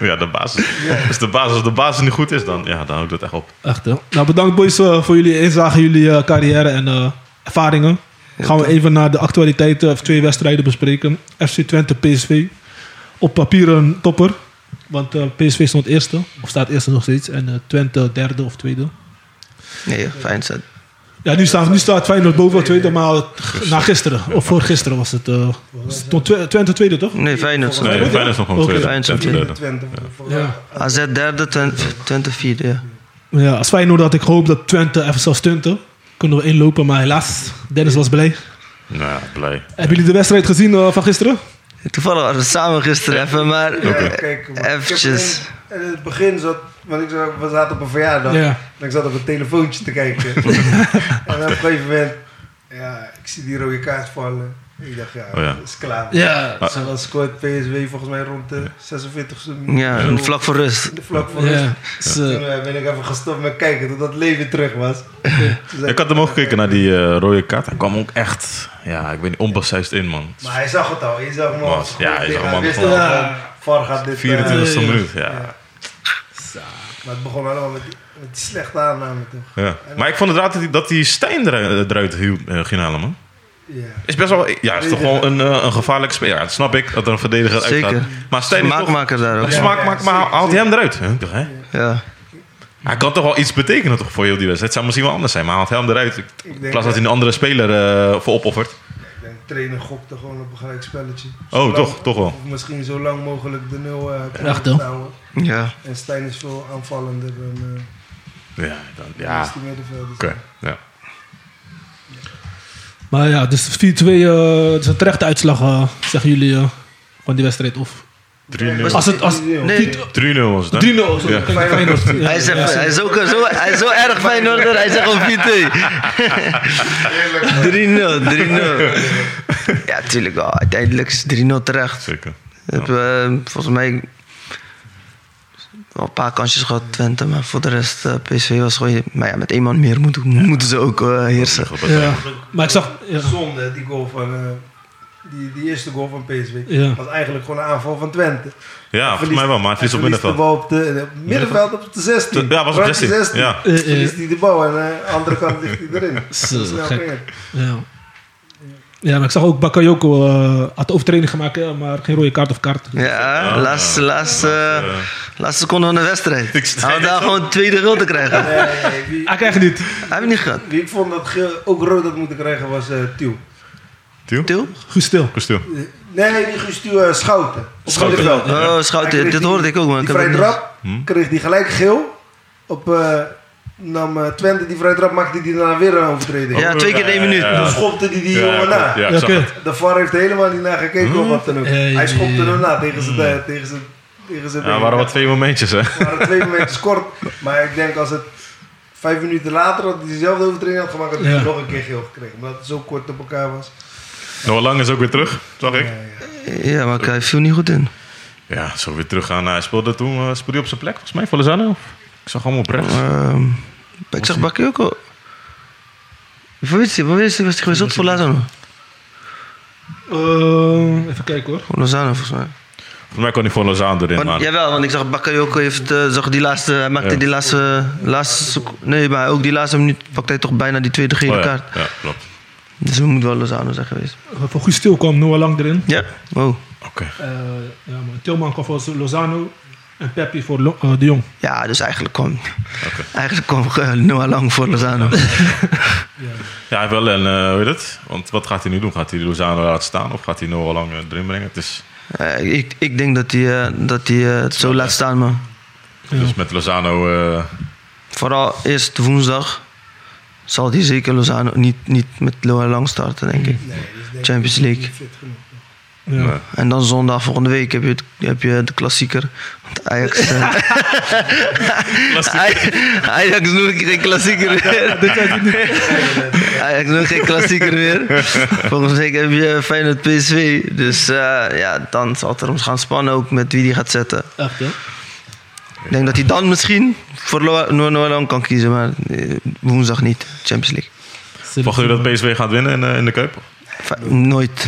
[SPEAKER 3] ja, de basis. Als de basis, als de basis niet goed is, dan, ja, dan houdt dat echt op.
[SPEAKER 2] Echt, hè. Nou, bedankt boys eh, voor jullie inzage, jullie eh, carrière en eh, ervaringen. Gaan we even naar de actualiteiten of twee wedstrijden bespreken. FC Twente, PSV. Op papier een topper. Want eh, PSV stond eerste, of staat eerste nog steeds. En eh, Twente derde of tweede.
[SPEAKER 5] nee, fijn zat.
[SPEAKER 2] Ja, nu staat, nu staat Feyenoord boven tweede, maar g- na gisteren, of voor gisteren was het. eh, stond Twe- Twente tweede, toch?
[SPEAKER 5] Nee, Feyenoord zat.
[SPEAKER 3] Nee, Feyenoord is nog gewoon
[SPEAKER 2] Oké.
[SPEAKER 3] tweede.
[SPEAKER 5] Feyenoord is nog
[SPEAKER 3] Twente
[SPEAKER 5] tweede.
[SPEAKER 3] derde.
[SPEAKER 4] Twente voor-
[SPEAKER 2] Ja.
[SPEAKER 5] AZ derde, Twen- Twente vierde, ja.
[SPEAKER 2] Ja, als Feyenoord had ik gehoopt dat Twente, even zelfs Twente, kunnen we inlopen. Maar helaas, Dennis was blij.
[SPEAKER 3] Nou, ja, blij.
[SPEAKER 2] Hebben jullie de wedstrijd gezien eh, van gisteren?
[SPEAKER 5] Toevallig waren we samen gisteren even, maar
[SPEAKER 4] Ja,
[SPEAKER 5] eh,
[SPEAKER 4] kijk, maar ik heb
[SPEAKER 5] eventjes.
[SPEAKER 4] alleen- In het begin zat, want ik zat, we zaten op een verjaardag.
[SPEAKER 2] Ja.
[SPEAKER 4] En ik zat op een telefoontje te kijken. en op een gegeven moment, ja, ik zie die rode kaart vallen. Ik dacht, ja,
[SPEAKER 3] Oh ja.
[SPEAKER 4] dat is klaar.
[SPEAKER 2] Ja.
[SPEAKER 4] Zo dan scoort PSW volgens mij rond de 46e minuut.
[SPEAKER 5] Ja, een vlak voor rust.
[SPEAKER 4] De vlak voor rust.
[SPEAKER 2] Ja. Dus, eh,
[SPEAKER 4] Toen eh, ben ik even gestopt met kijken tot dat leven terug was. Toen zei
[SPEAKER 3] Ik had hem ook gekeken naar die eh, rode kaart. Hij kwam ook echt, ja, ik weet niet, onbesuist in, man.
[SPEAKER 4] Maar hij zag het al. Hij zag hem al.
[SPEAKER 3] Was- ja, hij zag hem al.
[SPEAKER 4] wist
[SPEAKER 3] Ja.
[SPEAKER 4] al van, VAR gaat dit... eh,
[SPEAKER 3] 24
[SPEAKER 2] Ja.
[SPEAKER 3] e minuut, ja.
[SPEAKER 4] maar het begon allemaal met die, met die slechte aanname toch.
[SPEAKER 3] ja. Maar ik vond het raar dat hij- dat die Stijn eruit, eruit hiel- eh, ging halen, man.
[SPEAKER 4] Ja.
[SPEAKER 3] Is best wel, ja, is toch wel een, eh, een gevaarlijke speler. Ja, dat snap ik, dat er een verdediger uit
[SPEAKER 5] Zeker.
[SPEAKER 3] gaat. Maar Stijn is toch...
[SPEAKER 5] Smaakmaker daar ook.
[SPEAKER 4] Ja.
[SPEAKER 3] Smaak maakt, maar haalt hij hem eruit? Hè? Toch, hè?
[SPEAKER 5] Ja.
[SPEAKER 3] Hij kan toch wel iets betekenen toch, voor heel die wedstrijd. Het zou misschien wel anders zijn, maar haalt hij hem eruit? In
[SPEAKER 4] denk
[SPEAKER 3] plaats dat
[SPEAKER 4] dat-
[SPEAKER 3] hij een andere speler eh, voor opoffert.
[SPEAKER 4] Ik denk, trainer gokte gewoon op een gelijk spelletje.
[SPEAKER 3] Oh, toch, toch wel.
[SPEAKER 4] Of misschien zo lang mogelijk de nul eh
[SPEAKER 2] Echt,
[SPEAKER 4] proberen
[SPEAKER 2] hoor.
[SPEAKER 4] te houden.
[SPEAKER 5] Ja.
[SPEAKER 4] En Stijn is veel aanvallender dan eh
[SPEAKER 3] Ja, dan,
[SPEAKER 4] ja.
[SPEAKER 3] ja.
[SPEAKER 4] die middenvelders.
[SPEAKER 3] Oké, ja.
[SPEAKER 2] maar ja, dus 4-2 eh, is een terechte uitslag, eh, zeggen jullie, eh, van die wedstrijd. Of
[SPEAKER 3] 3-0.
[SPEAKER 2] als het... Als,
[SPEAKER 5] Nee.
[SPEAKER 2] 4-2
[SPEAKER 3] 3-0 was het, hè?
[SPEAKER 2] 3-0, sorry.
[SPEAKER 3] Ja.
[SPEAKER 2] Kijk, Feyenoord. Ja,
[SPEAKER 5] Hij is,
[SPEAKER 2] ja,
[SPEAKER 5] even, hij is ook zo, hij is zo erg Feyenoorder, hij zegt gewoon 4-2. 3-0, 3-0. Ja, tuurlijk wel. Uiteindelijk is 3-0 terecht.
[SPEAKER 3] Zeker.
[SPEAKER 5] Hebben we, eh, volgens mij wel een paar kansjes gehad, Twente. Maar voor de rest, eh, PSV was gewoon... Maar ja, met één man meer moeten, moeten ze ook eh, heersen.
[SPEAKER 2] Ja. Maar ik zag... Ja.
[SPEAKER 4] Zonde, die goal van... eh, die, die eerste goal van PSV
[SPEAKER 2] Ja.
[SPEAKER 4] was eigenlijk gewoon een aanval van Twente.
[SPEAKER 3] Ja, volgens mij wel, maar het is op
[SPEAKER 4] Hij verliest de
[SPEAKER 3] middenveld.
[SPEAKER 4] bal op de, op middenveld op de 16.
[SPEAKER 3] Ja, was op
[SPEAKER 4] Rand
[SPEAKER 3] 16, ja.
[SPEAKER 2] Eh, eh.
[SPEAKER 4] Verliest hij de bal en eh, aan de andere kant ligt hij erin. Zo snel
[SPEAKER 2] gek.
[SPEAKER 4] ging het.
[SPEAKER 2] Ja. ja, maar ik zag ook Bakayoko eh, had overtreding gemaakt, eh, maar geen rode kaart of kaart.
[SPEAKER 5] Ja,
[SPEAKER 3] Ja.
[SPEAKER 5] laatste, laatste, eh, laatste seconde van de
[SPEAKER 3] Ik
[SPEAKER 5] wedstrijd.
[SPEAKER 3] zei
[SPEAKER 5] Hij had daar
[SPEAKER 3] het al.
[SPEAKER 5] gewoon tweede gul te krijgen.
[SPEAKER 4] Nee, nee, wie,
[SPEAKER 2] Hij krijgt Ah, het niet.
[SPEAKER 5] Heb je niet gehad?
[SPEAKER 4] wie ik vond dat geel- ook rood had moeten krijgen was eh Tiel.
[SPEAKER 3] Tiel?
[SPEAKER 5] Til?
[SPEAKER 2] Goed stil.
[SPEAKER 3] Kostil.
[SPEAKER 4] Nee, nee, niet gestuurd, eh, Schouten. Op
[SPEAKER 3] Schouten. Hm?
[SPEAKER 4] middenveld.
[SPEAKER 5] Oh,
[SPEAKER 4] Hij kreeg
[SPEAKER 5] schouten, dit
[SPEAKER 4] die-
[SPEAKER 5] hoorde ik ook, man. Ik
[SPEAKER 4] Die
[SPEAKER 5] heb
[SPEAKER 4] vrij
[SPEAKER 5] het niet-
[SPEAKER 4] trap kreeg hij gelijk geel. Op eh, nam eh, Twente die vrij trap, maakte hij daarna weer een overtreding.
[SPEAKER 5] Ja, twee keer in één
[SPEAKER 3] Oh, Ja,
[SPEAKER 5] minuut.
[SPEAKER 3] ja,
[SPEAKER 4] Toen
[SPEAKER 3] ja.
[SPEAKER 4] schopte hij die
[SPEAKER 3] Ja,
[SPEAKER 4] jongen na.
[SPEAKER 3] klopt. Ja, ik zag
[SPEAKER 2] Oké.
[SPEAKER 3] het.
[SPEAKER 4] De VAR heeft helemaal niet naar gekeken of wat dan ook.
[SPEAKER 2] Eh,
[SPEAKER 4] Hij schopte
[SPEAKER 2] eh,
[SPEAKER 4] hem na tegen zijn... eh, tegen zijn, tegen zijn
[SPEAKER 3] Ja, er waren wat twee momentjes, hè?
[SPEAKER 4] Het waren twee momentjes kort. Maar ik denk als het vijf minuten later had hij dezelfde overtreding had gemaakt, had hij
[SPEAKER 2] Ja.
[SPEAKER 4] nog een keer geel gekregen. Omdat het zo kort op elkaar was.
[SPEAKER 3] Noah Lang is ook weer terug, zag ik.
[SPEAKER 5] Ja, maar hij viel niet goed in.
[SPEAKER 3] Ja, zo weer teruggaan. Hij speelde toen eh, speelde hij op zijn plek, volgens mij, voor Lozano. Ik zag hem oprecht.
[SPEAKER 5] Ehm, ik zag Bakkie ook al. Voor wie is die? Voor wie is die? Was die gewisseld? Voor Lozano?
[SPEAKER 2] Eh, even kijken hoor.
[SPEAKER 5] Voor Lozano volgens mij.
[SPEAKER 3] Volgens mij kon hij voor Lozano erin,
[SPEAKER 5] Want,
[SPEAKER 3] maar...
[SPEAKER 5] jawel, want ik zag Bakayoko heeft, eh, zag die laatste, hij maakte
[SPEAKER 3] Ja.
[SPEAKER 5] die laatste, laatste sec- nee, maar ook die laatste minuut pakte hij toch bijna die tweede gele
[SPEAKER 3] Oh, ja.
[SPEAKER 5] kaart.
[SPEAKER 3] ja, klopt.
[SPEAKER 5] Dus we moeten wel Lozano zijn geweest.
[SPEAKER 2] Eh, Voor goed stil kwam Noah Lang erin.
[SPEAKER 5] Ja, wow.
[SPEAKER 3] Oké.
[SPEAKER 2] Eh, ja, maar Tilman kwam voor Lozano en Peppi voor Lo- eh, De Jong.
[SPEAKER 5] Ja, dus eigenlijk kwam, eigenlijk kwam eh, Noah Lang voor Lozano.
[SPEAKER 3] Ja, hij wel. En eh, hoe heet het? Want wat gaat hij nu doen? Gaat hij Lozano laten staan of gaat hij Noah Lang eh, erin brengen? Het is
[SPEAKER 5] Eh, ik, ik denk dat hij, eh, dat hij eh, het zo laat staan, man.
[SPEAKER 3] dus met Lozano... eh,
[SPEAKER 5] Vooral eerst woensdag zal hij zeker Lozano niet, niet met Noah Lang starten, denk ik.
[SPEAKER 4] Nee, dus denk ik
[SPEAKER 5] Champions
[SPEAKER 4] niet
[SPEAKER 5] League.
[SPEAKER 4] fit genoeg.
[SPEAKER 2] Ja.
[SPEAKER 3] nee.
[SPEAKER 5] En dan zondag volgende week heb je, het- heb je de klassieker. Want Ajax. eh, Aj- Ajax noemt geen klassieker meer. Ajax noemt geen klassieker meer. Volgens mij heb je Feyenoord PSV. Dus eh, ja, dan zal het erom gaan spannen ook met wie die gaat zetten.
[SPEAKER 2] Echt hè?
[SPEAKER 5] Ik denk dat hij dan misschien voor Lo- Noor- Noorland kan kiezen, maar eh, woensdag niet. Champions League.
[SPEAKER 3] Wachten jullie dat PSV gaat winnen in, eh, in de Kuip?
[SPEAKER 5] Fe- nooit.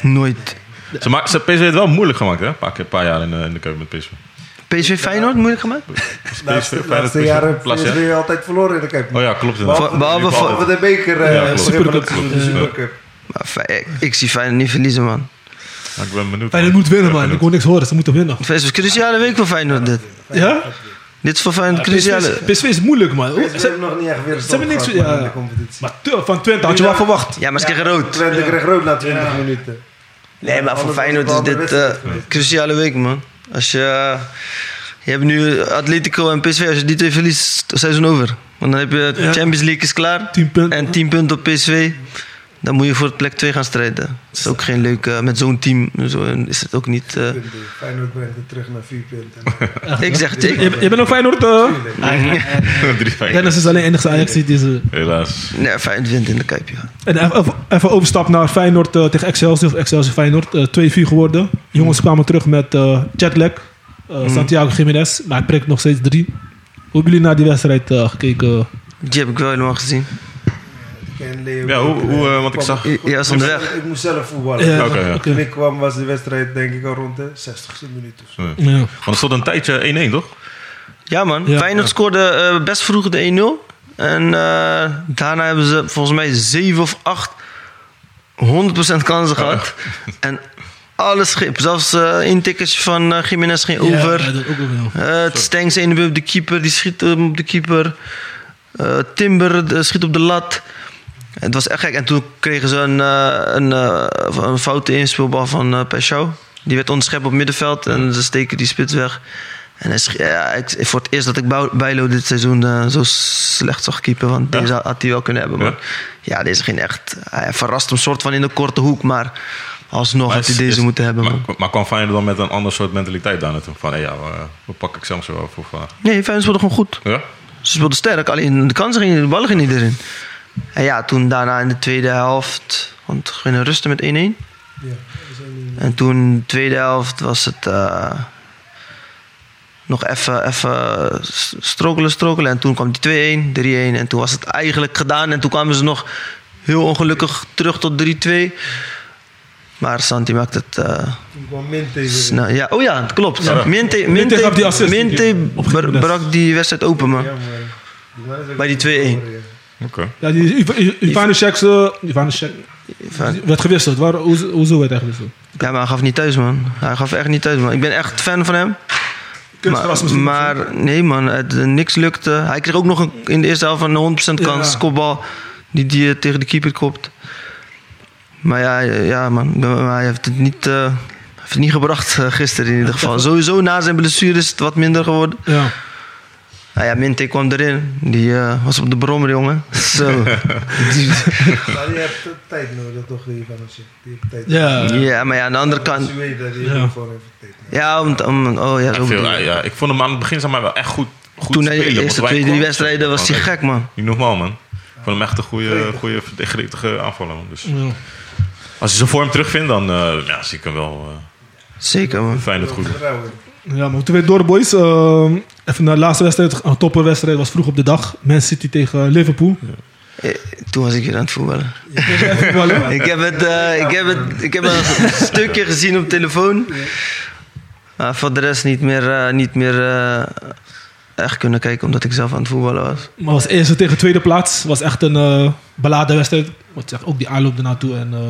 [SPEAKER 5] Nooit.
[SPEAKER 3] Ze, maak, ze PSV heeft het wel moeilijk gemaakt, hè? Een paar, keer- een paar jaar in, de- in de keuken met PSV.
[SPEAKER 5] PSV Feyenoord, moeilijk gemaakt?
[SPEAKER 3] PSV,
[SPEAKER 4] Laatste,
[SPEAKER 3] Feyenoord,
[SPEAKER 4] laatste
[SPEAKER 3] PSV,
[SPEAKER 4] jaren heeft
[SPEAKER 3] Plas, ja?
[SPEAKER 4] PSV altijd verloren in de Cup.
[SPEAKER 3] Oh ja, klopt. inderdaad.
[SPEAKER 5] Voor- behalve
[SPEAKER 3] Nu
[SPEAKER 5] voor-
[SPEAKER 3] valt
[SPEAKER 4] Wat
[SPEAKER 3] het.
[SPEAKER 4] de beker, eh
[SPEAKER 3] Ja, klopt.
[SPEAKER 4] Supercup.
[SPEAKER 2] Supercup.
[SPEAKER 4] de Supercup.
[SPEAKER 5] Maar Fe- ik, ik zie Feyenoord niet verliezen, man.
[SPEAKER 3] Maar Ik ben benieuwd.
[SPEAKER 2] Feyenoord moet winnen, man. Ik kon niks horen. Ze moeten winnen.
[SPEAKER 5] Het is cruciale week voor Feyenoord, dit.
[SPEAKER 2] Ja?
[SPEAKER 5] Dit is voor Feyenoord
[SPEAKER 2] PSV
[SPEAKER 5] cruciale...
[SPEAKER 2] is- PSV is moeilijk, man.
[SPEAKER 4] Ze hebben nog niet echt weer
[SPEAKER 2] Ze hebben niks-
[SPEAKER 4] gehad, man,
[SPEAKER 2] ja.
[SPEAKER 4] in de competitie.
[SPEAKER 2] Maar te- van Twente had je wel verwacht.
[SPEAKER 5] Ja, maar ze krijgen rood.
[SPEAKER 4] Twente kreeg rood na 20 minuten.
[SPEAKER 5] Nee, maar voor
[SPEAKER 4] Anders
[SPEAKER 5] Feyenoord
[SPEAKER 4] was
[SPEAKER 5] is
[SPEAKER 4] het wel
[SPEAKER 5] dit
[SPEAKER 4] een
[SPEAKER 5] eh
[SPEAKER 4] wedstrijd geweest.
[SPEAKER 5] cruciale week, man. Als je... eh, je hebt nu Atletico en PSV. Als je die twee verliest, is het seizoen over. Want dan heb je...
[SPEAKER 2] Ja.
[SPEAKER 5] Champions League is klaar.
[SPEAKER 2] 10 punten.
[SPEAKER 5] En 10 punten op PSV. Dan moet je voor plek 2 gaan strijden. Het is ook geen leuk... eh, met zo'n team zo, is het ook niet... eh,
[SPEAKER 4] Punten. Feyenoord brengt het terug naar 4 punten.
[SPEAKER 5] ik zeg het.
[SPEAKER 2] Je,
[SPEAKER 5] ik-
[SPEAKER 2] je bent ook Feyenoord. eh?
[SPEAKER 3] Drie, vijf.
[SPEAKER 2] Dennis is alleen enigste Ajax die deze...
[SPEAKER 3] Helaas.
[SPEAKER 5] Nee, Feyenoord wint in de Kuip, ja.
[SPEAKER 2] En even, even overstap naar Feyenoord eh, tegen Excelsior. Excelsior Feyenoord. eh, 2-4 geworden. Jongens kwamen terug met eh jetlag. Eh,
[SPEAKER 3] Mhm.
[SPEAKER 2] Santiago Jiménez. Maar hij prikt nog steeds 3. Hoe hebben jullie naar die wedstrijd eh, gekeken?
[SPEAKER 5] Die heb ik wel helemaal gezien.
[SPEAKER 4] En Leo
[SPEAKER 3] Ja, hoe, hoe, eh, want ik zag...
[SPEAKER 5] Je, je was
[SPEAKER 4] Ik moest-
[SPEAKER 5] onderweg.
[SPEAKER 4] Ik moest zelf voetballen.
[SPEAKER 2] Ja,
[SPEAKER 3] Oké, ja.
[SPEAKER 2] oké.
[SPEAKER 4] Toen ik kwam was de wedstrijd denk ik al rond de 60ste minuut of zo.
[SPEAKER 3] Sorry.
[SPEAKER 2] Ja.
[SPEAKER 3] Want er stond een tijdje 1-1, toch?
[SPEAKER 5] Ja, man.
[SPEAKER 2] Ja.
[SPEAKER 5] Feyenoord scoorde eh, best vroeg de 1-0. En eh, daarna hebben ze volgens mij 7 of 8 100% kansen gehad. En alles schip. Zelfs eh één tikkertje van eh Jiménez ging over.
[SPEAKER 2] Ja, dat ook wel.
[SPEAKER 5] Eh, het Stengs één weer op de keeper, die schiet hem op de keeper. Eh, Timber eh, schiet op de lat. Het was echt gek. En toen kregen ze een, eh, een, eh, een foute inspeelbal van eh Pechou. Die werd onderschept op middenveld en ze steken die spits weg. En hij schi- ja, ik, voor het eerst dat ik Bou- Bijlo dit seizoen eh, zo slecht zag keeper. Want deze had hij wel kunnen hebben. Maar
[SPEAKER 3] Ja.
[SPEAKER 5] ja, deze ging echt... Hij verrast hem soort van in de korte hoek. Maar alsnog had hij
[SPEAKER 3] is-
[SPEAKER 5] deze
[SPEAKER 3] is-
[SPEAKER 5] moeten hebben.
[SPEAKER 3] Maar,
[SPEAKER 5] Man.
[SPEAKER 3] maar kwam Feyenoord dan met een ander soort mentaliteit daar naartoe? Van, hé, ja, we, we pakken Excelsior wel voor vandaag.
[SPEAKER 5] Nee, Feyenoord speelde gewoon goed.
[SPEAKER 3] Ja?
[SPEAKER 5] Ze speelden sterk, alleen de kansen gingen, de ballen gingen niet erin. En ja, toen daarna in de tweede helft, want we gingen rusten met 1-1.
[SPEAKER 4] Ja, we zijn in-
[SPEAKER 5] En toen in de tweede helft was het eh, nog even, even s- strokelen, strokelen. En toen kwam die 2-1, 3-1 en toen was het eigenlijk gedaan. En toen kwamen ze nog heel ongelukkig terug tot 3-2. Maar Santi maakte het... eh,
[SPEAKER 4] Toen kwam Min tegen.
[SPEAKER 5] snel. ja, oh ja, het klopt.
[SPEAKER 3] Ja.
[SPEAKER 5] Minte,
[SPEAKER 2] Minte
[SPEAKER 5] Minte,
[SPEAKER 2] gaf die assist.
[SPEAKER 5] Minte
[SPEAKER 2] Op
[SPEAKER 5] br-
[SPEAKER 2] Jiménez.
[SPEAKER 5] brak die wedstrijd open, man.
[SPEAKER 4] Ja, maar- maar dat is ook
[SPEAKER 5] Bij die
[SPEAKER 4] niet
[SPEAKER 5] 2-1.
[SPEAKER 4] verloren, ja.
[SPEAKER 3] Oké.
[SPEAKER 2] Ja, die Iv- Iv- Ivanusek, eh, Ivanusek
[SPEAKER 5] Van-
[SPEAKER 2] werd gewisseld. Waar, hoezo, hoezo werd hij gewisseld?
[SPEAKER 5] Ja, maar hij gaf niet thuis, man. Hij gaf echt niet thuis, man. Ik ben echt fan van hem. Maar,
[SPEAKER 2] Kunstgras misschien.
[SPEAKER 5] maar nee, man. Het, eh, niks lukte. Hij kreeg ook nog een, in de eerste helft een 100% kans.
[SPEAKER 2] Ja.
[SPEAKER 5] Kopbal die die eh, tegen de keeper kopt. Maar ja, eh, ja man. Ik ben- maar Hij heeft het niet, eh, hij heeft het niet gebracht eh, gisteren in ieder geval. Sowieso na zijn blessure is het wat minder geworden.
[SPEAKER 2] Ja.
[SPEAKER 5] Nou ja, Minte kwam erin. Die eh, was op de brommer, jongen. Zo. Die-
[SPEAKER 4] Maar die heeft eh, tijd nodig toch, die van ons. Die heeft tijd
[SPEAKER 2] Ja.
[SPEAKER 5] ja, maar ja, aan de andere
[SPEAKER 4] nodig.
[SPEAKER 5] kant.
[SPEAKER 4] Als je weet dat die
[SPEAKER 2] Ja.
[SPEAKER 4] gewoon even tijd nodig.
[SPEAKER 5] Ja, om, om- oh ja, zo
[SPEAKER 3] Ja, veel,
[SPEAKER 5] bedoel
[SPEAKER 3] ja,
[SPEAKER 5] je.
[SPEAKER 3] ja, ik vond hem aan het begin zeg maar, wel echt goed, goed
[SPEAKER 5] Toen hij
[SPEAKER 3] spelen.
[SPEAKER 5] de
[SPEAKER 3] want
[SPEAKER 5] eerste
[SPEAKER 3] wij
[SPEAKER 5] twee, drie
[SPEAKER 3] kwamen-
[SPEAKER 5] wedstrijden was hij
[SPEAKER 3] Oh, nee,
[SPEAKER 5] gek, man.
[SPEAKER 3] Niet normaal, man. Ik vond hem echt een goede, goede gretige aanvaller. man. Dus
[SPEAKER 2] Ja.
[SPEAKER 3] als hij zijn vorm terugvindt, dan eh, ja, zie ik hem wel eh
[SPEAKER 5] Zeker, man.
[SPEAKER 3] fijn dat goed doen.
[SPEAKER 4] Vertrouwen.
[SPEAKER 2] Ja, maar toen weer door, boys. Ehm, even naar de laatste wedstrijd. Een topperwedstrijd was vroeg op de dag. Man City tegen Liverpool.
[SPEAKER 5] Eh, Toen was ik weer aan het voetballen.
[SPEAKER 2] Even wel, hè?
[SPEAKER 5] Ik heb het, eh, ik heb het, ik heb een stukje gezien op telefoon. Maar voor de rest niet meer, eh, niet meer eh, echt kunnen kijken omdat ik zelf aan het voetballen was.
[SPEAKER 2] Maar was eerste tegen tweede plaats. Was echt een eh beladen wedstrijd. Want zeg, ook die aanloop ernaartoe. En eh,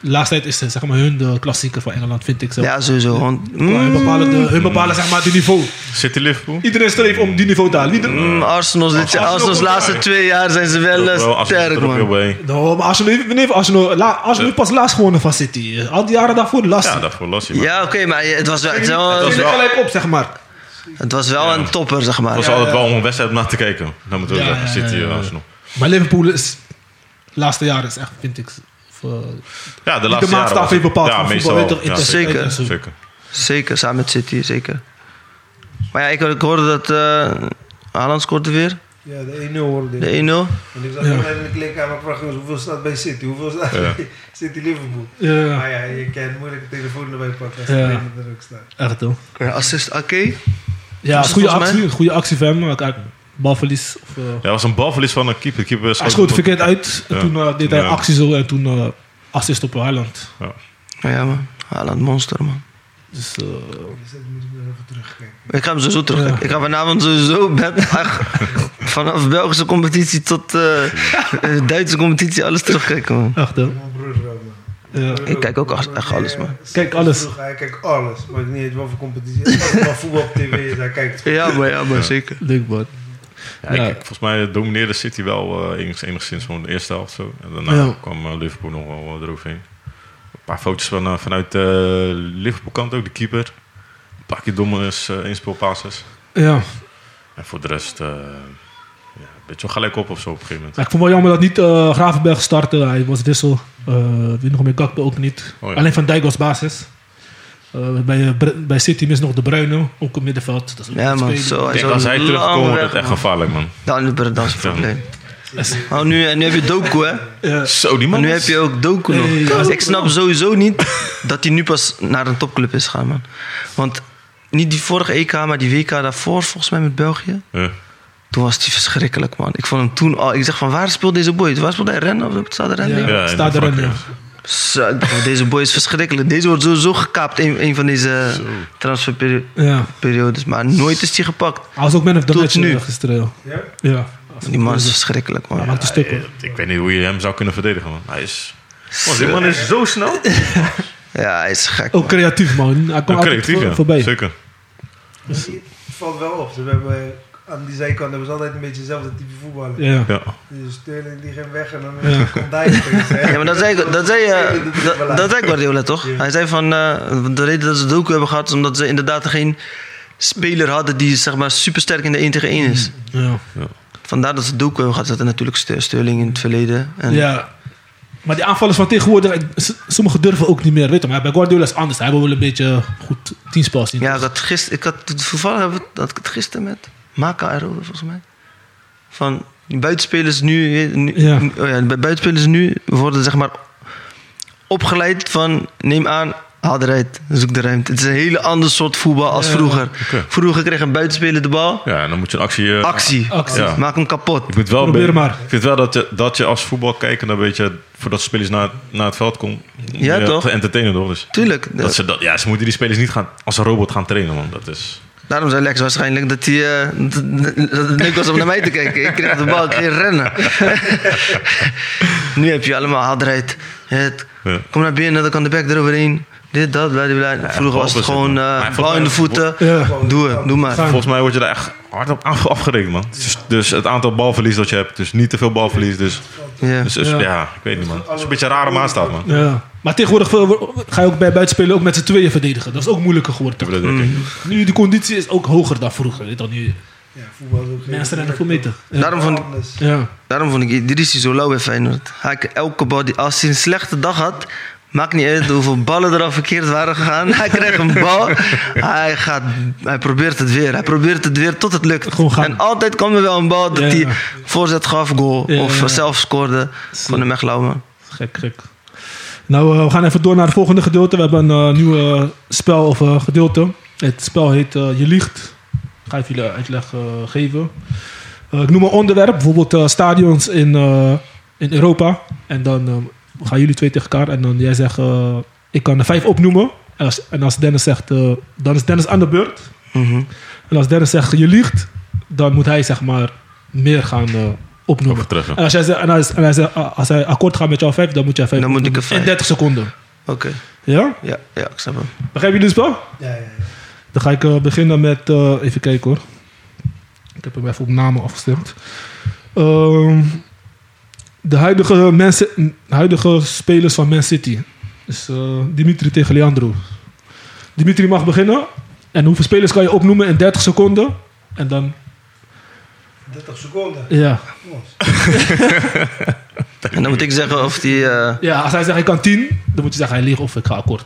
[SPEAKER 2] de laatste tijd is eh, zeg maar, hun de klassieker van Engeland, vind ik zo.
[SPEAKER 5] Ja, sowieso. want-
[SPEAKER 2] Maar Hun
[SPEAKER 5] mm,
[SPEAKER 2] bepalen, de, hun bepalen zeg maar, die niveau.
[SPEAKER 3] City Liverpool?
[SPEAKER 2] Iedereen streeft om die niveau te halen. Ieder-
[SPEAKER 5] mm, Arsenal, dit,
[SPEAKER 3] Arsenal
[SPEAKER 5] Arsenal's
[SPEAKER 3] goed,
[SPEAKER 5] laatste
[SPEAKER 3] ja.
[SPEAKER 5] twee jaar zijn ze wel eh,
[SPEAKER 3] Wel, als hij
[SPEAKER 5] sterk,
[SPEAKER 3] er ook weer
[SPEAKER 5] man.
[SPEAKER 3] bij-
[SPEAKER 2] Nou, maar Arsenal heeft, nee, Arsenal, nou la, Arsenal heeft pas laatst gewonnen van City. eh, Al die jaren daarvoor, de laatste.
[SPEAKER 3] Ja, daarvoor las hij. maar
[SPEAKER 5] Ja, oké, maar het was wel, het was wel,
[SPEAKER 2] Die
[SPEAKER 3] was
[SPEAKER 2] zitten
[SPEAKER 3] wel-
[SPEAKER 2] gelijk op, zeg maar.
[SPEAKER 5] het was wel een topper, zeg
[SPEAKER 3] Het was
[SPEAKER 5] maar.
[SPEAKER 3] altijd wel om een wedstrijd om naar te kijken. Dan moeten we
[SPEAKER 2] Ja,
[SPEAKER 3] zeggen,
[SPEAKER 2] ja, ja,
[SPEAKER 3] City
[SPEAKER 2] ja.
[SPEAKER 3] en Arsenal.
[SPEAKER 2] Maar Liverpool is... laatste jaren is echt, vind ik... eh, voor-
[SPEAKER 3] Ja, de
[SPEAKER 2] Die de
[SPEAKER 3] laatste jaren
[SPEAKER 2] maatstaf
[SPEAKER 3] was
[SPEAKER 2] heeft
[SPEAKER 3] het-
[SPEAKER 2] bepaald.
[SPEAKER 3] Ja,
[SPEAKER 2] van
[SPEAKER 3] meestal
[SPEAKER 2] voetbal, weet toch,
[SPEAKER 3] wel. Ja,
[SPEAKER 5] zeker.
[SPEAKER 2] intensiteit en zo.
[SPEAKER 3] Zeker.
[SPEAKER 5] Zeker, samen met City, zeker. Maar ja, ik, ik hoorde dat eh Haaland scoorde weer,
[SPEAKER 4] Ja, de 1-0 hoorde ik.
[SPEAKER 5] de 1-0.
[SPEAKER 4] En ik zag
[SPEAKER 2] Ja.
[SPEAKER 4] hem in de klik aan mijn vraag, jongens, hoeveel staat bij City? Hoeveel staat
[SPEAKER 3] Ja.
[SPEAKER 4] bij City Liverpool?
[SPEAKER 2] Ja,
[SPEAKER 4] Maar ja, je kan moeilijk de telefoon erbij pakken als
[SPEAKER 2] Ja.
[SPEAKER 4] de trainer er ook staat.
[SPEAKER 2] echt hoor.
[SPEAKER 5] Een Assist Ake.
[SPEAKER 2] Ja,
[SPEAKER 5] Was het
[SPEAKER 2] goede
[SPEAKER 5] volgens mij?
[SPEAKER 2] actie, goede actie van hem. maar Kijk, balverlies. Of, eh,
[SPEAKER 3] Ja, was een balverlies van een keeper. De keeper
[SPEAKER 2] hij schoot verkeerd uit. En
[SPEAKER 3] Ja.
[SPEAKER 2] toen eh, deed hij
[SPEAKER 3] Ja.
[SPEAKER 2] actie zo en toen eh, assist op Haaland.
[SPEAKER 5] Ja, man. Haaland monster, man.
[SPEAKER 2] Dus, eh,
[SPEAKER 4] Dus dat moet ik nog even terugkijken.
[SPEAKER 5] Ik ga hem sowieso terug.
[SPEAKER 2] Ja.
[SPEAKER 5] Ik ga vanavond sowieso bed. Ach, vanaf Belgische competitie tot eh, eh, Duitse competitie, alles terugkijken, man.
[SPEAKER 2] achter.
[SPEAKER 4] Mijn broer ook, man.
[SPEAKER 2] Ja.
[SPEAKER 5] Ik kijk ook echt- echt alles, man.
[SPEAKER 2] Kijk alles.
[SPEAKER 4] Hij kijkt alles. Maar ik niet weet wat voor competitie. Als er maar voetbal op tv is, hij kijkt het.
[SPEAKER 5] Ja, maar ja, maar zeker.
[SPEAKER 2] Leuk, man.
[SPEAKER 3] Ja,
[SPEAKER 2] Ja.
[SPEAKER 3] ik- volgens mij domineerde City wel eh, enigszins, enigszins gewoon de eerste helft. Zo. En daarna
[SPEAKER 2] Ja.
[SPEAKER 3] kwam eh, Liverpool nog wel eh, eroverheen. Een paar foto's van, eh, vanuit de Liverpool kant ook, de keeper. Een paar keer domme eh inspeelpasses.
[SPEAKER 2] Ja.
[SPEAKER 3] En voor de rest, eh, ja, een beetje wel gelijk op of zo op een gegeven moment.
[SPEAKER 2] Maar ik vond wel jammer dat niet eh, Gravenberg startte. Hij was wissel. Eh weet nog meer Gakpo ook niet.
[SPEAKER 3] Oh ja.
[SPEAKER 2] Alleen Van Dijk was basis. Eh, bij, bij City mis nog De Bruyne, ook op middenveld. Dat is ook
[SPEAKER 5] Ja,
[SPEAKER 2] een
[SPEAKER 5] man.
[SPEAKER 2] speler.
[SPEAKER 5] Zo,
[SPEAKER 3] Ik denk
[SPEAKER 5] zo
[SPEAKER 3] als hij
[SPEAKER 5] lang
[SPEAKER 3] terugkomt, wordt
[SPEAKER 5] weg,
[SPEAKER 3] het echt
[SPEAKER 5] man.
[SPEAKER 3] gevaarlijk, man.
[SPEAKER 5] Dan, dat is het probleem. Maar nu, en nu heb je Doku, hè?
[SPEAKER 2] Ja.
[SPEAKER 3] Zo, die
[SPEAKER 5] Maar
[SPEAKER 3] man.
[SPEAKER 5] nu heb je ook Doku nog.
[SPEAKER 2] Hey, dus- Eh, ja.
[SPEAKER 5] ik snap sowieso niet dat hij nu pas naar een topclub is gaan, man. Want niet die vorige EK, maar die WK daarvoor, volgens mij met België.
[SPEAKER 3] Ja.
[SPEAKER 5] Toen was hij verschrikkelijk, man. Ik vond hem toen al... Ik zeg van, waar speelt deze boy? Waar speelde hij? Rennen? Of het staat er Rennen?
[SPEAKER 2] Ja,
[SPEAKER 3] Ja,
[SPEAKER 2] staat
[SPEAKER 3] in de
[SPEAKER 2] erin. Ja.
[SPEAKER 3] vakken.
[SPEAKER 5] Zo, ik dacht, Deze boy is verschrikkelijk. Deze wordt sowieso gekaapt, een, een van deze transferperiodes.
[SPEAKER 2] Ja.
[SPEAKER 5] Maar nooit is hij gepakt.
[SPEAKER 2] Hij was ook man of the
[SPEAKER 5] Tot
[SPEAKER 2] match
[SPEAKER 5] nu.
[SPEAKER 2] eh, gisteren.
[SPEAKER 4] Ja?
[SPEAKER 2] Ja.
[SPEAKER 5] Die man is verschrikkelijk,
[SPEAKER 2] Hij
[SPEAKER 5] man.
[SPEAKER 2] maakt een stuk. hoor.
[SPEAKER 3] eh, Ik weet niet hoe je hem zou kunnen verdedigen, man. Hij is... Man, die man is zo snel.
[SPEAKER 5] Ja, hij is gek,
[SPEAKER 2] Ook creatief, man. Hij kwam
[SPEAKER 3] Een
[SPEAKER 2] altijd
[SPEAKER 3] creatief,
[SPEAKER 2] voor-
[SPEAKER 3] ja.
[SPEAKER 2] voorbij.
[SPEAKER 3] Zeker.
[SPEAKER 4] Het valt wel op. Ze hebben, eh, aan die zijkant hebben ze altijd een beetje hetzelfde type voetballer.
[SPEAKER 2] Ja.
[SPEAKER 3] Ja.
[SPEAKER 4] Dus Sterling die ging weg en dan
[SPEAKER 2] Ja.
[SPEAKER 4] komt hij terug, hè.
[SPEAKER 5] Ja, maar dat zei, dat zei, eh, dat, dat zei Guardiola toch?
[SPEAKER 4] Ja.
[SPEAKER 5] Hij zei van eh, de reden dat ze Doku hebben gehad is omdat ze inderdaad geen speler hadden die zeg maar supersterk in de 1 tegen 1 is.
[SPEAKER 2] Ja.
[SPEAKER 5] Vandaar dat ze Doku hebben gehad. Ze hadden natuurlijk Ster- Sterling in het verleden. En
[SPEAKER 2] Ja. Maar die aanvallers van tegenwoordig, eh, s- sommigen durven ook niet meer. Weet je, maar bij Guardiola is het anders. Hij wil wel een beetje goed teamspel zien.
[SPEAKER 5] Ja, ik had gisteren, ik had toevallig hebben we- had ik het gisteren met Maka erover volgens mij. Van die buitenspelers nu, nu
[SPEAKER 2] Ja.
[SPEAKER 5] Oh ja, bij buitenspelers nu worden zeg maar opgeleid van neem aan, haal de ruit, zoek de ruimte. Het is een hele ander soort voetbal als
[SPEAKER 2] Ja.
[SPEAKER 5] vroeger.
[SPEAKER 3] Oké.
[SPEAKER 5] Vroeger kreeg een buitenspeler de bal,
[SPEAKER 3] Ja, en dan moet je een actie... eh,
[SPEAKER 5] actie,
[SPEAKER 2] Actie.
[SPEAKER 3] Ja.
[SPEAKER 5] maak hem kapot.
[SPEAKER 3] Ik vind wel,
[SPEAKER 2] Probeer
[SPEAKER 3] be-
[SPEAKER 2] maar.
[SPEAKER 3] Ik vind wel dat je, dat je als voetbalkijker een beetje voordat spelers naar, naar het veld komen,
[SPEAKER 5] Ja, toch?
[SPEAKER 3] te entertainen door. Dus
[SPEAKER 5] Tuurlijk.
[SPEAKER 3] dat ze dat, ja, ze moeten die spelers niet gaan als een robot gaan trainen, man. Dat is.
[SPEAKER 5] Daarom zei Lex waarschijnlijk dat, hij, eh, dat- dat het leuk was om naar mij te kijken. Ik kreeg de bal, ik ging rennen. nu heb je allemaal hardheid. Het,
[SPEAKER 3] Ja.
[SPEAKER 5] Kom naar binnen, dan kan de bek eroverheen. Dit, dat, blablabla. Vroeger
[SPEAKER 3] bal
[SPEAKER 5] was het
[SPEAKER 3] bezit,
[SPEAKER 5] gewoon
[SPEAKER 3] man. Maar
[SPEAKER 5] eh
[SPEAKER 3] hij
[SPEAKER 5] bal in de
[SPEAKER 3] vond-
[SPEAKER 5] voeten.
[SPEAKER 2] Ja.
[SPEAKER 5] Doe het, doe maar.
[SPEAKER 2] Gaan.
[SPEAKER 3] Volgens mij word je daar echt hard op af- afgerekend, man. Dus, dus het aantal balverlies dat je hebt, dus niet te veel balverlies. Dus,
[SPEAKER 5] Ja.
[SPEAKER 3] dus, dus-
[SPEAKER 2] Ja.
[SPEAKER 3] ja. ik weet niet, man. Het is een beetje een rare maatstaat, man.
[SPEAKER 2] Ja. Maar tegenwoordig eh, ga je ook bij buitenspelen ook met z'n tweeën verdedigen. Dat is ook moeilijker geworden.
[SPEAKER 3] Ik
[SPEAKER 2] toch?
[SPEAKER 3] heb dat ook, denk ik.
[SPEAKER 2] Nu, de conditie is ook hoger dan vroeger. Weet je dan nu,
[SPEAKER 4] Ja, voetbal is ook geen-
[SPEAKER 2] mensen rennen veel meter. Ja.
[SPEAKER 5] Daarom vond, ik-
[SPEAKER 4] Anders.
[SPEAKER 2] Ja.
[SPEAKER 5] daarom vond ik Idrissi zo lauw bij Feyenoord. Hij had elke bal, die, als hij een slechte dag had... Maakt niet uit hoeveel ballen er al verkeerd waren gegaan. Hij kreeg een bal. Hij, gaat, hij probeert het weer. Hij probeert het weer tot het lukt.
[SPEAKER 2] Gewoon gaan.
[SPEAKER 5] En altijd kwam er wel een bal dat
[SPEAKER 2] Ja.
[SPEAKER 5] hij voorzet gaf, goal.
[SPEAKER 2] Ja,
[SPEAKER 5] of
[SPEAKER 2] ja.
[SPEAKER 5] zelf scoorde. Ik vond hem echt lauw, man.
[SPEAKER 2] Gek, gek. Nou, eh, we gaan even door naar het volgende gedeelte. We hebben een nieuw spel of eh, gedeelte. Het spel heet eh, Je Liegt. Ik ga even jullie uitleg eh, geven. Eh, ik noem een onderwerp, bijvoorbeeld eh, stadions in, eh, in Europa. En dan eh, gaan jullie twee tegen elkaar. En dan jij zegt, eh, ik kan er vijf opnoemen. En als, en als Dennis zegt, eh, dan is Dennis aan de beurt.
[SPEAKER 5] Mhm.
[SPEAKER 2] En als Dennis zegt, je liegt, dan moet hij zeg maar meer gaan eh, opnoemen.
[SPEAKER 3] Overtreffen.
[SPEAKER 2] En als, jij, zegt- en als, en hij zegt, ah, als hij akkoord gaat met jouw vijf, dan moet jij vijf
[SPEAKER 5] Dan moet ik
[SPEAKER 2] opnoemen.
[SPEAKER 5] er vijf.
[SPEAKER 2] In 30 seconden.
[SPEAKER 5] Oké,
[SPEAKER 2] Ja?
[SPEAKER 5] ja, ja, ik snap hem.
[SPEAKER 2] Begrijpen jullie het spel?
[SPEAKER 4] Ja, ja, ja.
[SPEAKER 2] dus Dan ga ik eh, beginnen met, eh, even kijken hoor. Ik heb hem even op namen afgestemd. Ehm, de huidige, Man Ci- de huidige spelers van Man City. Dus eh, Dimitri tegen Leandro. Dimitri mag beginnen. En hoeveel spelers kan je opnoemen in 30 seconden? En dan,
[SPEAKER 4] 30 seconden.
[SPEAKER 2] ja.
[SPEAKER 4] Jongens.
[SPEAKER 5] En dan moet ik zeggen of die... eh,
[SPEAKER 2] Ja, als hij zegt ik kan 10, dan moet je zeggen hij liegt of ik ga akkoord.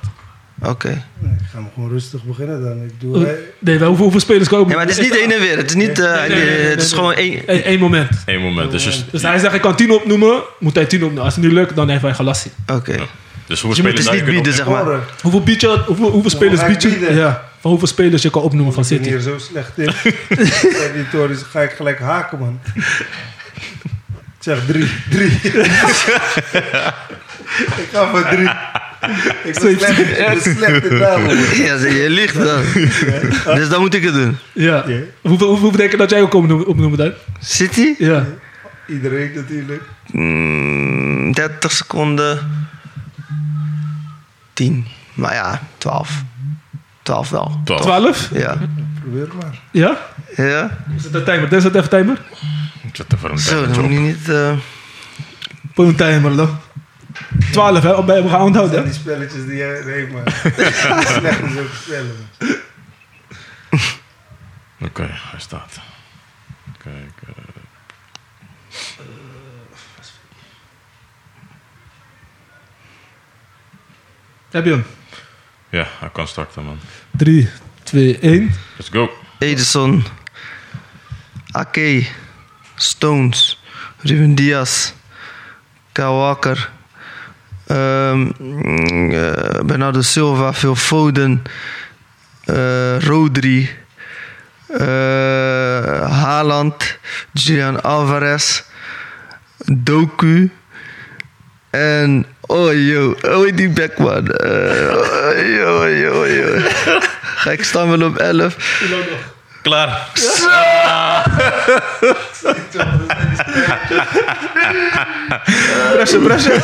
[SPEAKER 5] Oké.
[SPEAKER 4] Nee, Ik ga hem gewoon rustig beginnen dan. Ik doe...
[SPEAKER 2] Eh, Nee, wij hoeveel, hoeveel spelers komen?
[SPEAKER 5] Ja, maar het is niet heen en weer. Het is niet... eh,
[SPEAKER 2] nee, nee, nee,
[SPEAKER 5] het is
[SPEAKER 2] nee.
[SPEAKER 5] gewoon één...
[SPEAKER 2] Eén één moment.
[SPEAKER 3] Eén moment. Dus, dus,
[SPEAKER 2] Dus hij zegt ik kan 10 opnoemen, moet hij 10 opnoemen. Als het niet lukt, dan heeft hij gelassie.
[SPEAKER 5] Oké.
[SPEAKER 3] dus
[SPEAKER 5] Dus
[SPEAKER 3] hoeveel
[SPEAKER 5] je
[SPEAKER 3] spelers
[SPEAKER 5] moet het
[SPEAKER 3] daar
[SPEAKER 5] niet
[SPEAKER 3] je kunt
[SPEAKER 5] bieden, zeg maar.
[SPEAKER 4] Horen.
[SPEAKER 2] Hoeveel, bied je, hoeveel, hoeveel spelers
[SPEAKER 4] ga ik
[SPEAKER 2] bied je?
[SPEAKER 4] bieden.
[SPEAKER 2] Ja, van hoeveel spelers je kan opnoemen van
[SPEAKER 4] Ik ben
[SPEAKER 2] City.
[SPEAKER 4] hier zo slecht in. Bij die torens ga ik gelijk haken, man. Ik zeg drie. Drie. ik ga voor drie. Ik ben slecht, ik ben slecht in namen.
[SPEAKER 5] Ja, zei je liegt dan. Dus dan moet ik het doen.
[SPEAKER 2] Ja.
[SPEAKER 4] Ja.
[SPEAKER 2] Hoeveel, hoeveel denk je dat jij ook opnoemen, opnoemen dan?
[SPEAKER 5] City?
[SPEAKER 2] Ja.
[SPEAKER 4] Iedereen natuurlijk.
[SPEAKER 5] Mm, 30 seconden. 10. Maar ja, 12. 12 wel.
[SPEAKER 3] Twaalf.
[SPEAKER 2] 12?
[SPEAKER 5] Ja.
[SPEAKER 4] Probeer het maar.
[SPEAKER 2] Ja?
[SPEAKER 5] Ja?
[SPEAKER 2] Is dat een timer? Is dat even timer?
[SPEAKER 3] Ik zit even een
[SPEAKER 5] Zo,
[SPEAKER 3] tijdje
[SPEAKER 5] dan moet
[SPEAKER 3] op.
[SPEAKER 5] je niet. eh,
[SPEAKER 2] Voor een timer dan. 12 hè? Op- We gaan
[SPEAKER 4] Dat zijn
[SPEAKER 2] onthouden.
[SPEAKER 4] die spelletjes die jij... Nee, maar... slecht is ook spellen.
[SPEAKER 3] Oké, hij staat. Kijk. eh.
[SPEAKER 2] Heb je hem?
[SPEAKER 3] ja, hij kan starten, man.
[SPEAKER 2] 3, 2, 1.
[SPEAKER 3] Let's go.
[SPEAKER 5] Edison. Ake. Stones. Ruben Diaz. Kyle Walker. ehm, mm, eh, Bernardo Silva. Phil Foden. eh, Rodri. eh, Haaland. Julian Alvarez. Doku. En. Oh joh, oh die Beckman. Eh, oh joh, oh joh, oh joh. Ga ik staan wel op 11.
[SPEAKER 3] Klaar.
[SPEAKER 2] Pressen, pressen.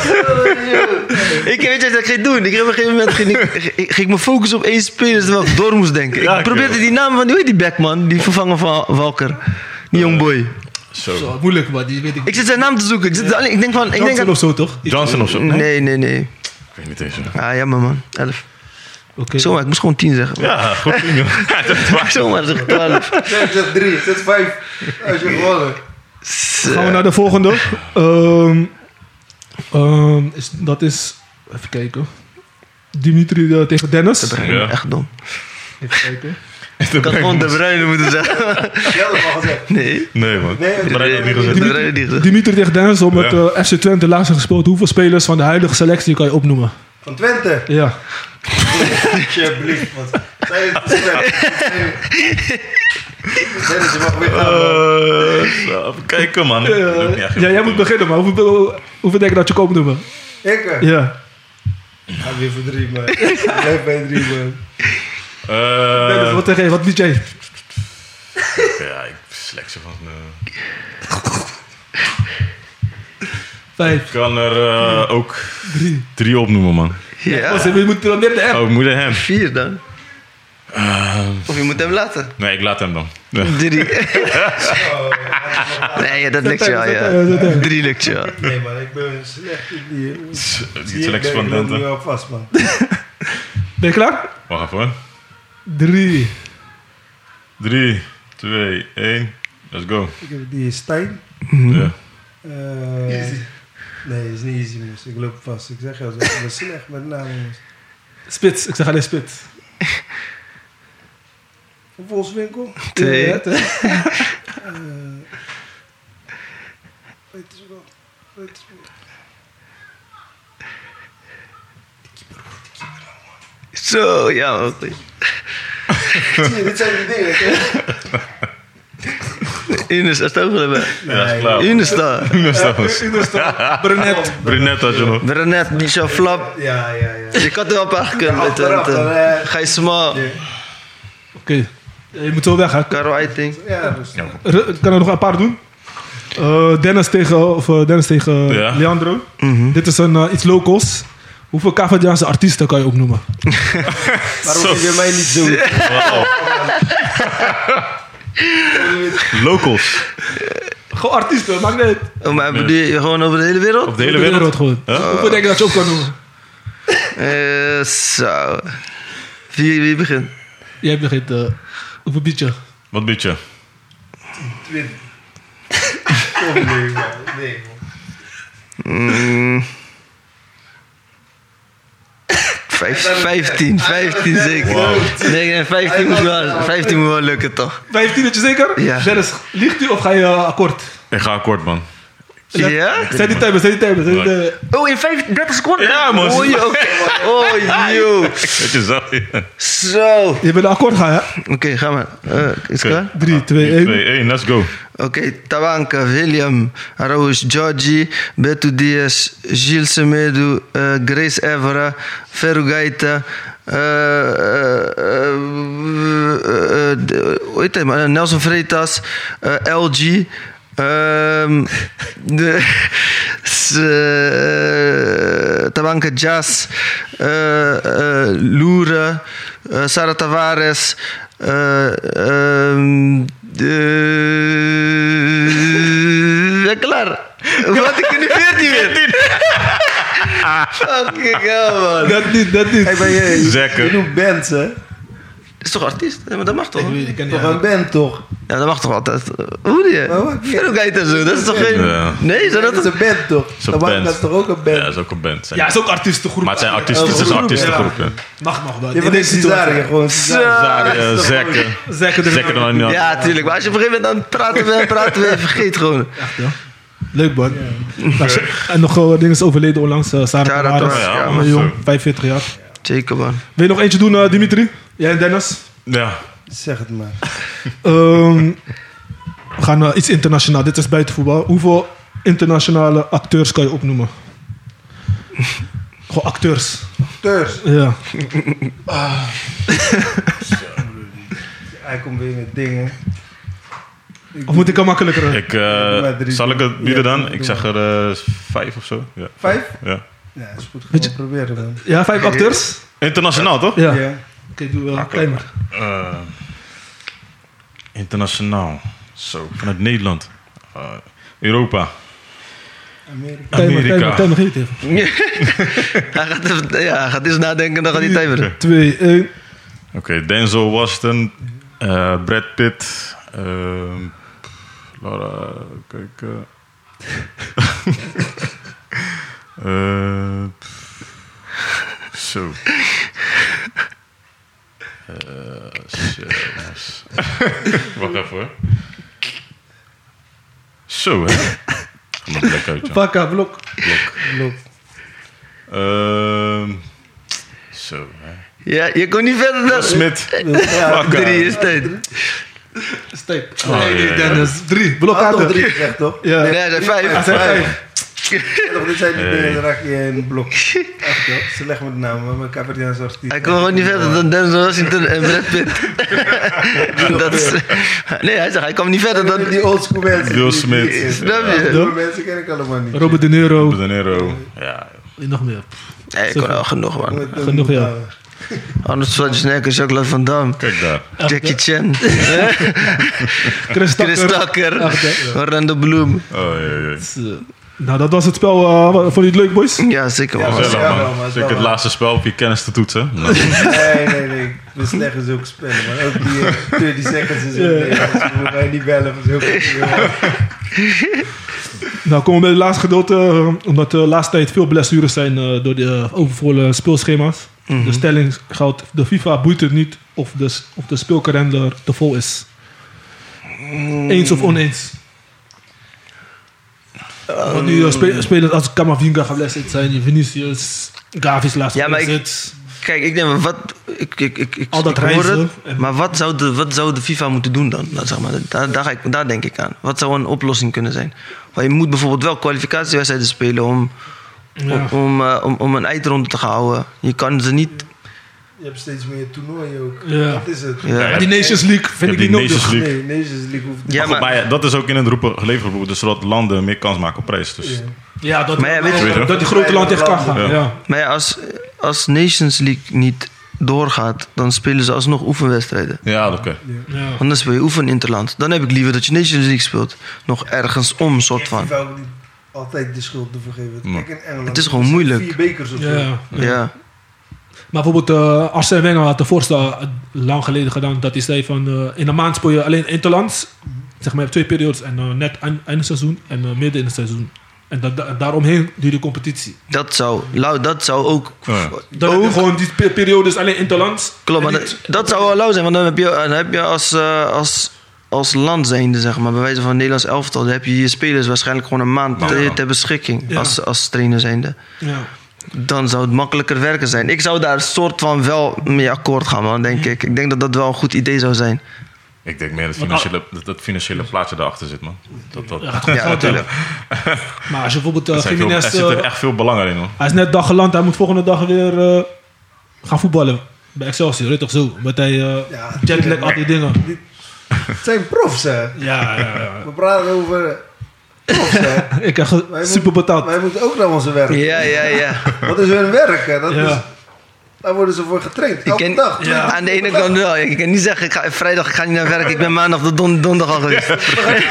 [SPEAKER 5] Ik weet je wat ik ging doen. Ik heb op een gegeven moment ging, ik- ging- ging ik me focussen op één speler terwijl ik door moest denken.
[SPEAKER 3] Ja,
[SPEAKER 5] Ik
[SPEAKER 3] ik
[SPEAKER 5] probeerde
[SPEAKER 3] weet
[SPEAKER 5] die naam van die, hoe heet die Beckman, die vervanger van Walker. Die jongboy.
[SPEAKER 3] Zo.
[SPEAKER 2] Zo, moeilijk man, die weet ik.
[SPEAKER 5] Ik zit zijn naam te zoeken. Ik, zit alleen, ik denk van. Ik denk
[SPEAKER 2] Johnson
[SPEAKER 5] aan,
[SPEAKER 2] of zo toch?
[SPEAKER 3] Johnson of zo?
[SPEAKER 5] nee, nee, nee.
[SPEAKER 3] Ik weet niet eens. hè.
[SPEAKER 5] Ah, jammer man. 11.
[SPEAKER 2] Oké.
[SPEAKER 5] Zomaar, ik moest gewoon 10 zeggen.
[SPEAKER 3] Ja, goed team, joh. Ja, dat was-
[SPEAKER 5] Zomaar, zeg 12.
[SPEAKER 4] Zet zet drie, zet vijf. Als je gewonnen.
[SPEAKER 2] Gaan we naar de volgende. Ehm, ehm, is, dat is. Even kijken. Dimitri eh, tegen Dennis.
[SPEAKER 3] Ja.
[SPEAKER 5] Echt dom.
[SPEAKER 2] Even kijken.
[SPEAKER 5] Ik had gewoon De Bruyne moeten zeggen.
[SPEAKER 4] Jij had het al gezegd.
[SPEAKER 5] Nee.
[SPEAKER 3] Nee, man.
[SPEAKER 4] Nee,
[SPEAKER 3] Brian had niet
[SPEAKER 5] De
[SPEAKER 3] gezegd.
[SPEAKER 5] Bruyne niet gezegd.
[SPEAKER 2] Dimitri tegen Dennis, om met
[SPEAKER 3] Ja.
[SPEAKER 2] eh, FC Twente laatst gespeeld. Hoeveel spelers van de huidige selectie kan je opnoemen?
[SPEAKER 4] Van Twente.
[SPEAKER 2] Ja.
[SPEAKER 4] Alsjeblieft, man. Zij is te slecht. Dennis, je mag weer gaan. man.
[SPEAKER 3] Eh, zo, even kijken, man. Ik
[SPEAKER 2] Eh,
[SPEAKER 3] doe niet echt
[SPEAKER 2] ja, jij moet beginnen, maar hoeveel, hoeveel denk je dat je kan opnoemen?
[SPEAKER 4] Ik eh,
[SPEAKER 2] Ja.
[SPEAKER 4] ga weer voor drie, man. Blijf bij drie, man.
[SPEAKER 2] Dennis,
[SPEAKER 3] Eh,
[SPEAKER 2] wat, tegen, wat liet jij?
[SPEAKER 3] ja, ik slecht ze van. eh,
[SPEAKER 2] Vijf,
[SPEAKER 3] Ik kan er eh, ook
[SPEAKER 2] drie.
[SPEAKER 3] drie opnoemen, man.
[SPEAKER 2] Oh,
[SPEAKER 5] Ja.
[SPEAKER 2] ze- we moeten dan weer de app.
[SPEAKER 3] Oh, ik moet hem.
[SPEAKER 5] 4 dan.
[SPEAKER 3] Eh,
[SPEAKER 5] Of je moet hem laten.
[SPEAKER 3] Nee, ik laat hem dan. Ja.
[SPEAKER 5] Drie.
[SPEAKER 4] Oh,
[SPEAKER 5] Nee, ja, dat lukt je wel, ja. Drie lukt je wel.
[SPEAKER 4] Nee, man, ik ben slecht in die...
[SPEAKER 3] Die selectie van
[SPEAKER 4] Ik loop nu
[SPEAKER 3] Dente.
[SPEAKER 4] al vast, man.
[SPEAKER 2] Ben je klaar?
[SPEAKER 3] Wacht even. hoor.
[SPEAKER 2] Drie.
[SPEAKER 3] Drie, twee, één. Let's go.
[SPEAKER 4] Ik heb die Stijn.
[SPEAKER 3] Ja.
[SPEAKER 4] Eh, nee, is niet easy, jongens. Ik loop vast. Ik zeg jou, zo, ik ben slecht met namen, jongens.
[SPEAKER 2] Spits, ik zeg alleen spits.
[SPEAKER 4] Volkswinkel.
[SPEAKER 5] Twee.
[SPEAKER 2] Ja, hè?
[SPEAKER 4] Eh, weet je wel, weet je wel.
[SPEAKER 5] Zo, ja, wel goed.
[SPEAKER 4] Zie je, dit zijn die dingen. hè?
[SPEAKER 5] Ines, als het over hebben.
[SPEAKER 3] Ja, is klaar.
[SPEAKER 5] Ines daar.
[SPEAKER 3] Ines Staffers.
[SPEAKER 4] Ah.
[SPEAKER 2] Inderstaat. Brunet.
[SPEAKER 3] Brunet had je nog.
[SPEAKER 5] Brenet, Michel Flap.
[SPEAKER 4] Ja, ja, ja.
[SPEAKER 5] Je kan er wel een paar kunnen met
[SPEAKER 4] Achteraf dan, eh.
[SPEAKER 5] Ga je smal.
[SPEAKER 2] Oké. Je moet zo weg, hè?
[SPEAKER 5] Karel Eiting.
[SPEAKER 4] Ja, dus.
[SPEAKER 2] R- Kan er nog een paar doen? Eh, Dennis tegen, of, eh, Dennis tegen
[SPEAKER 3] Ja.
[SPEAKER 2] Leandro. Dit is een, eh, iets locals. Hoeveel Cavadiaanse artiesten kan je opnoemen?
[SPEAKER 4] Waarom heb je mij niet zo?
[SPEAKER 3] Locals.
[SPEAKER 2] Gewoon artiesten, maakt niet uit.
[SPEAKER 5] Oh, maar bedoel je gewoon over de hele wereld?
[SPEAKER 3] Op de hele
[SPEAKER 2] Hele wereld
[SPEAKER 3] wereld. Ah.
[SPEAKER 2] gewoon.
[SPEAKER 3] Huh?
[SPEAKER 2] Hoeveel denk je dat je op kan noemen?
[SPEAKER 5] Eh, zo. Wie, wie begint?
[SPEAKER 2] Jij begint. eh hoeveel bied je?
[SPEAKER 3] Wat bied je?
[SPEAKER 4] Twin. Kom, nee, man. Nee, man.
[SPEAKER 5] Mm. Vijf, vijftien, vijftien zeker. Nee, nee, vijftien moet wel, vijftien moet wel lukken toch?
[SPEAKER 2] 15 dat je zeker?
[SPEAKER 5] Ja.
[SPEAKER 2] Dennis, ligt u of ga je eh, akkoord?
[SPEAKER 3] Ik ga akkoord, man.
[SPEAKER 5] Ja?
[SPEAKER 2] Zet die timer, zet die timer. zet die timer.
[SPEAKER 5] Oh, in 35 30 seconden?
[SPEAKER 3] Ja, man.
[SPEAKER 5] Oh, joh. oké. Oh, joh.
[SPEAKER 3] Weet je zo?
[SPEAKER 5] Zo.
[SPEAKER 2] Je bent akkoord gaan, hè?
[SPEAKER 5] Oké, ga maar. Eh, is het klaar?
[SPEAKER 2] 3, 2, 1.
[SPEAKER 3] 2, 1, let's go.
[SPEAKER 5] Oké, Tawanka, William, Roos, Georgie, Beto Dias, Gilles Semedo, eh, Grace Evera, Ferrugaita, eh eh, eh, eh, de- hoe heet hij maar? Eh, Nelson Freitas, eh, LG. ehm, de, s- eh, Tabanka Jazz, eh eh Loeren, eh, Sara Tavares, eh, ehm, de- eh, Ja, klaar. Wat, ik ken die 14 weer. Fucking hell, man.
[SPEAKER 2] Dat niet, dat niet.
[SPEAKER 4] Hey, maar je, je-
[SPEAKER 3] Zeker.
[SPEAKER 4] je noemt bands, hè?
[SPEAKER 5] Dat is toch artiest? Ja, maar dat mag toch?
[SPEAKER 2] Ik weet- ik ken die
[SPEAKER 4] Toch een
[SPEAKER 2] eigenlijk.
[SPEAKER 4] band, toch?
[SPEAKER 5] Ja, dat mag toch altijd? Hoe die?
[SPEAKER 4] Maar wat?
[SPEAKER 5] Ferrogate en zo, dat is toch geen...
[SPEAKER 3] Ja.
[SPEAKER 5] Nee, zou
[SPEAKER 4] Dat
[SPEAKER 5] dat
[SPEAKER 4] is een band, toch?
[SPEAKER 3] is een
[SPEAKER 4] Dat maakt-
[SPEAKER 3] band.
[SPEAKER 4] Dat is toch ook een
[SPEAKER 3] Ja, dat
[SPEAKER 4] band?
[SPEAKER 3] is ook een band.
[SPEAKER 2] Ja, het is ook artiestengroep.
[SPEAKER 3] Maar het zijn
[SPEAKER 2] eigenlijk.
[SPEAKER 3] artiesten, het is een
[SPEAKER 4] Ja.
[SPEAKER 3] artiestengroep. Ja.
[SPEAKER 2] Mag nog wel.
[SPEAKER 4] Je
[SPEAKER 2] In
[SPEAKER 4] bent
[SPEAKER 2] deze
[SPEAKER 4] Cesarea,
[SPEAKER 2] situatie.
[SPEAKER 4] gewoon Cesarea.
[SPEAKER 3] Zaken, zekken.
[SPEAKER 2] Zeker er
[SPEAKER 3] Zeker dan niet.
[SPEAKER 5] Ja, tuurlijk. Maar als je op een gegeven moment aan het praten bent, praten bent, vergeet gewoon.
[SPEAKER 2] Ja. Leuk man. Nou, ze- en nog eh, dingen is overleden onlangs. eh, Sarah
[SPEAKER 5] Sarah
[SPEAKER 2] Tavares.
[SPEAKER 5] Tavares,
[SPEAKER 3] ja, eh,
[SPEAKER 2] Ja,
[SPEAKER 3] man,
[SPEAKER 2] jong,
[SPEAKER 3] zo.
[SPEAKER 2] 45 jaar.
[SPEAKER 5] Zeker, man.
[SPEAKER 2] Wil je nog eentje doen, eh, Dimitri? Jij en Dennis?
[SPEAKER 3] Ja.
[SPEAKER 4] Zeg het maar.
[SPEAKER 2] Ehm, we gaan eh, iets internationaal. Dit is buiten voetbal. Hoeveel internationale acteurs kan je opnoemen? Gewoon acteurs.
[SPEAKER 4] Teurs.
[SPEAKER 2] Ja.
[SPEAKER 4] Hij komt weer met dingen.
[SPEAKER 2] Of moet ik hem makkelijker?
[SPEAKER 3] Ik, eh,
[SPEAKER 4] maar drie.
[SPEAKER 3] zal ik het bieden
[SPEAKER 4] Ja,
[SPEAKER 3] dan?
[SPEAKER 4] doe
[SPEAKER 3] Ik zeg er eh, vijf of zo. Ja.
[SPEAKER 4] Vijf?
[SPEAKER 3] Ja.
[SPEAKER 4] Ja, dat is goed.
[SPEAKER 2] Weet
[SPEAKER 4] Gewoon proberen, man.
[SPEAKER 2] Ja, vijf acteurs?
[SPEAKER 3] Internationaal, toch?
[SPEAKER 2] Ja. Oké,
[SPEAKER 4] Ja.
[SPEAKER 2] doe wel een timer.
[SPEAKER 3] Eh, internationaal. Zo, vanuit Nederland. Eh, Europa.
[SPEAKER 4] Amerika.
[SPEAKER 2] Timer, timer,
[SPEAKER 3] Amerika.
[SPEAKER 2] timer, geef het even.
[SPEAKER 5] Hij gaat, even- ja, hij gaat eens nadenken en dan gaat hij timeren.
[SPEAKER 2] Twee, één.
[SPEAKER 3] Oké, Denzel Washington, eh, Brad Pitt, ehm, Laura, kijk. eh. Eh, zo. Eh, shit, jongens. Wacht even hoor. Zo, hè. Ga maar plek uit, joh.
[SPEAKER 2] Pakka, blok.
[SPEAKER 4] Blok.
[SPEAKER 3] Ehm, zo, hè.
[SPEAKER 5] Ja, je kon niet verder dan...
[SPEAKER 3] Smit.
[SPEAKER 4] Ja,
[SPEAKER 3] Fuck,
[SPEAKER 5] Drie
[SPEAKER 3] eh.
[SPEAKER 5] is tijd.
[SPEAKER 2] Steep.
[SPEAKER 3] Oh, ja, ja, Ah, ja.
[SPEAKER 2] Dennis. Drie, blok
[SPEAKER 4] had toch
[SPEAKER 2] uit.
[SPEAKER 4] drie gezegd, toch?
[SPEAKER 2] Ja.
[SPEAKER 5] Nee, hij zei
[SPEAKER 2] Hij
[SPEAKER 5] vijf.
[SPEAKER 2] zei vijf.
[SPEAKER 4] Ja, toch, Dit zijn die
[SPEAKER 3] Hey.
[SPEAKER 4] dingen, dan raak je in een blok. Echt, joh. Ze leggen me de naam, maar mijn Capriaanse artiest.
[SPEAKER 5] Hij kon gewoon niet verder dan Denzel Washington en Brad Pitt. dat is, nee, hij zegt, hij kwam niet verder
[SPEAKER 4] Dat
[SPEAKER 5] dan...
[SPEAKER 4] die oldschool mensen.
[SPEAKER 3] Will
[SPEAKER 4] die-
[SPEAKER 3] Smith.
[SPEAKER 4] die-
[SPEAKER 5] Snap
[SPEAKER 4] Die
[SPEAKER 5] je?
[SPEAKER 4] nieuwe mensen ken ik allemaal niet.
[SPEAKER 2] Robert De Niro.
[SPEAKER 3] De Niro. Ja,
[SPEAKER 2] En nog meer.
[SPEAKER 5] Nee, ik kon wel genoeg, man.
[SPEAKER 4] Met, eh,
[SPEAKER 2] Genoeg, ja.
[SPEAKER 4] eh,
[SPEAKER 5] Arnold Schwarzenegger, Jacques Van Damme,
[SPEAKER 3] kijk daar.
[SPEAKER 5] Jackie Chan,
[SPEAKER 2] Chris Tucker.
[SPEAKER 5] Chris Tucker,
[SPEAKER 2] Echt, hè?
[SPEAKER 5] Orlando Bloom.
[SPEAKER 3] Oh, ja, ja.
[SPEAKER 2] Nou, dat was het spel. eh, vond je het leuk, boys?
[SPEAKER 5] Ja, zeker, man.
[SPEAKER 3] Gezellig,
[SPEAKER 4] Ja,
[SPEAKER 3] man.
[SPEAKER 4] wel, maar het is
[SPEAKER 3] Zeker
[SPEAKER 4] wel
[SPEAKER 3] het
[SPEAKER 4] waar.
[SPEAKER 3] laatste spel op je kennis te toetsen. Nou,
[SPEAKER 4] Nee, nee, nee. We slechten zulke spellen, maar ook die eh, 30 seconds is ook nee. Ze Dus moeten mij niet bellen van zulke dingen.
[SPEAKER 2] Nou, komen we bij het laatste gedeelte. eh, omdat de laatste tijd veel blessures zijn eh, door de eh, overvolle speelschema's.
[SPEAKER 5] Mhm.
[SPEAKER 2] De stelling geldt, de FIFA boeit het niet of de, s- of de speelkalender te vol is.
[SPEAKER 5] Mm.
[SPEAKER 2] Eens of oneens? Want nu eh, spe- spelers als Camavinga geblesseerd zijn, Vinicius, Gavi is laatst
[SPEAKER 5] Ja, maar ik-
[SPEAKER 2] geblesseerd.
[SPEAKER 5] Kijk, ik denk, wat, ik, ik, ik, ik,
[SPEAKER 2] Al dat
[SPEAKER 5] ik hoor
[SPEAKER 2] reizen
[SPEAKER 5] het,
[SPEAKER 2] en-
[SPEAKER 5] maar wat zou, de, wat zou de FIFA moeten doen dan? Nou, zeg maar, daar, daar, ga ik, daar denk ik aan. Wat zou een oplossing kunnen zijn? Want je moet bijvoorbeeld wel kwalificatiewedstrijden spelen om,
[SPEAKER 2] Ja.
[SPEAKER 5] om, om, eh, om, om een eindronde te gaan houden. Je kan ze niet...
[SPEAKER 4] Je hebt steeds meer toernooien ook.
[SPEAKER 2] Ja.
[SPEAKER 4] Dat is het.
[SPEAKER 5] Ja.
[SPEAKER 2] Maar die Nations League vind ik
[SPEAKER 3] die
[SPEAKER 2] niet
[SPEAKER 3] Nations
[SPEAKER 2] nodig.
[SPEAKER 3] League.
[SPEAKER 4] Nee, Nations League hoeft
[SPEAKER 5] Ja,
[SPEAKER 3] maar goed,
[SPEAKER 5] maar-
[SPEAKER 3] maar ja, dat is ook in het roepen geleverd worden, dus zodat landen meer kans maken op prijs. Dus.
[SPEAKER 4] Ja.
[SPEAKER 2] Ja, dat,
[SPEAKER 5] Maar ja, weet
[SPEAKER 3] je-
[SPEAKER 2] dat die grote land tegen kan gaan.
[SPEAKER 3] Ja.
[SPEAKER 2] Ja.
[SPEAKER 5] Maar ja, als, als Nations League niet doorgaat, dan spelen ze alsnog oefenwedstrijden.
[SPEAKER 3] Ja, oké.
[SPEAKER 2] Ja.
[SPEAKER 5] Want dan speel je oefeninterland. Dan heb ik liever dat je Nations League speelt. Nog ergens om, soort van.
[SPEAKER 4] Ik wou niet altijd de schuld te vergeven.
[SPEAKER 3] Nee.
[SPEAKER 4] Kijk, in Engeland.
[SPEAKER 5] Het is gewoon
[SPEAKER 4] er zijn
[SPEAKER 5] moeilijk.
[SPEAKER 4] Vier bekers of zo.
[SPEAKER 2] Ja.
[SPEAKER 5] Ja.
[SPEAKER 2] Maar bijvoorbeeld eh Arsène Wenger had de voorstel eh, lang geleden gedaan. Dat hij zei van eh, in een maand speel je alleen interlands. Zeg maar je hebt twee periodes. En eh, net eind, eind seizoen en eh, midden in het seizoen. En dat, da- daaromheen duurt de competitie.
[SPEAKER 5] Dat zou, Lau, dat zou ook...
[SPEAKER 3] Oh, Ja.
[SPEAKER 2] Dan heb je gewoon die pe- periodes alleen interlands.
[SPEAKER 5] Klopt, maar
[SPEAKER 2] En
[SPEAKER 5] dat, dat zou wel lauw zijn. Want dan heb je, dan heb je als, eh, als, als land zijnde, zeg maar, bij wijze van Nederlands elftal... dan heb je je spelers waarschijnlijk gewoon een maand
[SPEAKER 3] Ja.
[SPEAKER 5] ter, ter beschikking.
[SPEAKER 2] Ja.
[SPEAKER 5] Als, als trainer zijnde.
[SPEAKER 2] die- ja.
[SPEAKER 5] Dan zou het makkelijker werken zijn.
[SPEAKER 2] Mhm.
[SPEAKER 5] Ik zou daar soort van wel mee akkoord gaan, man, denk ik. Ik denk dat dat wel een goed idee zou zijn.
[SPEAKER 3] Ik denk meer dat financiële, dat, dat financiële plaatje daarachter zit, man. Dat, dat,
[SPEAKER 2] Ja, gaat gewoon
[SPEAKER 5] Ja,
[SPEAKER 2] geld
[SPEAKER 5] natuurlijk.
[SPEAKER 2] hebben. Maar als je bijvoorbeeld
[SPEAKER 3] er
[SPEAKER 2] eh,
[SPEAKER 3] zijn veel- er
[SPEAKER 2] Gimenez...
[SPEAKER 3] zit er
[SPEAKER 2] eh,
[SPEAKER 3] echt veel belangen in, hoor.
[SPEAKER 2] hij is net dag geland, hij moet volgende dag weer eh, gaan voetballen. Bij Excelsior, weet je toch zo? Met hij eh,
[SPEAKER 4] Ja,
[SPEAKER 2] jetlag, al die dingen.
[SPEAKER 4] Het zijn profs, hè.
[SPEAKER 2] Ja, ja, ja.
[SPEAKER 4] We praten over profs, hè.
[SPEAKER 2] Ik krijg
[SPEAKER 4] Wij
[SPEAKER 2] super
[SPEAKER 4] moeten-
[SPEAKER 2] betaald.
[SPEAKER 4] Wij moeten ook naar onze werk.
[SPEAKER 5] Ja, ja, ja.
[SPEAKER 4] Wat is hun werk, hè? Dat
[SPEAKER 2] Ja.
[SPEAKER 4] is, daar worden ze voor getraind.
[SPEAKER 5] Ik
[SPEAKER 4] Elke
[SPEAKER 5] ken,
[SPEAKER 4] dag.
[SPEAKER 5] ja. Aan de ene kant wel. Ik kan niet zeggen, ik ga, vrijdag ik ga niet naar werk. Ik ben maandag tot don- donderdag al geweest.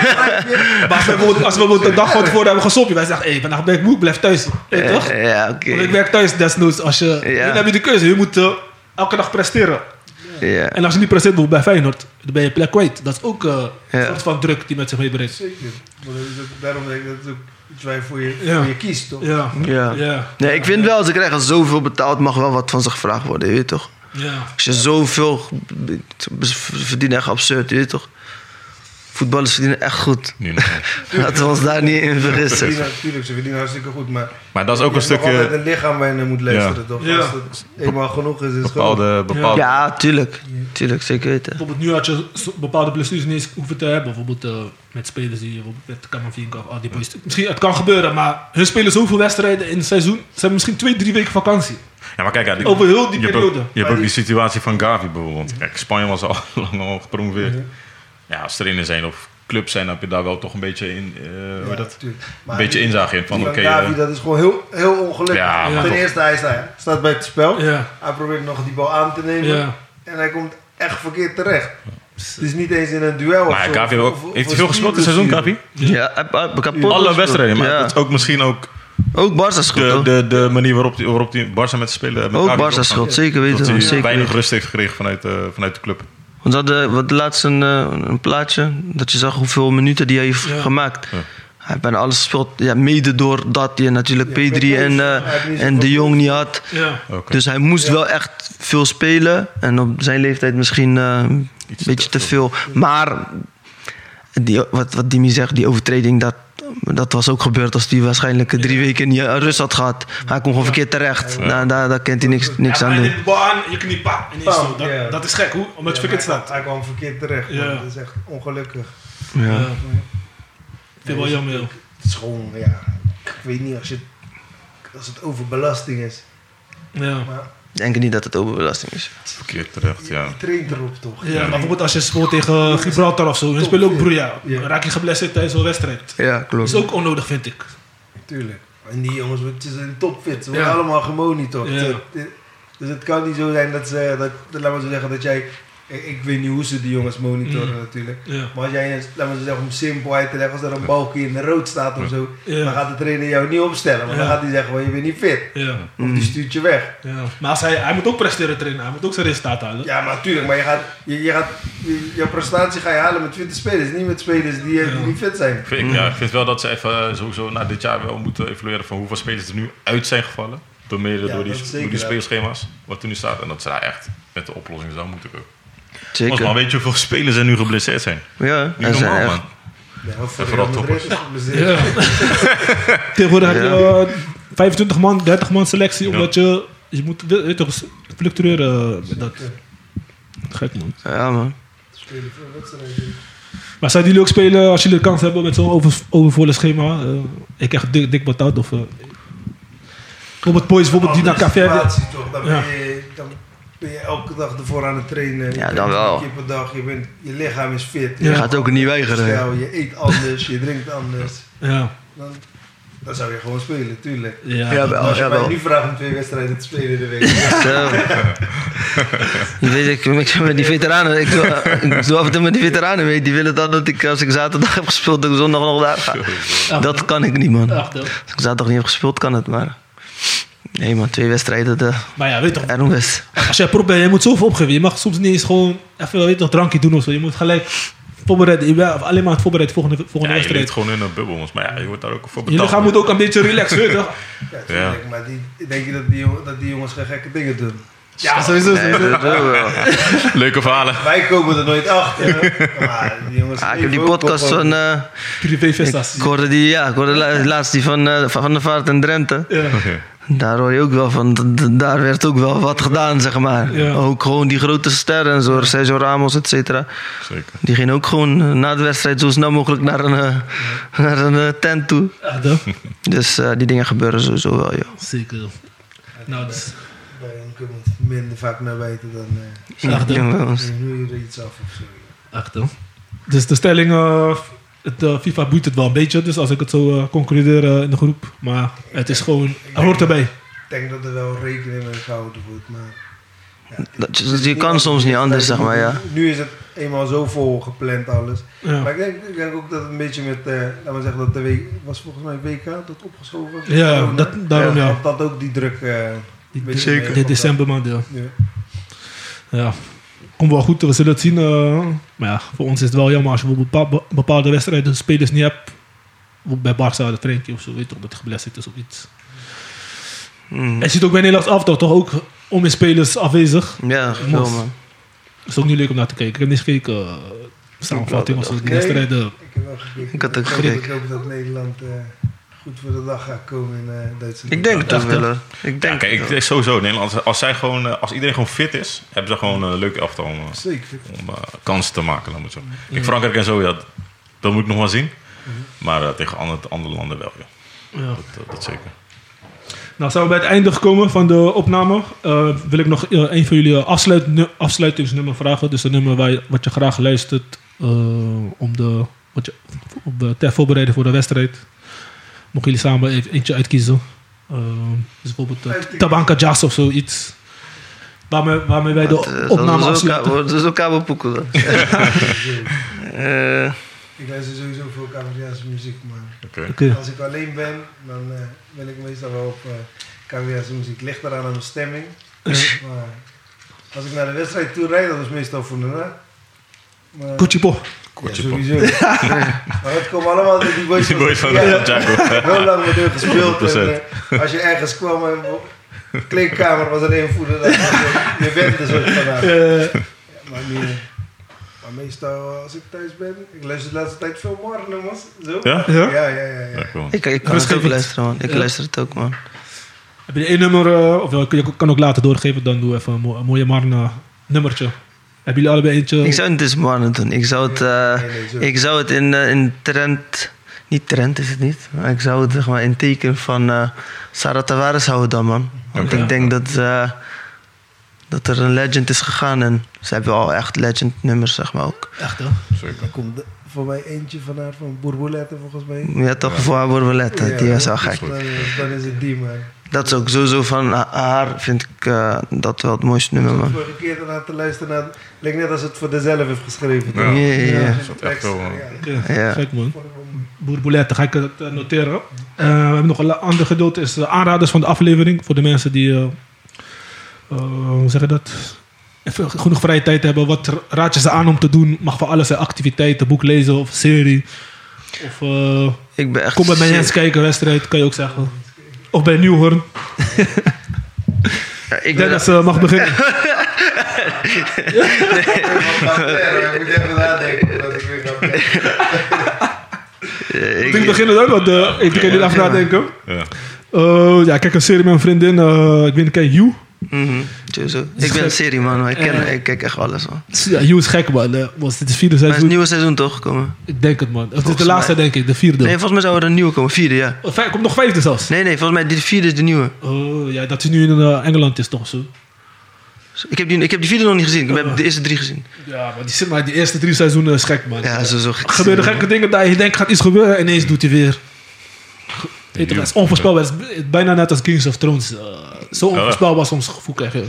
[SPEAKER 2] Maar als we bijvoorbeeld- als we bijvoorbeeld de dag van tevoren hebben gesoppie, wij zeggen, hé, vandaag ben ik moe, blijf thuis. Weet je toch?
[SPEAKER 5] Eh, ja, oké.
[SPEAKER 2] Want ik werk thuis desnoods. Als je,
[SPEAKER 5] Ja.
[SPEAKER 2] Dan heb je de keuze. Je moet eh, elke dag presteren.
[SPEAKER 5] Ja.
[SPEAKER 2] En als je niet presteert bijvoorbeeld bij Feyenoord, dan ben je plek kwijt. Dat is ook eh, een
[SPEAKER 5] Ja.
[SPEAKER 2] soort van druk die met zich meebrengt.
[SPEAKER 4] Zeker. Maar dat is ook- daarom denk ik dat het ook iets waar je voor je,
[SPEAKER 2] Ja.
[SPEAKER 4] voor je kiest, toch?
[SPEAKER 2] Ja.
[SPEAKER 5] Ja.
[SPEAKER 2] Ja.
[SPEAKER 5] Nee, ik vind wel, ze krijgen zoveel betaald, mag wel wat van ze gevraagd worden, je weet toch?
[SPEAKER 2] Ja.
[SPEAKER 5] Als je zoveel ze verdienen echt absurd, je weet toch? Voetballers verdienen echt goed.
[SPEAKER 3] Nu nog niet.
[SPEAKER 5] Laten we ons daar niet in
[SPEAKER 4] Ze
[SPEAKER 5] vergissen.
[SPEAKER 4] verdienen- Natuurlijk, ze verdienen hartstikke goed, maar...
[SPEAKER 3] Maar dat is ook
[SPEAKER 4] je
[SPEAKER 3] een
[SPEAKER 4] hebt nog altijd
[SPEAKER 3] stukje
[SPEAKER 4] een lichaam waar je naar moet luisteren, toch?
[SPEAKER 2] Ja.
[SPEAKER 4] Als het eenmaal genoeg is, is het genoeg.
[SPEAKER 3] bepaalde... bepaalde
[SPEAKER 5] Ja, tuurlijk. Tuurlijk, zeker weten.
[SPEAKER 2] Bijvoorbeeld nu had je zo- bepaalde blessures niet eens hoeven te hebben. Bijvoorbeeld eh, met spelers die bijvoorbeeld met Kamavinga of al die boys. Misschien, het kan gebeuren, maar hun spelen zoveel wedstrijden in het seizoen. Ze hebben misschien twee, drie weken vakantie.
[SPEAKER 3] Ja, maar kijk, ja, die-
[SPEAKER 2] Over heel die
[SPEAKER 3] je hebt
[SPEAKER 2] periode.
[SPEAKER 3] ook- je hebt ook die situatie van Gavi bijvoorbeeld. Kijk, Spanje was al lang al gepromoveerd. Ja, als trainer zijn of club zijn, dan heb je daar wel toch een beetje in. eh, hoe heet
[SPEAKER 4] Ja,
[SPEAKER 3] dat?
[SPEAKER 4] natuurlijk.
[SPEAKER 3] Een
[SPEAKER 4] Maar
[SPEAKER 3] beetje
[SPEAKER 4] die-
[SPEAKER 3] inzage in van
[SPEAKER 4] die
[SPEAKER 3] oké. eh,
[SPEAKER 4] Gavi, dat is gewoon heel, heel ongelukkig.
[SPEAKER 3] Ja,
[SPEAKER 2] maar
[SPEAKER 4] Ten
[SPEAKER 2] toch.
[SPEAKER 4] eerste, hij staat, staat bij het spel.
[SPEAKER 2] Ja.
[SPEAKER 4] Hij probeert nog die bal aan te nemen.
[SPEAKER 2] Ja.
[SPEAKER 4] En hij komt echt verkeerd terecht. Het is niet eens in een duel of
[SPEAKER 3] maar
[SPEAKER 4] zo.
[SPEAKER 3] ja, Gavi
[SPEAKER 4] Of-
[SPEAKER 3] heeft, ook-
[SPEAKER 4] of- of
[SPEAKER 3] heeft hij
[SPEAKER 4] een
[SPEAKER 3] veel gespeeld dit seizoen, Gavi?
[SPEAKER 4] spierblessure.
[SPEAKER 5] Ja, heb- heb- kapot
[SPEAKER 3] Alle
[SPEAKER 5] gespeeld.
[SPEAKER 3] wedstrijden, maar
[SPEAKER 5] Ja.
[SPEAKER 3] dat is ook misschien ook
[SPEAKER 5] Ook Barca is goed,
[SPEAKER 3] de,
[SPEAKER 5] hoor.
[SPEAKER 3] de, de manier waarop die, waarop die Barca met spelen. Met
[SPEAKER 5] Ook
[SPEAKER 3] Gavi
[SPEAKER 5] Barca is
[SPEAKER 3] omgaat.
[SPEAKER 5] goed, zeker
[SPEAKER 3] Dat
[SPEAKER 5] weten.
[SPEAKER 3] hij
[SPEAKER 5] man, Zeker
[SPEAKER 3] weinig
[SPEAKER 5] weten.
[SPEAKER 3] rust heeft gekregen vanuit, eh, vanuit de club.
[SPEAKER 5] Want ze hadden wat laatst een, eh, een plaatje. Dat je zag hoeveel minuten die hij heeft
[SPEAKER 2] Ja.
[SPEAKER 5] gemaakt.
[SPEAKER 3] Ja.
[SPEAKER 5] Hij heeft bijna alles gespeeld. Ja, mede door dat hij natuurlijk
[SPEAKER 4] Ja,
[SPEAKER 5] P3
[SPEAKER 4] Pepe
[SPEAKER 5] en,
[SPEAKER 4] is-
[SPEAKER 5] eh,
[SPEAKER 4] hij heeft niet
[SPEAKER 5] en
[SPEAKER 4] zoveel
[SPEAKER 5] De Jong niet had.
[SPEAKER 2] Ja.
[SPEAKER 3] Oké.
[SPEAKER 5] Dus hij moest wel echt veel spelen. En op zijn leeftijd misschien eh, een
[SPEAKER 3] Iets
[SPEAKER 5] beetje
[SPEAKER 3] te
[SPEAKER 5] te veel. Maar die, wat, wat Dimi zegt, die overtreding, dat, dat was ook gebeurd als hij waarschijnlijk drie weken niet rust had gehad. Hij kon gewoon verkeerd terecht. Nou, daar, daar kent hij niks, niks
[SPEAKER 2] Ja,
[SPEAKER 5] aan
[SPEAKER 2] maar
[SPEAKER 5] doen.
[SPEAKER 2] hij neemt de bal aan, je knie pa. ineens
[SPEAKER 4] Bam,
[SPEAKER 2] zo. Dat,
[SPEAKER 4] Oh, ja.
[SPEAKER 2] dat is gek, hoe? omdat je
[SPEAKER 4] Ja,
[SPEAKER 2] verkeerd
[SPEAKER 4] hij-
[SPEAKER 2] staat.
[SPEAKER 4] Hij kwam verkeerd terecht.
[SPEAKER 2] Ja.
[SPEAKER 4] man. Dat is echt ongelukkig.
[SPEAKER 5] Ja.
[SPEAKER 2] Ja. Vind ik wel jammer, joh.
[SPEAKER 4] Het is gewoon, ja... Ik weet niet, als, je, als het overbelasting is.
[SPEAKER 2] Ja.
[SPEAKER 4] Maar
[SPEAKER 5] Ik denk niet dat het overbelasting is.
[SPEAKER 3] Verkeerd terecht, ja.
[SPEAKER 4] je traint erop, toch?
[SPEAKER 2] Ja, maar bijvoorbeeld als je speelt tegen Gibraltar of zo, je speelt ook broeia. Raak je geblesseerd tijdens een wedstrijd.
[SPEAKER 5] Ja,
[SPEAKER 2] Dat
[SPEAKER 5] klopt.
[SPEAKER 2] is ook onnodig, vind ik.
[SPEAKER 4] Tuurlijk. En die jongens, het is een topfit. Ze worden
[SPEAKER 2] Ja.
[SPEAKER 4] allemaal gemonitord.
[SPEAKER 2] Ja.
[SPEAKER 4] Het- Dus het kan niet zo zijn dat ze, dat, dat- laten we zo zeggen, dat jij... Ik, ik weet niet hoe ze die jongens monitoren
[SPEAKER 2] Mm.
[SPEAKER 4] natuurlijk.
[SPEAKER 2] Ja.
[SPEAKER 4] Maar als jij, eens- laten we zo zeggen, om simpel uit te leggen, als er een balkje in de rood staat of zo,
[SPEAKER 2] Ja.
[SPEAKER 4] dan gaat de trainer jou niet opstellen. Want dan
[SPEAKER 2] Ja.
[SPEAKER 4] gaat hij zeggen, well, je bent niet fit.
[SPEAKER 2] Ja.
[SPEAKER 4] Of die stuurt je weg.
[SPEAKER 2] Ja. Maar als hij, hij moet ook presteren trainen, hij moet ook zijn resultaat halen.
[SPEAKER 4] Ja, maar tuurlijk, maar je gaat, je, je gaat, je, je prestatie ga je halen met fitte spelers, niet met spelers die, eh, die
[SPEAKER 2] Ja.
[SPEAKER 4] niet fit zijn.
[SPEAKER 3] Ik vind, ja, ik vind wel dat ze even eh, sowieso na dit jaar wel moeten evalueren van hoeveel spelers er nu uit zijn gevallen. Door mede
[SPEAKER 4] Ja,
[SPEAKER 3] door, die,
[SPEAKER 4] dat is zeker,
[SPEAKER 3] door die
[SPEAKER 4] ja.
[SPEAKER 3] speelschema's, wat er nu staat. En dat ze daar echt met de oplossing zou moeten komen. Volgens mij
[SPEAKER 5] Zeker.
[SPEAKER 3] weet je hoeveel spelers er nu geblesseerd zijn.
[SPEAKER 5] Ja,
[SPEAKER 3] Niet
[SPEAKER 5] en zijn
[SPEAKER 3] normaal,
[SPEAKER 5] echt-
[SPEAKER 3] man.
[SPEAKER 4] Ja, of
[SPEAKER 3] vooral
[SPEAKER 4] Real Madrid is geblesseerd.
[SPEAKER 2] Ja. Tegenwoordig heb je
[SPEAKER 5] Ja.
[SPEAKER 2] eh, 25 man, 30 man selectie, omdat je, je moet weet je toch, fluctueren eh, met dat. Gek man.
[SPEAKER 5] Ja, man.
[SPEAKER 4] Spelen veel wedstrijden.
[SPEAKER 2] Maar zouden jullie ook spelen als jullie de kans hebben met zo'n over, overvolle schema? Eh, ik echt dik, dik betaald of... eh bijvoorbeeld boys, bijvoorbeeld die naar
[SPEAKER 4] Andere
[SPEAKER 2] Café...
[SPEAKER 4] situatie toch? Dan,
[SPEAKER 2] Ja.
[SPEAKER 4] ben je, dan ben je elke dag ervoor aan het trainen. Je
[SPEAKER 5] Ja, dan
[SPEAKER 4] traint drie
[SPEAKER 5] wel.
[SPEAKER 4] keer per dag. Je, bent, je lichaam is fit.
[SPEAKER 5] Je gaat ook niet weigeren.
[SPEAKER 4] Stel, je eet anders, je drinkt anders.
[SPEAKER 2] Ja.
[SPEAKER 4] Dan, dan zou je gewoon spelen, tuurlijk.
[SPEAKER 2] Ja.
[SPEAKER 5] Jawel,
[SPEAKER 4] Als je mij
[SPEAKER 5] jawel.
[SPEAKER 4] nu vraagt om twee wedstrijden te spelen in de week.
[SPEAKER 5] Zo. Je weet, ik, ik, met die veteranen, ik, doe- ik doe af en toe met die veteranen mee. Die willen dan dat ik, als ik zaterdag heb gespeeld, dat ik zondag nog daar ga. Dat kan ik niet, man.
[SPEAKER 2] Echt, hoor.
[SPEAKER 5] Als ik zaterdag niet heb gespeeld, kan het, maar... Nee, man, twee wedstrijden, de
[SPEAKER 2] Maar ja, weet toch,
[SPEAKER 5] Erom West.
[SPEAKER 2] als jij prop bent, je moet zoveel opgeven. Je mag soms niet eens gewoon even weet toch, drankje doen of zo. Je moet gelijk voorbereiden. Je bent alleen maar aan het voorbereiden voor volgende,
[SPEAKER 3] Ja,
[SPEAKER 2] volgende
[SPEAKER 3] je leeft
[SPEAKER 2] wedstrijd.
[SPEAKER 3] gewoon in een bubbel. jongens. Maar ja, je wordt daar ook voor
[SPEAKER 2] Je
[SPEAKER 3] betaald.
[SPEAKER 2] lichaam moet ook een beetje relaxen, weet je toch?
[SPEAKER 4] Ja, tuurlijk. Maar die, ik denk je dat die, jongen- dat die jongens geen gekke dingen doen? Ja, sowieso.
[SPEAKER 5] Nee, dat wil wel.
[SPEAKER 3] Leuke verhalen.
[SPEAKER 4] Wij komen er nooit achter. Maar die jongens
[SPEAKER 5] Ah, ik heb die
[SPEAKER 4] leven ook
[SPEAKER 5] podcast
[SPEAKER 4] op- op-
[SPEAKER 5] van... eh,
[SPEAKER 2] Privévestas.
[SPEAKER 5] ik hoorde die, ja, ik hoorde la- laatst die van eh, Van van der Vaart en Drenthe.
[SPEAKER 2] Ja.
[SPEAKER 3] Oké.
[SPEAKER 5] Daar hoor je ook wel van, d- d- daar werd ook wel wat gedaan, zeg maar.
[SPEAKER 2] Ja.
[SPEAKER 5] Ook gewoon die grote sterren en zo, Sergio Ramos, et cetera.
[SPEAKER 3] Zeker.
[SPEAKER 5] Die gingen ook gewoon eh, na de wedstrijd zo snel mogelijk naar een, eh, naar een eh, tent toe.
[SPEAKER 2] Ja, dan.
[SPEAKER 5] Dus eh, die dingen gebeuren sowieso wel, joh.
[SPEAKER 2] Zeker. Nou, dus.
[SPEAKER 4] Bij hen komt het minder vaak naar buiten dan... eh
[SPEAKER 5] Ja,
[SPEAKER 2] Echt, hè?
[SPEAKER 5] doen we ons.
[SPEAKER 4] dan doe je er iets af of zo.
[SPEAKER 2] Echt hoor. Dus de stelling, eh, het, eh, FIFA boeit het wel een beetje, dus als ik het zo eh, concludeer eh, in de groep. Maar het is gewoon, het hoort erbij.
[SPEAKER 4] Ik denk dat er wel rekening mee gehouden wordt, maar...
[SPEAKER 5] Dat je, je kan soms niet anders, zeg maar, ja.
[SPEAKER 4] Nu is het eenmaal zo vol gepland alles. Maar
[SPEAKER 2] Ja,
[SPEAKER 4] ik denk, ik denk ook dat het een beetje met, eh laten we zeggen, dat de week, was volgens mij WK dat opgeschoven was.
[SPEAKER 2] ja dat, daarom ja.
[SPEAKER 4] Of dat ook die druk... eh,
[SPEAKER 2] Die-
[SPEAKER 4] beetje
[SPEAKER 5] Zeker.
[SPEAKER 2] Dit
[SPEAKER 4] meekomt.
[SPEAKER 2] decembermaand, ja.
[SPEAKER 4] Ja.
[SPEAKER 2] ja. Komt wel goed, we zullen het zien. eh. maar ja, voor ons is het wel jammer als je bijvoorbeeld bepa- bepaalde wedstrijden spelers niet hebt. Bijvoorbeeld Bij Barca, de Frenkie of zo, weet je, omdat hij geblesseerd is of iets.
[SPEAKER 5] Mm.
[SPEAKER 2] En je ziet ook bij Nederlands aftal toch ook om in spelers afwezig.
[SPEAKER 5] Ja, zo man.
[SPEAKER 2] Is ook niet leuk om naar te kijken. Ik heb niet gekeken, eh, samenvatting of zo, de
[SPEAKER 4] Nee.
[SPEAKER 2] wedstrijden.
[SPEAKER 4] Ik heb wel gekeken.
[SPEAKER 5] Ik had ook
[SPEAKER 4] hoop-
[SPEAKER 5] gekeken.
[SPEAKER 4] Ik hoop dat Nederland eh, goed voor de dag gaat komen in eh, Duitsland.
[SPEAKER 5] Ik denk het ook wel, hoor. Ik
[SPEAKER 3] Ja,
[SPEAKER 5] denk
[SPEAKER 3] kijk,
[SPEAKER 5] het
[SPEAKER 3] ik-
[SPEAKER 5] wel.
[SPEAKER 3] sowieso. Nederland, als, zij gewoon, eh, als iedereen gewoon fit is, hebben ze gewoon een leuke elftal om, eh,
[SPEAKER 4] Zeker.
[SPEAKER 3] om eh, kansen te maken. Dan moet zo. Ik Frankrijk en zo, ja, dat- dat moet ik nog wel zien.
[SPEAKER 5] Mhm.
[SPEAKER 3] Maar eh, tegen andere, andere landen wel, joh.
[SPEAKER 2] Ja.
[SPEAKER 3] Dat, eh, dat, dat zeker.
[SPEAKER 2] Nou, zijn we bij het einde gekomen van de opname. Eh, wil ik nog eh, een van jullie afsluit, nu- afsluitingsnummer vragen. Dus een nummer waar je- wat je graag luistert eh, om de, wat je, op de, ter voorbereiding voor de wedstrijd. Mogen jullie samen even eentje uitkiezen. Eh, dus bijvoorbeeld eh, Tabanka Jazz of zoiets. Waarmee, waarmee wij
[SPEAKER 5] Dat,
[SPEAKER 2] de
[SPEAKER 5] eh,
[SPEAKER 2] opname
[SPEAKER 5] Dat is ook
[SPEAKER 2] afsluiten.
[SPEAKER 5] kabel- dat is ook kabelpoeken dan. Eh,
[SPEAKER 4] Ik luister sowieso veel Cavariaanse muziek, maar
[SPEAKER 3] Oké.
[SPEAKER 2] Oké.
[SPEAKER 4] als ik alleen ben, dan eh, ben ik meestal wel op eh Cavariaanse muziek. Ligt eraan aan mijn stemming. maar als ik naar de wedstrijd toe rijd, dat is meestal voor daarna. Maar,
[SPEAKER 2] Koetje Pop.
[SPEAKER 4] ja,
[SPEAKER 3] Kortje pop.
[SPEAKER 4] sowieso. maar het komt allemaal door die boys
[SPEAKER 3] Die boys van
[SPEAKER 4] Ja.
[SPEAKER 3] ja. Jaco.
[SPEAKER 4] Heel lang met hun gespeeld. En,
[SPEAKER 3] 100%.
[SPEAKER 4] eh, als je ergens kwam en de kleedkamer was alleen voeten, dan was je, je bent er soort van aan.
[SPEAKER 2] Eh,
[SPEAKER 4] Ja, maar, nu, eh, maar meestal eh, als ik thuis ben, ik luister de laatste tijd veel morgennummers. Zo.
[SPEAKER 3] Ja?
[SPEAKER 2] ja?
[SPEAKER 4] Ja, ja, ja. ja.
[SPEAKER 3] Ja, cool.
[SPEAKER 5] Ik ik kan
[SPEAKER 2] Dat is
[SPEAKER 5] het ook
[SPEAKER 2] geen-
[SPEAKER 5] luisteren, man. Ik
[SPEAKER 2] Ja.
[SPEAKER 5] luister het ook, man.
[SPEAKER 2] Heb je één nummer, eh, of wel, kun je kan ook later doorgeven, dan doe even een mo- een mooie Marna nummertje. Hebben jullie allebei eentje?
[SPEAKER 5] Ik zou het dus morgen doen. Ik zou het, eh,
[SPEAKER 4] Nee, nee, zo.
[SPEAKER 5] ik zou het in, eh, in trend... Niet trend is het niet. Maar ik zou het zeg maar, in teken van eh Sarah Tavares houden dan, man. Want
[SPEAKER 3] Oké.
[SPEAKER 5] ik denk dat, eh, dat er een legend is gegaan. En ze hebben al echt legend nummers, zeg maar ook.
[SPEAKER 2] Echt hè?
[SPEAKER 3] Zeker.
[SPEAKER 4] Er komt voor mij eentje van haar van Bourboulette volgens mij.
[SPEAKER 5] Ja, toch voor haar worden we letten.
[SPEAKER 4] Ja,
[SPEAKER 5] Die was
[SPEAKER 4] ja.
[SPEAKER 5] wel gek.
[SPEAKER 4] Dan, eh, dan is het die man.
[SPEAKER 5] Dat is ook sowieso van ha- haar, vind ik eh, dat wel het mooiste nummer,
[SPEAKER 4] Ik zat
[SPEAKER 5] man.
[SPEAKER 4] Dus vorige keer ernaar te luisteren, naar, leek net als het voor dezelfde heeft geschreven.
[SPEAKER 3] Ja.
[SPEAKER 5] Ja, ja, ja.
[SPEAKER 3] dat is echt wel, eh,
[SPEAKER 4] Ja,
[SPEAKER 2] Ja,
[SPEAKER 5] Ja.
[SPEAKER 2] gek man.
[SPEAKER 4] vond ik wel mooi.
[SPEAKER 2] Boerboulette, ga ik het eh, noteren. Eh, we hebben nog een la- ander gedeelte, is de aanraders van de aflevering. Voor de mensen die, eh, eh, hoe zeg je dat, even genoeg vrije tijd hebben. Wat r- raad je ze aan om te doen? Mag van alles zijn activiteiten, boek lezen of serie. Of eh,
[SPEAKER 5] Ik ben echt...
[SPEAKER 2] kom bij mij
[SPEAKER 5] zeer-
[SPEAKER 2] eens kijken, wedstrijd, kan je ook zeggen. Of bij Nieuwhoorn.
[SPEAKER 5] Ja, ik ben
[SPEAKER 2] Dennis ze mag beginnen.
[SPEAKER 4] Ik moet even nadenken dat ik weer ga praten.
[SPEAKER 5] eh,
[SPEAKER 2] Ik
[SPEAKER 4] eh,
[SPEAKER 5] ik-
[SPEAKER 2] denk beginnen ook, want eh, ik kan jullie af nadenken.
[SPEAKER 3] Ja.
[SPEAKER 2] Eh, ja, ik kijk een serie met een vriendin. eh, ik weet niet, kijk, You.
[SPEAKER 5] Mhm, sowieso. Ik ben een serie man, maar ik, ken,
[SPEAKER 4] Eh.
[SPEAKER 5] ik kijk echt alles man.
[SPEAKER 2] Ja, You is gek, man. Eh, was dit het vierde
[SPEAKER 5] Maar het is
[SPEAKER 2] seizoen?
[SPEAKER 5] een nieuwe seizoen toch gekomen?
[SPEAKER 2] Ik denk het, man. Het is de
[SPEAKER 5] Volgens
[SPEAKER 2] laatste,
[SPEAKER 5] mij.
[SPEAKER 2] denk ik. De vierde.
[SPEAKER 5] Nee, volgens mij zou er een nieuwe komen. Vierde, ja.
[SPEAKER 2] Oh, vijf- komt nog vijfde zelfs.
[SPEAKER 5] Nee, nee, volgens mij dit vierde is de nieuwe.
[SPEAKER 2] Oh, ja, dat hij nu in eh, Engeland is, toch zo?
[SPEAKER 5] Ik heb die, ik heb die vierde nog niet gezien. Ik heb de eerste drie gezien.
[SPEAKER 2] Ja, maar die, zit maar die eerste drie seizoenen is gek, man.
[SPEAKER 5] Ja, zo zo.
[SPEAKER 2] Er gebeuren gekke dingen dat je denkt, gaat iets gebeuren en ineens doet hij weer. Weet je, het is onvoorspelbaar. Het is b- bijna net als Kings of Thrones. Eh, zo onvoorspelbaar soms gevoel krijg je.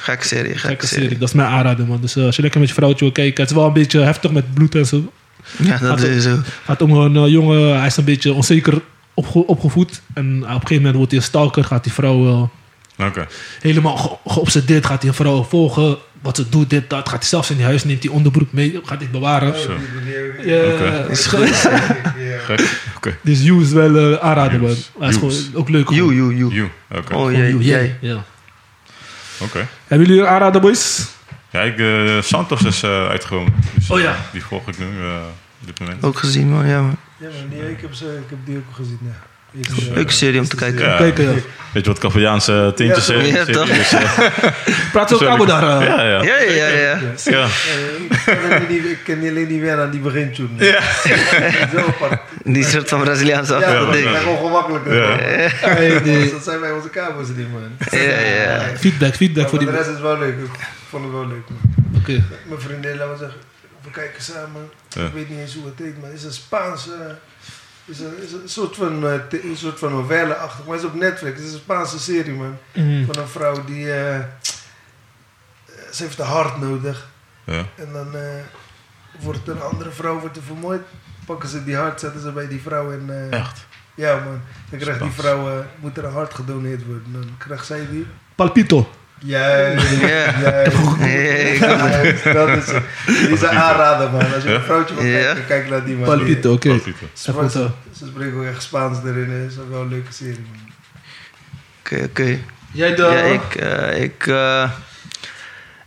[SPEAKER 5] Gekke serie,
[SPEAKER 2] Gekke
[SPEAKER 5] gekke
[SPEAKER 2] serie,
[SPEAKER 5] serie.
[SPEAKER 2] dat is mijn aanrader, man. Dus eh, als je lekker met je vrouwtje wil kijken, het is wel een beetje heftig met bloed en zo.
[SPEAKER 5] Ja, dat
[SPEAKER 2] Gaat
[SPEAKER 5] is zo.
[SPEAKER 2] gaat om een eh, jongen, hij is een beetje onzeker opge- opgevoed. En op een gegeven moment wordt hij een stalker, gaat die vrouw eh,
[SPEAKER 3] Oké.
[SPEAKER 2] helemaal ge- geobsedeerd, gaat die vrouw volgen. Wat ze doet, dit, dat. Gaat hij zelfs in die huis, neemt die onderbroek mee, gaat dit bewaren.
[SPEAKER 4] Oh, die meneer-
[SPEAKER 2] Ja,
[SPEAKER 3] Oké.
[SPEAKER 2] is
[SPEAKER 4] Ja.
[SPEAKER 3] Gek. Oké.
[SPEAKER 2] Dus You is wel eh, aanraden, man.
[SPEAKER 3] Hughes.
[SPEAKER 2] Hij is
[SPEAKER 3] Hughes.
[SPEAKER 2] gewoon ook leuk.
[SPEAKER 5] You,
[SPEAKER 2] gewoon.
[SPEAKER 5] you, you.
[SPEAKER 3] You. Oké.
[SPEAKER 5] Oh
[SPEAKER 2] Gewoon
[SPEAKER 5] jee,
[SPEAKER 2] Hughes,
[SPEAKER 5] jij.
[SPEAKER 2] Ja.
[SPEAKER 3] Oké.
[SPEAKER 2] Hebben jullie een aanrader, boys?
[SPEAKER 3] Ja, ik, eh, Santos is eh, uitgekomen. Dus,
[SPEAKER 2] Oh ja.
[SPEAKER 3] eh, die volg ik nu eh, op dit moment.
[SPEAKER 5] Ook gezien, man. Ja, man.
[SPEAKER 4] Ja, maar nee, ik heb, ze, ik heb die ook gezien. Ja. Eerste, eh,
[SPEAKER 5] Leuke serie om te kijken.
[SPEAKER 3] Ja.
[SPEAKER 2] Kijken, ja.
[SPEAKER 3] Weet je wat Cavaliaanse tintjes
[SPEAKER 4] Ja,
[SPEAKER 3] zijn?
[SPEAKER 5] ja, toch?
[SPEAKER 3] Dus, eh,
[SPEAKER 2] Praat ook
[SPEAKER 3] Sorry.
[SPEAKER 2] Cabo daar. eh.
[SPEAKER 3] ja, ja.
[SPEAKER 5] Ja, ja, ja.
[SPEAKER 3] Ja.
[SPEAKER 4] eh, ik ken alleen niet- Ik ken die alleen niet meer aan die begintune.
[SPEAKER 3] Ja.
[SPEAKER 4] Zo apart.
[SPEAKER 5] Die soort van Braziliaanse
[SPEAKER 4] Ja,
[SPEAKER 5] achtige
[SPEAKER 4] dat
[SPEAKER 5] ding.
[SPEAKER 4] is ongemakkelijk. Dus
[SPEAKER 3] Ja.
[SPEAKER 2] Hey, die-
[SPEAKER 4] Dat zijn wij onze kabels niet, man.
[SPEAKER 5] Ja, ja.
[SPEAKER 2] Feedback, feedback
[SPEAKER 4] Maar
[SPEAKER 2] voor die.
[SPEAKER 4] de
[SPEAKER 2] Oké.
[SPEAKER 4] rest is wel leuk. Ik vond het wel leuk, man. Mijn vriendin, laten we zeggen, we kijken samen.
[SPEAKER 3] Ja.
[SPEAKER 4] Ik weet niet eens hoe het heet, maar het is een Spaanse. Is een, is een soort van, eh, te- een soort van novelle-achtig, maar het is op Netflix. Het is een Spaanse serie, man.
[SPEAKER 2] Mm.
[SPEAKER 4] Van een vrouw die. eh, ze heeft een hart nodig.
[SPEAKER 3] Ja.
[SPEAKER 4] En dan eh, wordt een andere vrouw wordt er vermoord. Pakken ze die hart, zetten ze bij die vrouw en. eh,
[SPEAKER 3] Echt?
[SPEAKER 4] Ja, man. Dan krijgt die
[SPEAKER 3] Spaans.
[SPEAKER 4] vrouw. eh, moet er een hart gedoneerd worden. Dan krijgt zij die.
[SPEAKER 2] Palpito.
[SPEAKER 4] Juist.
[SPEAKER 5] Ja.
[SPEAKER 4] Juist.
[SPEAKER 5] Nee, ik-
[SPEAKER 4] Juist, dat is het. Die is een aanrader, man. Als je een vrouwtje wil
[SPEAKER 5] Ja.
[SPEAKER 4] kijken, kijk naar die man.
[SPEAKER 2] Palpito, oké.
[SPEAKER 3] Dat titel.
[SPEAKER 4] Ze,
[SPEAKER 2] Even eh. zo.
[SPEAKER 4] ze, ze spreken ook echt Spaans erin. hè. Dat is ook wel een leuke serie, man.
[SPEAKER 5] Oké, oké.
[SPEAKER 2] Jij de.
[SPEAKER 5] Ja, ik, eh, ik, eh,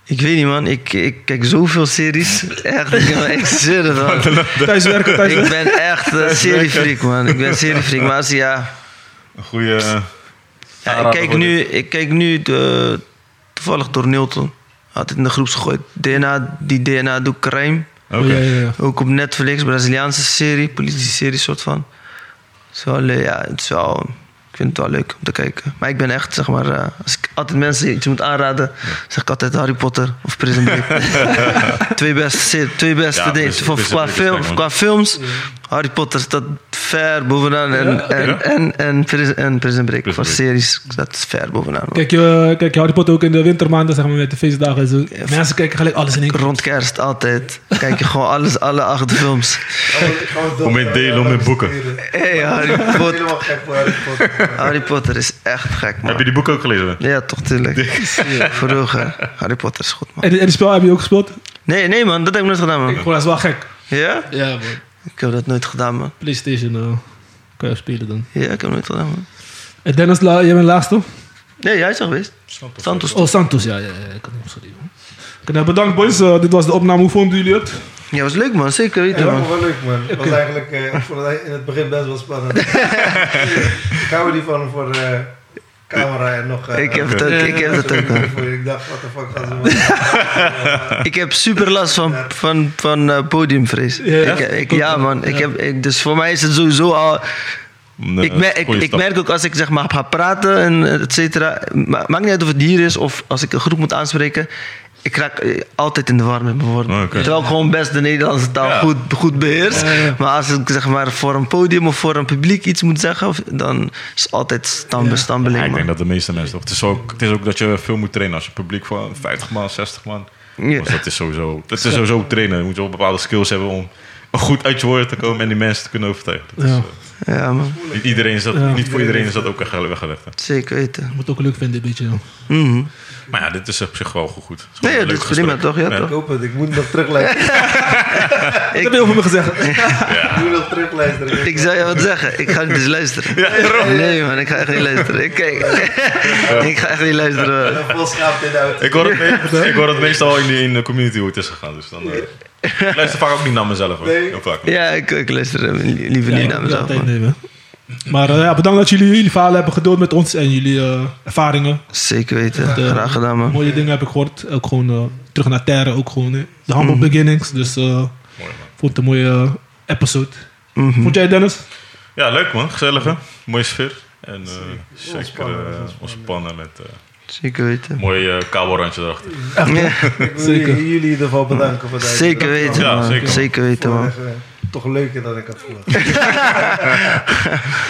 [SPEAKER 5] ik weet niet, man. Ik, ik kijk zoveel series. Echt, ik ben echt zin ervan.
[SPEAKER 2] Thuiswerken, thuiswerken.
[SPEAKER 5] Ik ben echt eh, seriefreak, man. Ik ben seriefreak. Maar als, ja,
[SPEAKER 3] Een goede... eh,
[SPEAKER 5] Ja, ik
[SPEAKER 3] aanrader
[SPEAKER 5] kijk
[SPEAKER 3] voor
[SPEAKER 5] nu,
[SPEAKER 3] dit.
[SPEAKER 5] ik kijk nu de, toevallig door Nilton. Had het in de groep gegooid. DNA, die DNA doet crime.
[SPEAKER 3] Oké.
[SPEAKER 2] Oh, ja, ja, ja.
[SPEAKER 5] Ook op Netflix, Braziliaanse serie, politie-serie soort van. Het is wel, eh, ja, het is wel, ik vind het wel leuk om te kijken. Maar ik ben echt, zeg maar, eh, als ik altijd mensen iets moet aanraden, zeg ik altijd Harry Potter of Prison Break. twee beste, serie- twee beste
[SPEAKER 3] Ja,
[SPEAKER 5] dingen.
[SPEAKER 3] Prison-
[SPEAKER 5] Van-
[SPEAKER 3] Prison
[SPEAKER 5] qua,
[SPEAKER 3] Break is
[SPEAKER 5] film,
[SPEAKER 3] sterk, man.
[SPEAKER 5] qua films, Harry Potter staat ver bovenaan. En, en,
[SPEAKER 3] Ja?
[SPEAKER 5] en, en, Prison, en Prison Break,
[SPEAKER 3] Prison
[SPEAKER 5] qua
[SPEAKER 3] Break.
[SPEAKER 5] series, dat is ver bovenaan. man.
[SPEAKER 2] Kijk je, kijk je Harry Potter ook in de wintermaanden, zeg maar, met de feestdagen en zo.
[SPEAKER 5] Ja.
[SPEAKER 2] Mensen kijken gelijk alles in één keer.
[SPEAKER 5] Rond kerst altijd. Kijk je gewoon alles, alle acht films.
[SPEAKER 3] Om in delen, om in boeken.
[SPEAKER 5] Hey, Harry
[SPEAKER 4] Wat?
[SPEAKER 5] Potter.
[SPEAKER 4] Helemaal gek voor Harry Potter.
[SPEAKER 5] Harry Potter is echt gek, man.
[SPEAKER 3] Heb je die boek ook gelezen?
[SPEAKER 5] Ja, toch tuurlijk. Voor de ogen. Harry Potter is goed, man.
[SPEAKER 2] En, en die spel heb je ook gespeeld?
[SPEAKER 5] Nee, nee, man, dat heb ik nooit gedaan,
[SPEAKER 2] Ik
[SPEAKER 5] man.
[SPEAKER 2] vond dat is wel gek.
[SPEAKER 5] Ja?
[SPEAKER 2] Ja, man.
[SPEAKER 5] Ik heb dat nooit gedaan, man.
[SPEAKER 2] PlayStation eh, kan je spelen dan.
[SPEAKER 5] Ja, ik heb dat nooit gedaan, man.
[SPEAKER 2] En Dennis, la, jij bent laatste?
[SPEAKER 5] Nee, jij is er geweest.
[SPEAKER 3] Santos.
[SPEAKER 5] Santos.
[SPEAKER 2] Oh, Santos, ja, ja, ja. Ik kan hem sorry, man. Oké, nou, bedankt, boys. Eh, dit was de opname. Hoe vonden jullie het?
[SPEAKER 5] Ja, was leuk, man. Zeker
[SPEAKER 4] Ja,
[SPEAKER 5] weten,
[SPEAKER 4] dat was
[SPEAKER 5] man.
[SPEAKER 4] wel leuk, man. Het was eigenlijk eh, ik vond het in het begin best wel spannend. ik hou er niet van voor eh, camera en nog... eh,
[SPEAKER 5] Ik heb het ook, ik heb dat ook, man.
[SPEAKER 4] Ik dacht, wat de fuck gaan ze maken?
[SPEAKER 5] Ik heb super last van, van, van eh, podiumvrees.
[SPEAKER 2] Ja,
[SPEAKER 5] Ik, ik, ja, man. Ik heb, ik, dus voor mij is het sowieso al...
[SPEAKER 3] Nee,
[SPEAKER 5] Ik, mer- ik,
[SPEAKER 3] eh, goeie
[SPEAKER 5] ik
[SPEAKER 3] stap.
[SPEAKER 5] merk ook als ik zeg maar ga praten en et cetera. ma- Maakt niet uit of het hier is of als ik een groep moet aanspreken. Ik raak eh, altijd in de war met mijn woorden.
[SPEAKER 3] Oké.
[SPEAKER 5] Terwijl ik gewoon best de Nederlandse taal
[SPEAKER 3] Ja.
[SPEAKER 5] goed, goed beheers.
[SPEAKER 2] Ja, ja.
[SPEAKER 5] Maar als ik zeg maar voor een podium of voor een publiek iets moet zeggen, of- dan is het altijd stam
[SPEAKER 2] Ja.
[SPEAKER 5] stambeling.
[SPEAKER 3] Ja, ik
[SPEAKER 5] man.
[SPEAKER 3] denk dat de meeste mensen toch. Het is, ook, het is ook dat je veel moet trainen als je publiek van 50 man, 60 man.
[SPEAKER 5] Ja.
[SPEAKER 3] Dus dat is sowieso, dat is sowieso trainen. Je moet wel bepaalde skills hebben om goed uit je woorden te komen en die mensen te kunnen overtuigen. Dat is,
[SPEAKER 2] Ja.
[SPEAKER 3] eh,
[SPEAKER 5] Ja, man.
[SPEAKER 3] niet, iedereen is dat,
[SPEAKER 2] Ja.
[SPEAKER 3] niet voor iedereen is dat ook echt weggelegd. hè.
[SPEAKER 5] Zeker weten.
[SPEAKER 2] Je moet het ook leuk vinden, een beetje. joh.
[SPEAKER 5] Mhm.
[SPEAKER 3] Maar ja, dit is op zich wel goed. Het is gewoon een
[SPEAKER 5] Nee, ja, dat
[SPEAKER 3] leuk
[SPEAKER 5] is prima
[SPEAKER 3] gesprek.
[SPEAKER 5] toch? Ja,
[SPEAKER 3] Ja.
[SPEAKER 4] Ik
[SPEAKER 5] toch?
[SPEAKER 4] hoop het, ik moet nog terugluisteren.
[SPEAKER 2] Dat heb je over me gezegd.
[SPEAKER 4] Ik moet nog terugluisteren.
[SPEAKER 5] Ik zou je wat zeggen, ik ga niet eens luisteren. nee, man, ik ga echt niet luisteren. Ik, kijk, ik ga echt niet luisteren. man.
[SPEAKER 4] ben vol schaamte in de auto.
[SPEAKER 3] Ik hoor, het me- ik hoor het meestal in de, in de community hoe het is gegaan. Dus dan, eh, ik luister vaak ook niet naar mezelf. Hoor.
[SPEAKER 4] Nee.
[SPEAKER 3] Heel vaak.
[SPEAKER 5] Ja, ik, ik luister eh, li- liever
[SPEAKER 2] Ja,
[SPEAKER 5] niet
[SPEAKER 2] ik
[SPEAKER 5] naar
[SPEAKER 2] moet
[SPEAKER 5] mezelf.
[SPEAKER 2] altijd
[SPEAKER 5] man.
[SPEAKER 2] nemen. Maar eh, ja, bedankt dat jullie jullie verhalen hebben gedeeld met ons en jullie eh, ervaringen.
[SPEAKER 5] Zeker weten.
[SPEAKER 2] eh,
[SPEAKER 5] Graag gedaan, man.
[SPEAKER 2] Mooie dingen heb ik gehoord. Ook gewoon eh, terug naar Terre, ook gewoon eh, de humble beginnings. Dus eh,
[SPEAKER 3] Mm. Mooi, man. Mm.
[SPEAKER 2] vond het een mooie eh, episode.
[SPEAKER 5] Mhm.
[SPEAKER 2] Vond jij Dennis?
[SPEAKER 3] Ja, leuk man. Gezellig hè? Mooie sfeer. En eh, zeker
[SPEAKER 4] Ontspannen,
[SPEAKER 3] eh,
[SPEAKER 4] ontspannen.
[SPEAKER 3] ontspannen met eh
[SPEAKER 5] Zeker weten.
[SPEAKER 3] mooi eh kabelrandje erachter.
[SPEAKER 5] Ja,
[SPEAKER 4] Ik wil
[SPEAKER 2] Zeker.
[SPEAKER 4] jullie in ieder geval bedanken voor dat.
[SPEAKER 5] zeker weten,
[SPEAKER 3] Ja,
[SPEAKER 5] man.
[SPEAKER 3] zeker,
[SPEAKER 5] zeker,
[SPEAKER 3] man.
[SPEAKER 5] weten, man.
[SPEAKER 4] Toch leuker dan ik had verwacht.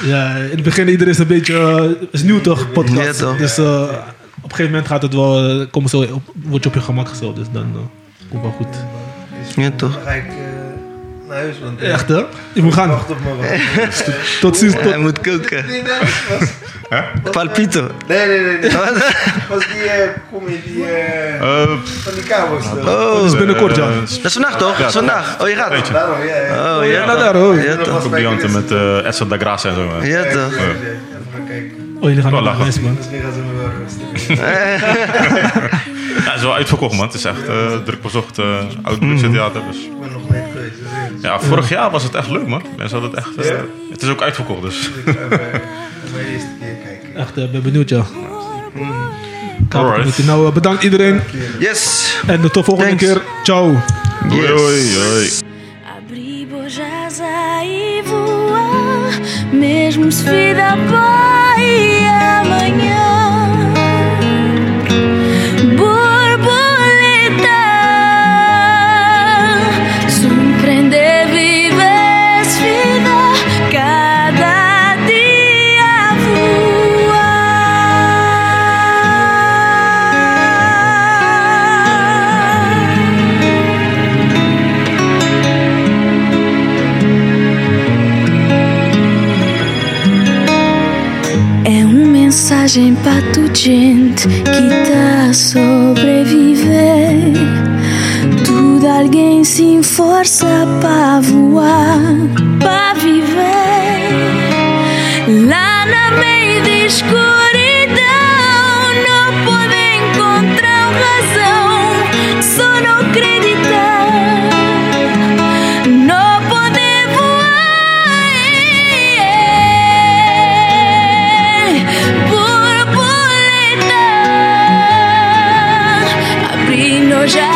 [SPEAKER 2] Ja, in het begin iedereen is een beetje eh, is nieuw toch podcast.
[SPEAKER 5] Ja, toch.
[SPEAKER 2] Dus eh, op een gegeven moment gaat het wel, eh, kom zo op, word je op je gemak gesteld. Dus dan eh, komt wel goed.
[SPEAKER 5] Ja, toch?
[SPEAKER 4] Dan ga ik eh, naar huis, want eh,
[SPEAKER 2] Echt hè? Je moet gaan.
[SPEAKER 4] wacht op me. wat.
[SPEAKER 2] Tot ziens. Tot...
[SPEAKER 5] Hij moet koken.
[SPEAKER 4] Nee, nee, was-
[SPEAKER 5] Palpito. Oh.
[SPEAKER 4] nee, nee, nee, nee. Was die, eh, kom je die, eh,
[SPEAKER 3] Eh, pff,
[SPEAKER 4] van die kabels toch?
[SPEAKER 5] Oh,
[SPEAKER 2] is binnenkort, ja.
[SPEAKER 3] eh,
[SPEAKER 5] dat is vandaag toch? Dat is vandaag. Oh, je gaat.
[SPEAKER 4] Daarom, ja, ja.
[SPEAKER 5] Oh, ja,
[SPEAKER 2] Ja, daar hoor.
[SPEAKER 5] Ja, toch?
[SPEAKER 3] Ook die handen met eh Edson da Graça en zo. hè.
[SPEAKER 5] Ja, toch?
[SPEAKER 4] Even gaan kijken.
[SPEAKER 2] Oh, jullie gaan
[SPEAKER 3] Wel
[SPEAKER 2] naar de
[SPEAKER 3] lachen.
[SPEAKER 2] rest, man.
[SPEAKER 4] Misschien gaan ze me wel rusten.
[SPEAKER 3] Ja, het is wel uitverkocht, man. Het is echt eh, druk bezocht, eh oud
[SPEAKER 5] Mm.
[SPEAKER 3] theater. Dus.
[SPEAKER 4] Ik ben nog net geweest, dus ja.
[SPEAKER 3] Ja, vorig jaar was het echt leuk, man. Mensen hadden het echt... eh, Het is ook uitverkocht, dus...
[SPEAKER 4] Ik ga even mijn eerste keer kijken.
[SPEAKER 2] Echt, eh, ben benieuwd, ja. Kaap,
[SPEAKER 3] Alright.
[SPEAKER 2] benieuwd. Nou, eh, bedankt iedereen.
[SPEAKER 5] Yes!
[SPEAKER 2] En eh, tot volgende
[SPEAKER 5] Thanks.
[SPEAKER 2] keer. Ciao.
[SPEAKER 3] Doei,
[SPEAKER 5] Yes.
[SPEAKER 3] doei, doei.
[SPEAKER 1] Abrir Bojasa e voar, mesmo se vida vai amanhã. Borboleta, surpreender, vives vida, cada dia voar. É uma mensagem patugente que tá a sobreviver. Tudo alguém se força pra voar, pra viver. Lá na meio da escuridão, não pode encontrar razão, só não acreditar. Não pode voar, borboleta, abrindo já.